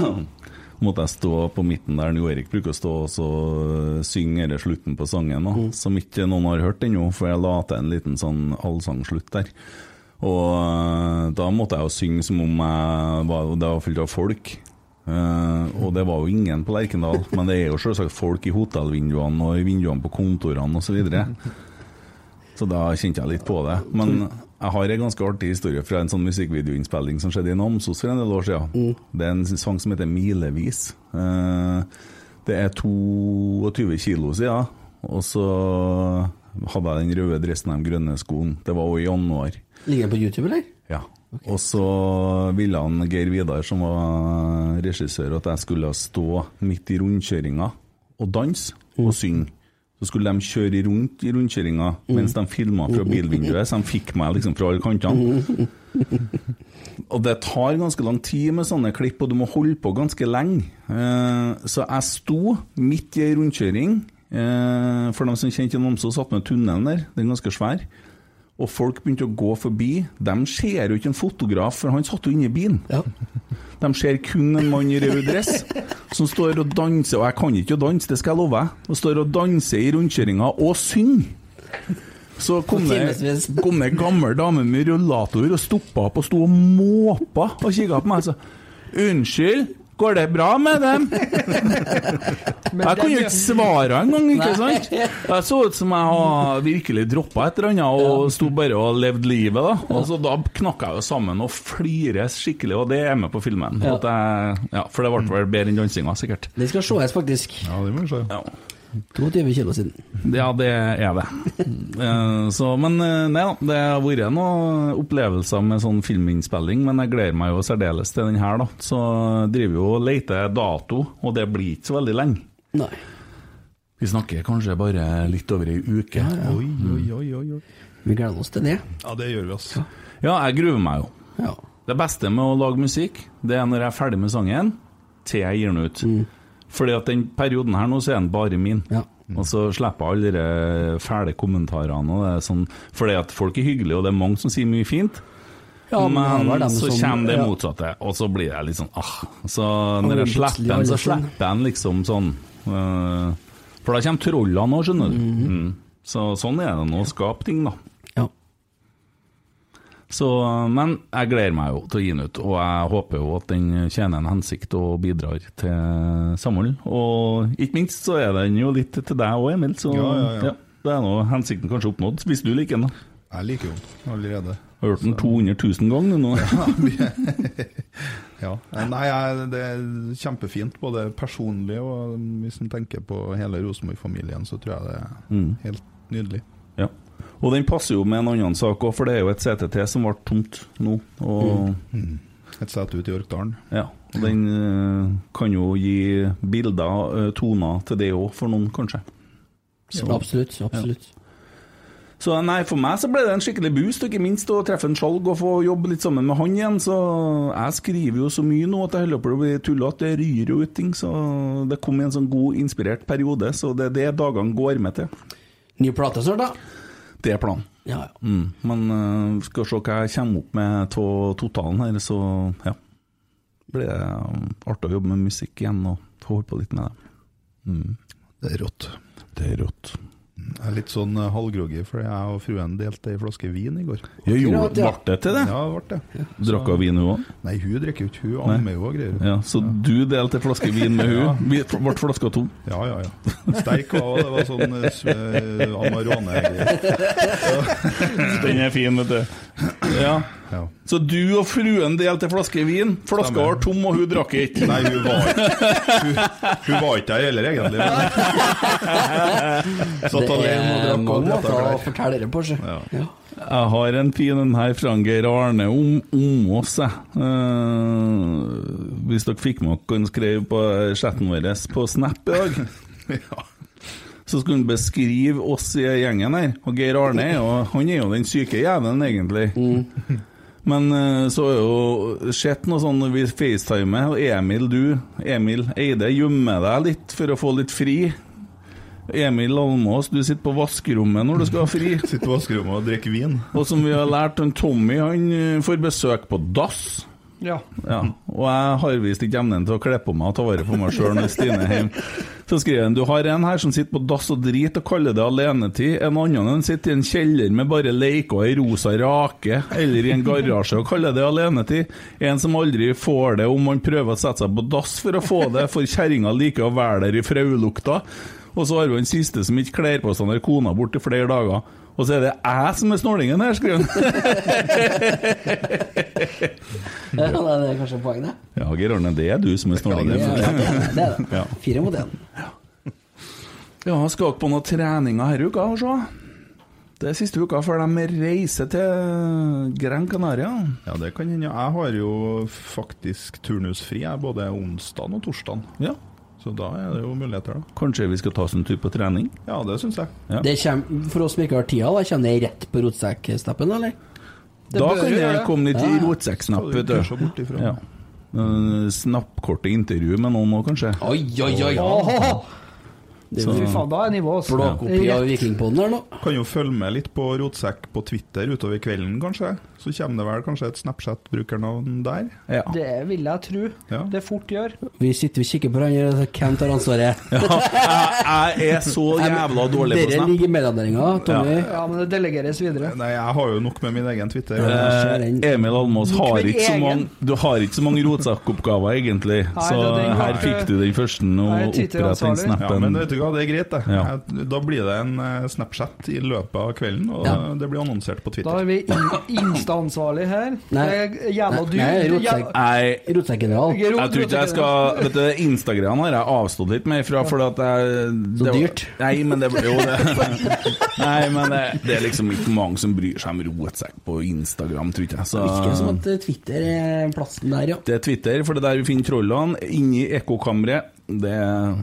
Speaker 10: Mm.
Speaker 3: Så måtte jeg stå på midten der Jo Erik bruker å stå og så eh, synge eller slutten på sangen, da, som ikke noen har hørt ennå, for jeg la til en liten sånn allsangslutt der. Og eh, da måtte jeg jo synge som om jeg var, det var fullt av folk. Eh, og det var jo ingen på Lerkendal, men det er jo selvsagt folk i hotellvinduene og i vinduene på kontorene osv. Så, videre. så da kjente jeg litt på det. Men jeg har en ganske artig historie fra en sånn musikkvideoinnspilling som skjedde i Namsos for en del år siden. Det er en sang som heter 'Milevis'. Eh, Det er 22 kilo siden, og så hadde jeg den røde dressen og de grønne skoene. Det var også i januar.
Speaker 1: Ligger den på YouTube, eller?
Speaker 3: Ja. Og så ville han Geir Vidar, som var regissør, at jeg skulle stå midt i rundkjøringa og danse og synge. Så skulle de kjøre rundt i rundkjøringa mens de filma fra bilvinduet, så de fikk meg liksom fra alle kantene. Og det tar ganske lang tid med sånne klipp, og du må holde på ganske lenge. Eh, Så jeg sto midt i ei rundkjøring. eh, For dem som kjente Namsos, satt med tunnelen der, den er ganske svær. Og folk begynte å gå forbi. De ser jo ikke en fotograf, for han satt jo inne i bilen. De ser kun en mann i rød dress som står og danser, og jeg kan ikke å danse, det skal jeg love deg, og står og danser i rundkjøringa og synger. Så kom det,
Speaker 1: Timesvis.
Speaker 3: kom det en gammel dame med rullator og stoppa opp og sto og måpa og kikka på meg og sa Unnskyld, går det bra med dem? jeg kunne jo ikke svare engang, ikke
Speaker 10: Nei.
Speaker 3: sant? *laughs* Jeg så ut som jeg har virkelig droppa et eller annet og sto bare og levde livet, da. Og så da knakk jeg jo sammen og flires skikkelig, og det er med på filmen.
Speaker 1: Ja.
Speaker 3: At jeg, ja, for det ble vel bedre enn dansinga, sikkert.
Speaker 1: Den skal sees, faktisk.
Speaker 5: Ja, det må vi se.
Speaker 1: 22 kilo siden.
Speaker 3: Ja, det er *laughs* det. Eh, Så, men eh, nei da, det har vært noen opplevelser med sånn filminnspilling, men jeg gleder meg jo særdeles til den her, da. Så eh, driver jo og leter dato, og det blir ikke så veldig lenge.
Speaker 1: Nei.
Speaker 3: Vi snakker kanskje bare litt over ei uke.
Speaker 5: Oi, oi, oi, oi, oi.
Speaker 1: Vi gleder oss til det.
Speaker 5: Ja, det gjør vi, ass.
Speaker 3: Ja, jeg gruer meg jo. Det beste med å lage musikk, det er når jeg er ferdig med sangen, til jeg gir den ut.
Speaker 1: Mm.
Speaker 3: Fordi at den perioden her nå, så er den bare min. Mm. Og så slipper jeg alle de eh, fæle kommentarene. Og det er sånn, fordi at folk er hyggelige, og det er mange som sier mye fint.
Speaker 1: Ja, men
Speaker 3: men
Speaker 1: det var dem
Speaker 3: så
Speaker 1: som-
Speaker 3: kommer det
Speaker 1: ja.
Speaker 3: motsatte, og så blir jeg litt sånn ah. Så
Speaker 1: Og
Speaker 3: når jeg
Speaker 1: plutselig
Speaker 3: slipper den, så
Speaker 1: alle sin.
Speaker 3: slipper jeg den liksom sånn. eh, for da kommer trollene òg, skjønner du.
Speaker 1: Mhm.
Speaker 3: Mm. Så sånn er det nå å skape ting, da. Så, men jeg gleder meg jo til å gi den ut, og jeg håper jo at den tjener en hensikt og bidrar til samhold. Og ikke minst så er den jo litt til deg òg, Emil, så
Speaker 5: Ja, ja, ja.
Speaker 3: det er nå hensikten kanskje oppnådd, hvis du liker den. da.
Speaker 5: Jeg liker jo den allerede.
Speaker 3: Har hørt den 200 000 ganger nå.
Speaker 5: Ja. Eh, Nei, jeg, det er kjempefint, både personlig og hvis en tenker på hele Rosenborg-familien, så tror jeg det er
Speaker 3: Mm.
Speaker 5: helt nydelig.
Speaker 3: *laughs* Ja. Og den passer jo med en annen sak òg, for det er jo et CTT som ble tomt nå. Og,
Speaker 5: Mm. Et sete ute i Orkdalen.
Speaker 3: ja, og den eh, kan jo gi bilder, eh, toner, til det òg, for noen, kanskje. Så-
Speaker 1: Absolutt. absolutt.
Speaker 3: Så nei, for meg så ble det en skikkelig boost, og ikke minst å treffe en skjalg og få jobbe litt sammen med han igjen. Så jeg skriver jo så mye nå at jeg holder på å bli tullete, det ryr jo ut ting. Så det kom i en sånn god, inspirert periode, så det er det dagene går med til.
Speaker 1: Ny plate snart, da?
Speaker 3: Det er planen.
Speaker 1: Ja, ja.
Speaker 3: Mm. Men eh, skal se hva jeg kommer opp med av totalen her, så ja. Blir det eh, artig å jobbe med musikk igjen og få holde på litt med det. Mm.
Speaker 5: Det er rått.
Speaker 3: Det er rått.
Speaker 5: Jeg er litt sånn eh, halvgroggy, for jeg og fruen delte ei flaske vin i går.
Speaker 3: Ja, gjorde- Akkurat, ja. ble det til det?
Speaker 5: Ja, ble det.
Speaker 3: Drakk hun vin, hun òg?
Speaker 5: Nei, hun drikker jo ikke. Hun ammer jo og greier.
Speaker 3: Ja, så du delte en flaske vin med
Speaker 5: Ja.
Speaker 3: hun? Vi Ble flaska tom?
Speaker 5: Ja, ja, ja. Sterk var det. Det var sånn eh, sve- amarone-greier.
Speaker 3: *laughs* Den er fin, vet du. Ja. Så du og fruen delte en flaske vin? Flaska var tom, og hun drakk ikke?
Speaker 5: Nei, hun var ikke Hun, hun var ikke der heller, egentlig. Men. Satt
Speaker 1: det
Speaker 5: alene
Speaker 3: Eh,
Speaker 5: og
Speaker 1: er
Speaker 5: drakk og
Speaker 1: mange
Speaker 5: drakk
Speaker 1: måter å
Speaker 5: klær.
Speaker 1: fortelle det på, sjø. Ja.
Speaker 3: Jeg har en fin en her fra Geir Arne om, om oss, jeg. Eh, hvis dere fikk med dere hva han skrev på chatten vår på Snap i dag, så skulle han beskrive oss i gjengen her. Og Geir Arne er jo, han er jo den syke jævelen, egentlig. *laughs* Men eh, så har jo sett noe sånn når vi facetimer, og Emil, du, Emil Eide, gjemmer deg litt for å få litt fri. Emil Almås, du sitter på vaskerommet når du skal ha fri.
Speaker 5: *laughs* Sitter på vaskerommet og drikker vin.
Speaker 3: Og som vi har lært, han Tommy han eh, får besøk på dass.
Speaker 4: Ja.
Speaker 3: Ja, og jeg har visst ikke evnen til å kle på meg og ta vare på meg sjøl når Stine er hjemme. Så skriver han du har en her som sitter på dass og driter og kaller det alenetid. En annen han sitter i en kjeller med bare leker og ei rosa rake, eller i en garasje og kaller det alenetid. En som aldri får det om han prøver å sette seg på dass for å få det, for kjerringa liker å være der i fraulukta. Og så har vi den siste som ikke kler på seg når kona er borte i flere dager. Og så er det jeg som er snålingen her, skriver han.
Speaker 1: *laughs* Ja, det er kanskje poenget,
Speaker 3: *laughs* Ja, Geir Arne, det er du som er
Speaker 1: det.
Speaker 3: snålingen.
Speaker 1: Ja, det er det. det, er det.
Speaker 3: Ja.
Speaker 1: Fire mot én.
Speaker 3: Ja, skal dere på noen treninger her i uka og se? Det er siste uka før de reiser til Gran Canaria.
Speaker 5: Ja, det kan hende. Jeg har jo faktisk turnusfri jeg, både onsdag og torsdag.
Speaker 3: Ja.
Speaker 5: Så da er det jo muligheter, da.
Speaker 3: Kanskje vi skal ta oss en tur på trening?
Speaker 5: Ja, det syns jeg.
Speaker 3: Ja.
Speaker 1: Det kommer, for oss som ikke har tida, da, kommer det rett på rotsekksteppen, eller?
Speaker 3: da kan jeg komme litt i rotsekksnapp, vet
Speaker 5: Skal du ikke se bort
Speaker 3: du.
Speaker 5: ifra.
Speaker 3: Ja. Eh, Snappkorte intervju med noen òg, kanskje.
Speaker 1: Oi, oi, oi.
Speaker 4: Åhå!
Speaker 3: Det er jo-
Speaker 4: Fy faen, da er nivået altså. Rett.
Speaker 1: Vikingpodden her nå.
Speaker 5: Kan jo følge med litt på Rotsekk på Twitter utover kvelden, kanskje. Så kommer det vel kanskje et Snapchat-brukernavn der.
Speaker 4: Det vil jeg tro. Det fort gjør.
Speaker 1: Vi sitter og kikker på hverandre, og så hvem tar ansvaret?
Speaker 3: *laughs* Jeg er så jævla dårlig på
Speaker 1: Dere
Speaker 3: snap.
Speaker 1: ligger i mellomdelinga, Tommy.
Speaker 4: Ja, men det delegeres videre.
Speaker 5: Nei, jeg har jo nok med min egen Twitter.
Speaker 3: Eh, Emil Almås
Speaker 5: Nok
Speaker 3: har
Speaker 5: med
Speaker 3: ikke så
Speaker 5: egen.
Speaker 3: mange Du har ikke så mange rotsekkoppgaver, egentlig.
Speaker 5: Nei,
Speaker 3: Så
Speaker 5: det er den
Speaker 3: her
Speaker 5: ganske-
Speaker 3: fikk du den første, og
Speaker 5: Nei,
Speaker 3: opprett den
Speaker 5: Ja,
Speaker 3: snappen.
Speaker 5: men vet du hva, det er greit, det.
Speaker 3: Ja.
Speaker 5: Jeg, da blir det en eh, Snapchat i løpet av kvelden, og
Speaker 4: Ja.
Speaker 5: det blir annonsert på Twitter.
Speaker 4: Da er vi in- insta-ansvarlig her.
Speaker 5: Nei.
Speaker 4: Det er jævla dyrt. Jævla-
Speaker 3: Nei,
Speaker 1: Rotsekkeral.
Speaker 3: Jeg tror ikke jeg skal Vet du, Instagram har jeg avstått litt mer fra, fordi at jeg Så dyrt? Nei, men det Jo, det *laughs* Nei, men det, det er liksom ikke mange som bryr seg om rotsekk på Instagram, tror ikke jeg. Så
Speaker 1: Virker som at eh, Twitter er plassen der, ja.
Speaker 3: det er Twitter, for det er der vi finner trollene. Inni ekkokammeret. Det er-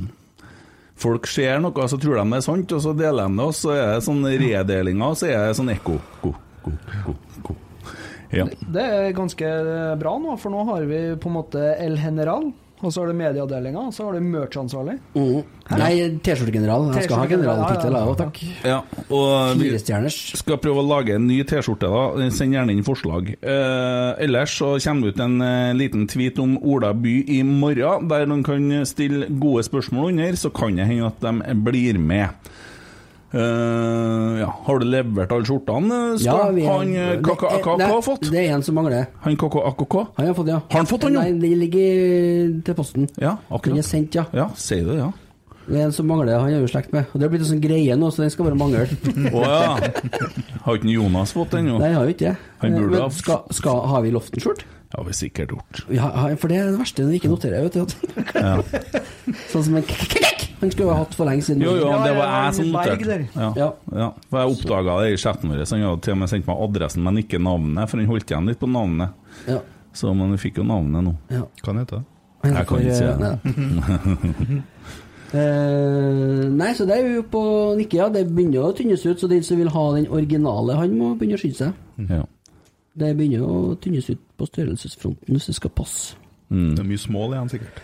Speaker 3: Folk ser noe, så tror de det er sant, og så deler de det, og så er det sånne redelinger, og så er det sånn ekko. Ko, ko, ko, ko. Ja.
Speaker 4: Det er ganske bra nå, for nå har vi på en måte El General, og så har du medieavdelinga, og så har du merch-ansvarlig.
Speaker 1: Mm. Nei, T-skjortegeneral. Jeg skal ha generaltittel, jeg òg, takk.
Speaker 3: Ja, og vi
Speaker 1: Firestjerners.
Speaker 3: skal prøve å lage en ny T-skjorte, da. Send gjerne inn forslag. Eh, ellers så kommer det ut en eh, liten tweet om Ola by i morgen, der noen kan stille gode spørsmål under, så kan det hende at de blir med. Eh, ja. Har du levert alle skjortene?
Speaker 1: Ja,
Speaker 3: Skål?
Speaker 1: vi er-
Speaker 3: Han eh, Kaka Akaka
Speaker 1: Nei,
Speaker 3: har fått?
Speaker 1: Det er en som mangler.
Speaker 3: Han Kaka AKK?
Speaker 1: Han har fått, ja.
Speaker 3: Har han fått den, jo?
Speaker 1: Nei, den ligger til posten.
Speaker 3: Ja, akkurat.
Speaker 1: Den er sendt, ja.
Speaker 3: Ja, sier det, ja.
Speaker 1: Det er en som mangler, han er jo i slekt med. Og Det er blitt en sånn greie nå, så den skal
Speaker 3: *laughs*
Speaker 1: bare mangle.
Speaker 3: Å
Speaker 1: *laughs*
Speaker 3: ja. Har ikke Jonas fått den? jo?
Speaker 1: Nei, jeg har jo ikke det.
Speaker 3: Han burde ha
Speaker 1: Men skal, skal, har vi Loften-skjort?
Speaker 3: Ja, vi sikkert gjort.
Speaker 1: Ja, ja, for det er det verste når vi ikke noterer,
Speaker 3: *laughs*
Speaker 1: vet du. at- sånn som en *laughs* krekk! Han skulle jo ha hatt for lenge siden.
Speaker 3: Jo, jo, det var jeg som
Speaker 1: Berg der.
Speaker 3: noterte. Ja. Ja. For jeg oppdaga det i chatten vår. så Han hadde til og med sendt meg adressen, men ikke navnet, for han holdt igjen litt på navnet.
Speaker 1: Ja.
Speaker 3: Så Men vi fikk jo navnet nå.
Speaker 1: Ja.
Speaker 5: Hva heter det?
Speaker 3: Jeg kan ikke si det.
Speaker 1: Eh, nei, så det er vi jo på nikke, ja. Det begynner å tynnes ut, så den som vil ha den originale, han må begynne å skynde seg.
Speaker 3: Ja.
Speaker 1: Det begynner å tynnes ut på størrelsesfronten hvis det skal passe.
Speaker 3: Mm.
Speaker 5: Det er mye smål igjen, sikkert.
Speaker 1: *laughs*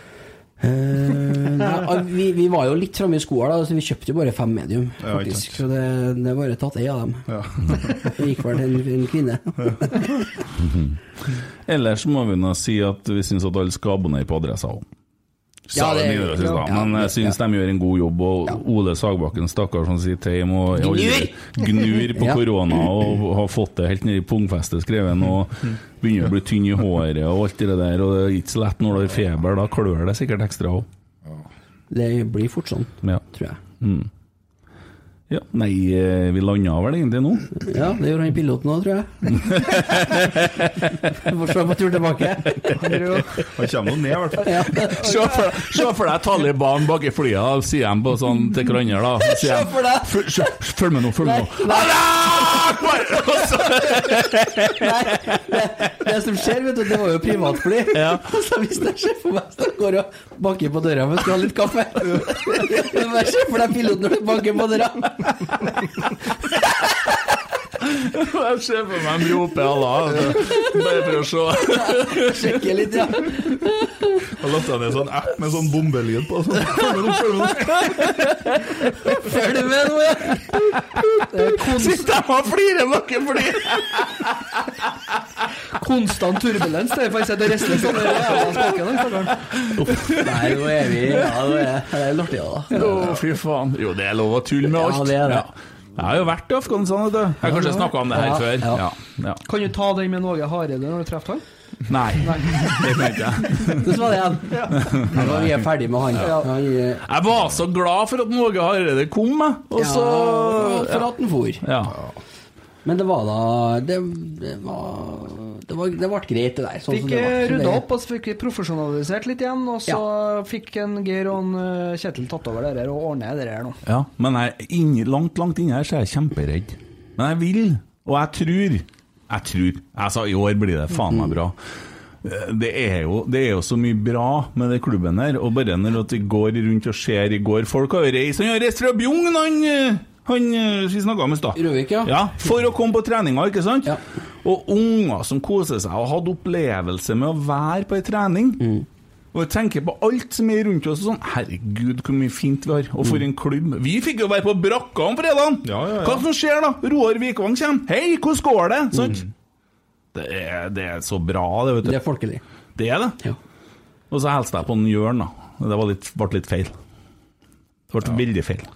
Speaker 1: Eh, nei, al- vi, vi var jo litt framme i skoa, da, så vi kjøpte jo bare fem medium.
Speaker 5: Ja, ikke
Speaker 1: faktisk Så det, det var bare tatt ei av dem. *laughs* det gikk vel til en, en kvinne.
Speaker 3: Ellers må vi nå si at vi syns at alle skal abonnere på adressa òg.
Speaker 1: Ja,
Speaker 3: Sa det
Speaker 1: det-
Speaker 3: Nidaros i stad,
Speaker 1: ja,
Speaker 3: men jeg
Speaker 1: det-
Speaker 3: syns de gjør en god jobb. Og Ole Sagbakken, stakkar, som sitter hjemme og
Speaker 1: Gnur!
Speaker 3: gnur på
Speaker 1: *laughs* Ja.
Speaker 3: korona og har fått det helt ned i pungfestet skrevet og begynner å bli tynn i håret og alt det der, og det er ikke så lett når du har feber, da klør det sikkert ekstra òg.
Speaker 1: Det blir fort sånn, tror jeg.
Speaker 3: Mm. Ja, nei, eh, vi landa vel egentlig nå?
Speaker 1: Ja, det gjorde han piloten òg, tror
Speaker 5: *laughs*
Speaker 1: jeg. Vi får se på tur tilbake.
Speaker 3: Han kommer ned, i hvert fall.
Speaker 1: Ja.
Speaker 10: Se for deg- se for deg Taliban bak i flyet, da, sier de på sånn til hverandre, da. Sier
Speaker 1: Se
Speaker 10: de,
Speaker 1: for deg!
Speaker 10: «Føl- se- Følg med nå, følg med nå.
Speaker 1: Det som skjer, vet du, det var jo privatfly. Så hvis jeg ser for meg så går jeg og banker på døra men skal ha litt kaffe Men Jeg ser for deg piloten når du banker på døra.
Speaker 10: Jeg ser for meg de roper Allah, altså. bare for å se.
Speaker 1: Sjekke litt, ja.
Speaker 5: Da lasta jeg ned en sånn app med sånn bombelyd på. Sånn. Følg med nå, følg med nå.
Speaker 1: Følg med nå, ja!
Speaker 10: Sitter de og flirer bak i flyet?
Speaker 4: Konstant turbulens, det er faktisk at det rester sånn i jævla spaken, den stakkaren.
Speaker 1: Nei, nå er vi Ja, nå er det er litt artig, da.
Speaker 10: Å, fy faen. Jo, det er lov å tulle med alt.
Speaker 1: Ja, det er det.
Speaker 10: Ja. Jeg har jo vært i Afghanistan, vet du. Jeg har kanskje snakka om det her
Speaker 4: Ja,
Speaker 10: før.
Speaker 4: ja.
Speaker 10: Ja. Ja.
Speaker 4: Kan du ta den med Norge Hareide når du treffer han?
Speaker 10: Nei, *laughs* det tenkte jeg.
Speaker 1: Hvordan var det igjen? Nei, nå er vi er ferdig med han. han eh,
Speaker 10: Jeg var så glad for at Norge Hareide kom, jeg. Og så
Speaker 1: ja, For at han for.
Speaker 10: ja.
Speaker 1: Men det var da Det, det var det, var, det ble greit, det der. Sånn som
Speaker 4: Fikk
Speaker 1: det var. Så
Speaker 4: rydda
Speaker 1: det-
Speaker 4: opp og så fikk vi profesjonalisert litt igjen, og så fikk en Geir og en eh, Kjetil tatt over det der og ordnet det der nå.
Speaker 3: Ja, men jeg, inni, langt, langt inni her så er jeg kjemperedd. Men jeg vil, og jeg tror Jeg tror. Jeg sa i år blir det faen
Speaker 4: Mhm.
Speaker 3: meg bra. Eh, Det er, jo, det er jo så mye bra med den klubben her, og bare når at vi går rundt og ser i går Folk har jo reist, han har reist fra Bjugn, han, eh, han eh, vi snakka om i stad.
Speaker 1: Røvik, ja.
Speaker 3: Ja, for å komme på treninga, ikke sant? Og unger som koser seg og hadde opplevelse med å være på ei trening. Og jeg tenker på alt som er rundt oss og sånn. Herregud, hvor mye fint vi har. Og for en klubb. Vi fikk jo være på brakka om fredagen!
Speaker 5: ja.
Speaker 3: Hva som skjer da? Roar Vikvang kommer. Hei, hvordan går det? Sant? Det, er, det er så bra, det, vet du.
Speaker 1: Det er folkelig.
Speaker 3: Det er det. Og så hilste jeg på en Jørn, da. Det var litt, ble litt feil. Det ble veldig feil.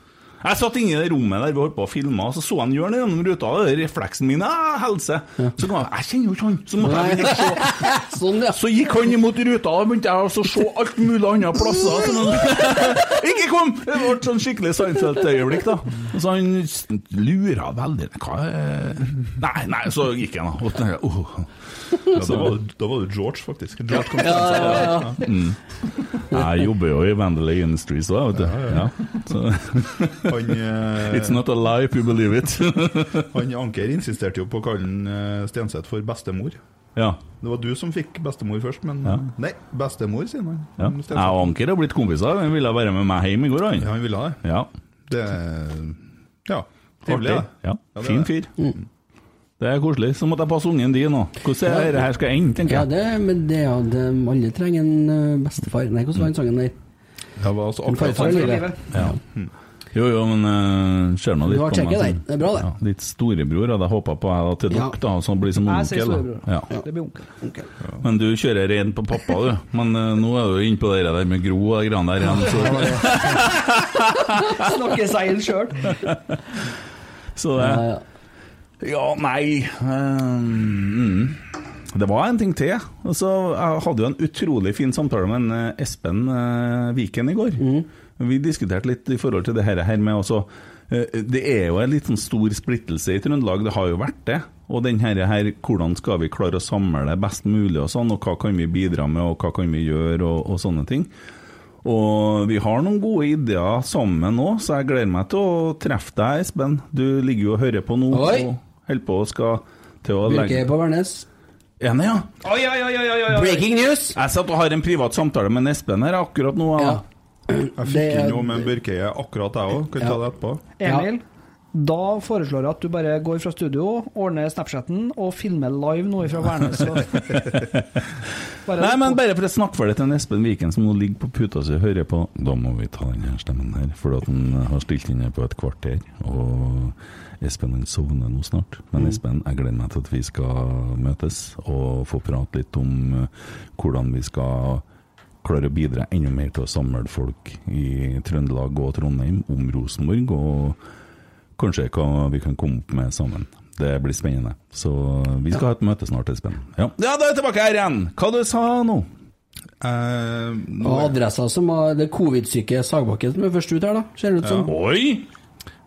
Speaker 3: Jeg satt inne i det rommet der vi holdt på å filme, og så så jeg en Jørn gjennom ruta. og det er Refleksen min er helse. Så kom jeg Jeg kjenner jo ikke han! Så, måtte jeg begynne å se.
Speaker 1: Sånn,
Speaker 3: så gikk han imot ruta, og da begynte jeg også å se alt mulig andre plasser. Så- Ikke kom! Det ble sånn skikkelig Seinfeld-øyeblikk, da. Og så han lura veldig Hva er Nei, nei, så gikk han, da. Og tenkte oh. jeg, «Åh».
Speaker 5: Ja, da, var, det- da var det George, faktisk. George kom til å
Speaker 1: Ja, ja, ja.
Speaker 5: stemme.
Speaker 3: Mm. Jeg jobber jo i Vandelay Industries òg, vet du. Ja, Så.
Speaker 5: Han, eh,
Speaker 3: It's not a lie if you believe it.
Speaker 5: *laughs* han Anker insisterte jo på å kalle han, eh, Stenseth for bestemor.
Speaker 3: ja.
Speaker 5: Det var du som fikk bestemor først, men
Speaker 3: Ja.
Speaker 5: Nei, bestemor, sier han.
Speaker 3: ja.
Speaker 5: Stenseth.
Speaker 3: Jeg og Anker har blitt kompiser. Han ville være med meg hjem i går, han.
Speaker 5: Ja, han ville det.
Speaker 3: Ja.
Speaker 5: Det Ja. Trivelig,
Speaker 3: Artig.
Speaker 5: da.
Speaker 3: Ja.
Speaker 5: Ja, det er
Speaker 3: Fin
Speaker 5: det.
Speaker 3: fyr.
Speaker 1: Mm.
Speaker 3: Det er koselig. Så måtte jeg passe ungen din nå. Hvordan er det her skal ende, tenker
Speaker 1: Ja,
Speaker 3: jeg.
Speaker 1: det, men det, ja, det, alle trenger en eh, bestefar. Nei, hvordan var den sangen der?
Speaker 5: Jeg var altså
Speaker 1: En
Speaker 5: akkurat
Speaker 1: farfar i livet.
Speaker 3: Ja. Jo, jo, men uh, ser nå litt
Speaker 1: Du har sjekket
Speaker 3: sånn.
Speaker 1: den. Det er bra, det.
Speaker 3: Ja, litt storebror hadde jeg håpa på jeg da, til
Speaker 1: Ja.
Speaker 3: dere, da, så han blir som
Speaker 4: Jeg sier
Speaker 3: onkel.
Speaker 4: storebror.
Speaker 3: da. Ja.
Speaker 4: Det blir onkel.
Speaker 3: Men du kjører ren på pappa, du. Men eh, nå er du inne på det der med Gro og de greiene der igjen.
Speaker 4: Snakker seg
Speaker 1: *laughs*
Speaker 4: inn sjøl.
Speaker 3: Så, så eh, det Ja, nei ehm, mm. Det var en ting til. Og så jeg hadde jo en utrolig fin samtale med en eh, Espen eh, Viken i går. Vi diskuterte litt i forhold til det her her med også eh, Det er jo en litt sånn stor splittelse i Trøndelag, det har jo vært det. Og den her, her, hvordan skal vi klare å samle det best mulig, og sånn, og hva kan vi bidra med, og hva kan vi gjøre, og, og sånne ting. Og vi har noen gode ideer sammen nå, så jeg gleder meg til å treffe deg, Espen. Du ligger jo og hører på nå,
Speaker 1: Oi.
Speaker 3: og holder på og skal til å legge
Speaker 1: Byrke på Værnes.
Speaker 3: Enig, ja?
Speaker 4: Oi, oi, oi, oi, oi, oi.
Speaker 1: Breaking news!
Speaker 3: Jeg satt og har en privat samtale med en Espen her akkurat nå. Ja.
Speaker 5: Jeg fikk
Speaker 4: Det-
Speaker 5: inn noe med Børkeie akkurat, jeg òg. Kan vi ta det etterpå?
Speaker 4: Emil, da foreslår jeg at du bare går fra studio, ordner Snapchatten og filmer live noe fra Værnes.
Speaker 3: Nei, men bare for å snakke for det til en Espen Viken som nå ligger på puta si og hører på Da må vi ta denne stemmen her, for at han har stilt inn her på et kvarter. Og Espen han sovner nå snart. Men
Speaker 10: Mm.
Speaker 3: Espen, jeg gleder meg til at vi skal møtes og få prate litt om eh, hvordan vi skal klare å bidra enda mer til å samle folk i Trøndelag og Trondheim om Rosenborg, og kanskje hva vi kan komme opp med sammen. Det blir spennende. Så vi skal ha et møte snart, Espen. Ja. Ja, da er jeg tilbake her igjen! Hva du sa nå?
Speaker 5: Eh,
Speaker 1: Og adressa som var det covid-syke Sagbakken som er først ut her, da. Ser det ut som.
Speaker 5: Oi!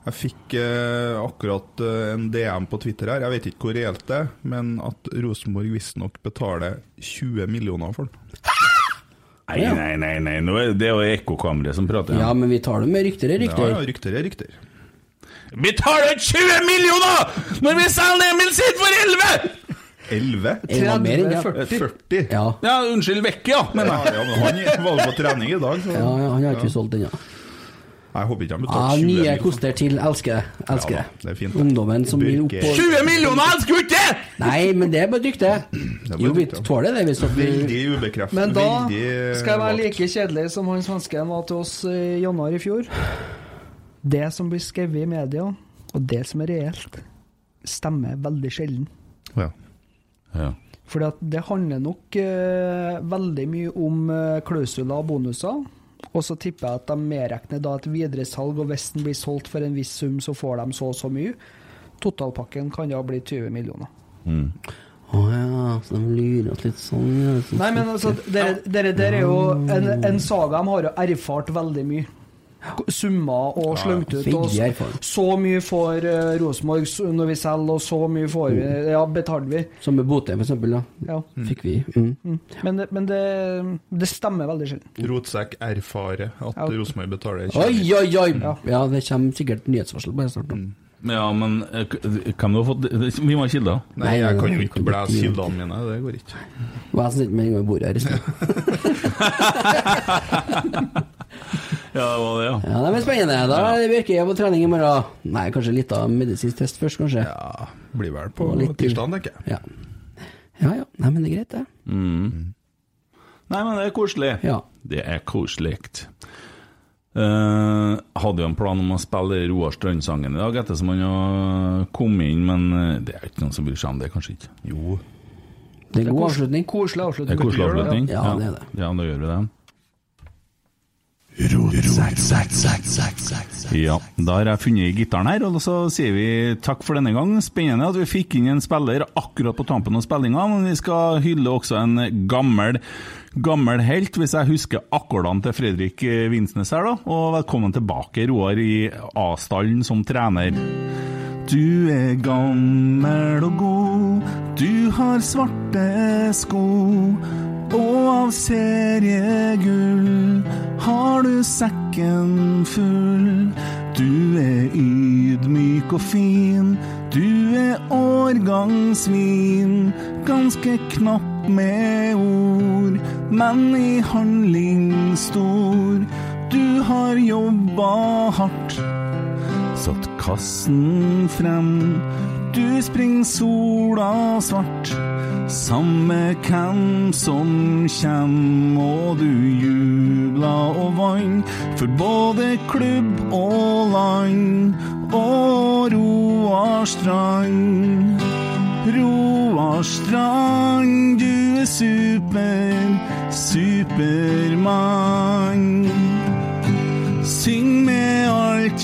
Speaker 5: Jeg fikk eh, akkurat eh, en DM på Twitter her, jeg vet ikke hvor reelt det er, men at Rosenborg visstnok betaler 20 millioner for den.
Speaker 3: Nei, nei, nei, nei. Nå er det jo ekkokameraet som prater.
Speaker 1: Ja, men vi tar det med rykter er rykter.
Speaker 5: Ja, ja, rykter er rykter.
Speaker 3: Betaler 20 millioner når vi selger Emil sitt for 11!
Speaker 5: 11?
Speaker 3: Det var mer enn det.
Speaker 5: 40.
Speaker 1: Ja.
Speaker 3: unnskyld, Vekke, ja. Men,
Speaker 5: Eh, ja, ja, men han var jo på trening i dag, så
Speaker 1: Ja, ja, han har ikke solgt den, ja.
Speaker 5: Jeg håper ikke han
Speaker 1: Ja,
Speaker 5: betalte 20
Speaker 1: nye
Speaker 5: millioner.
Speaker 1: koster til. Elsker det. Elsker
Speaker 5: Ja da,
Speaker 1: det.
Speaker 5: det er fint, det.
Speaker 1: Ungdommen som vil opp på
Speaker 5: 20
Speaker 3: millioner, elsker jo ikke det!
Speaker 1: Nei, men det er bare
Speaker 5: *clears throat*
Speaker 1: dyktig.
Speaker 5: bare
Speaker 1: Jo, vi
Speaker 5: dyktig.
Speaker 1: tåler det. Hvis at vi...
Speaker 5: Veldig ubekreftet.
Speaker 4: Men da
Speaker 5: veldig eh,
Speaker 4: skal jeg være like kjedelig som han svensken var til oss i januar i fjor. Det som blir skrevet i media, og det som er reelt, stemmer veldig sjelden.
Speaker 5: Ja.
Speaker 3: Ja.
Speaker 4: Fordi at det handler nok eh, veldig mye om eh, klausuler og bonuser. Og så tipper jeg at de medregner da et videresalg, og hvis den blir solgt for en viss sum, så får de så og så mye. Totalpakken kan da bli 20 millioner.
Speaker 1: Mm. Å ja, så de lurer oss litt sånn. ja, så
Speaker 4: Nei, men altså, dere, dere, dere er jo en, en saga de har jo erfart veldig mye. Summer og slengt ut. Og
Speaker 1: Veldig
Speaker 4: så,
Speaker 1: erfaren.
Speaker 4: så mye får eh, Rosenborg s- når vi selger, og så mye får vi.
Speaker 3: Oh.
Speaker 4: Ja, betaler vi.
Speaker 1: Som med Botheim, for eksempel. Da.
Speaker 4: Ja.
Speaker 1: Fikk vi. Mm.
Speaker 4: Mm. Men, det- men det, det stemmer veldig sjelden.
Speaker 5: Rotsekk erfarer at Rosenborg betaler 20
Speaker 1: Oi,
Speaker 5: millioner.
Speaker 1: oi, oi! Mm. Ja, det kommer sikkert nyhetsvarsel bare snart. nå.
Speaker 3: ja, men eh, k- hvem du har fått Vi må ha kilder.
Speaker 5: Nei, jeg kan jo ikke blæse kildene mine, det går ikke.
Speaker 1: Og jeg som sitter med en gang i bordet her i sted.
Speaker 3: Ja, det var det, ja.
Speaker 1: Ja, det blir spennende. Da virker jeg på trening i morgen. Nei, kanskje litt av medisinsk test først, kanskje.
Speaker 5: Ja, blir vel på
Speaker 1: Og litt-
Speaker 5: tirsdagen, tenker jeg.
Speaker 1: Ja. ja ja. Nei, men det er greit, det.
Speaker 3: Mm. Nei, men det er koselig. Det er koselig. Eh, hadde jo en plan om å spille Roar Strønd-sangen i dag, ettersom han har kommet inn, men eh, det er ikke noen som bryr seg om det, kanskje ikke? Jo.
Speaker 1: Det er god
Speaker 4: kos-
Speaker 1: avslutning.
Speaker 4: Koselig avslutning.
Speaker 3: Det er koselig avslutning.
Speaker 1: Ja, det er det.
Speaker 3: Ja, da gjør vi det.
Speaker 10: Rotsekk.
Speaker 3: Ja, da har jeg funnet gitaren her, og så sier vi takk for denne gang. Spennende at vi fikk inn en spiller akkurat på tampen av spillinga, men vi skal hylle også en gammel, gammel helt, hvis jeg husker akkordene til Fredrik eh, Vinsnes her, da. Og velkommen tilbake, Roar, i A-stallen som trener. Du er gammel og god, du har svarte sko. Og av seriegull har du sekken full. Du er ydmyk og fin, du er årgangsvin. Ganske knapp med ord, men i handling stor. Du har jobba hardt satt kassen frem. Du spring sola svart, samme hvem som kjem. Og du jubla og vann for både klubb og land. Og Roar Strand. Roar Strand, du er super, supermann. Syng med alt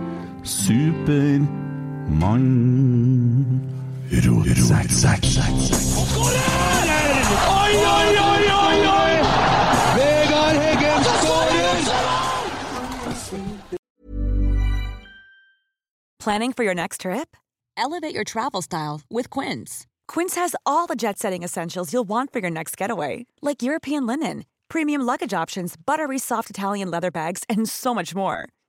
Speaker 2: supermann.
Speaker 10: Oi, oi, oi, oi, oi! Vegard Heggen skårer!
Speaker 11: Planning for your next trip? Elevate your travel style with Quince. Quince has all the jet setting essentials you'll want for your next getaway, like European linen, premium luggage options, buttery soft Italian leather bags, and so much more.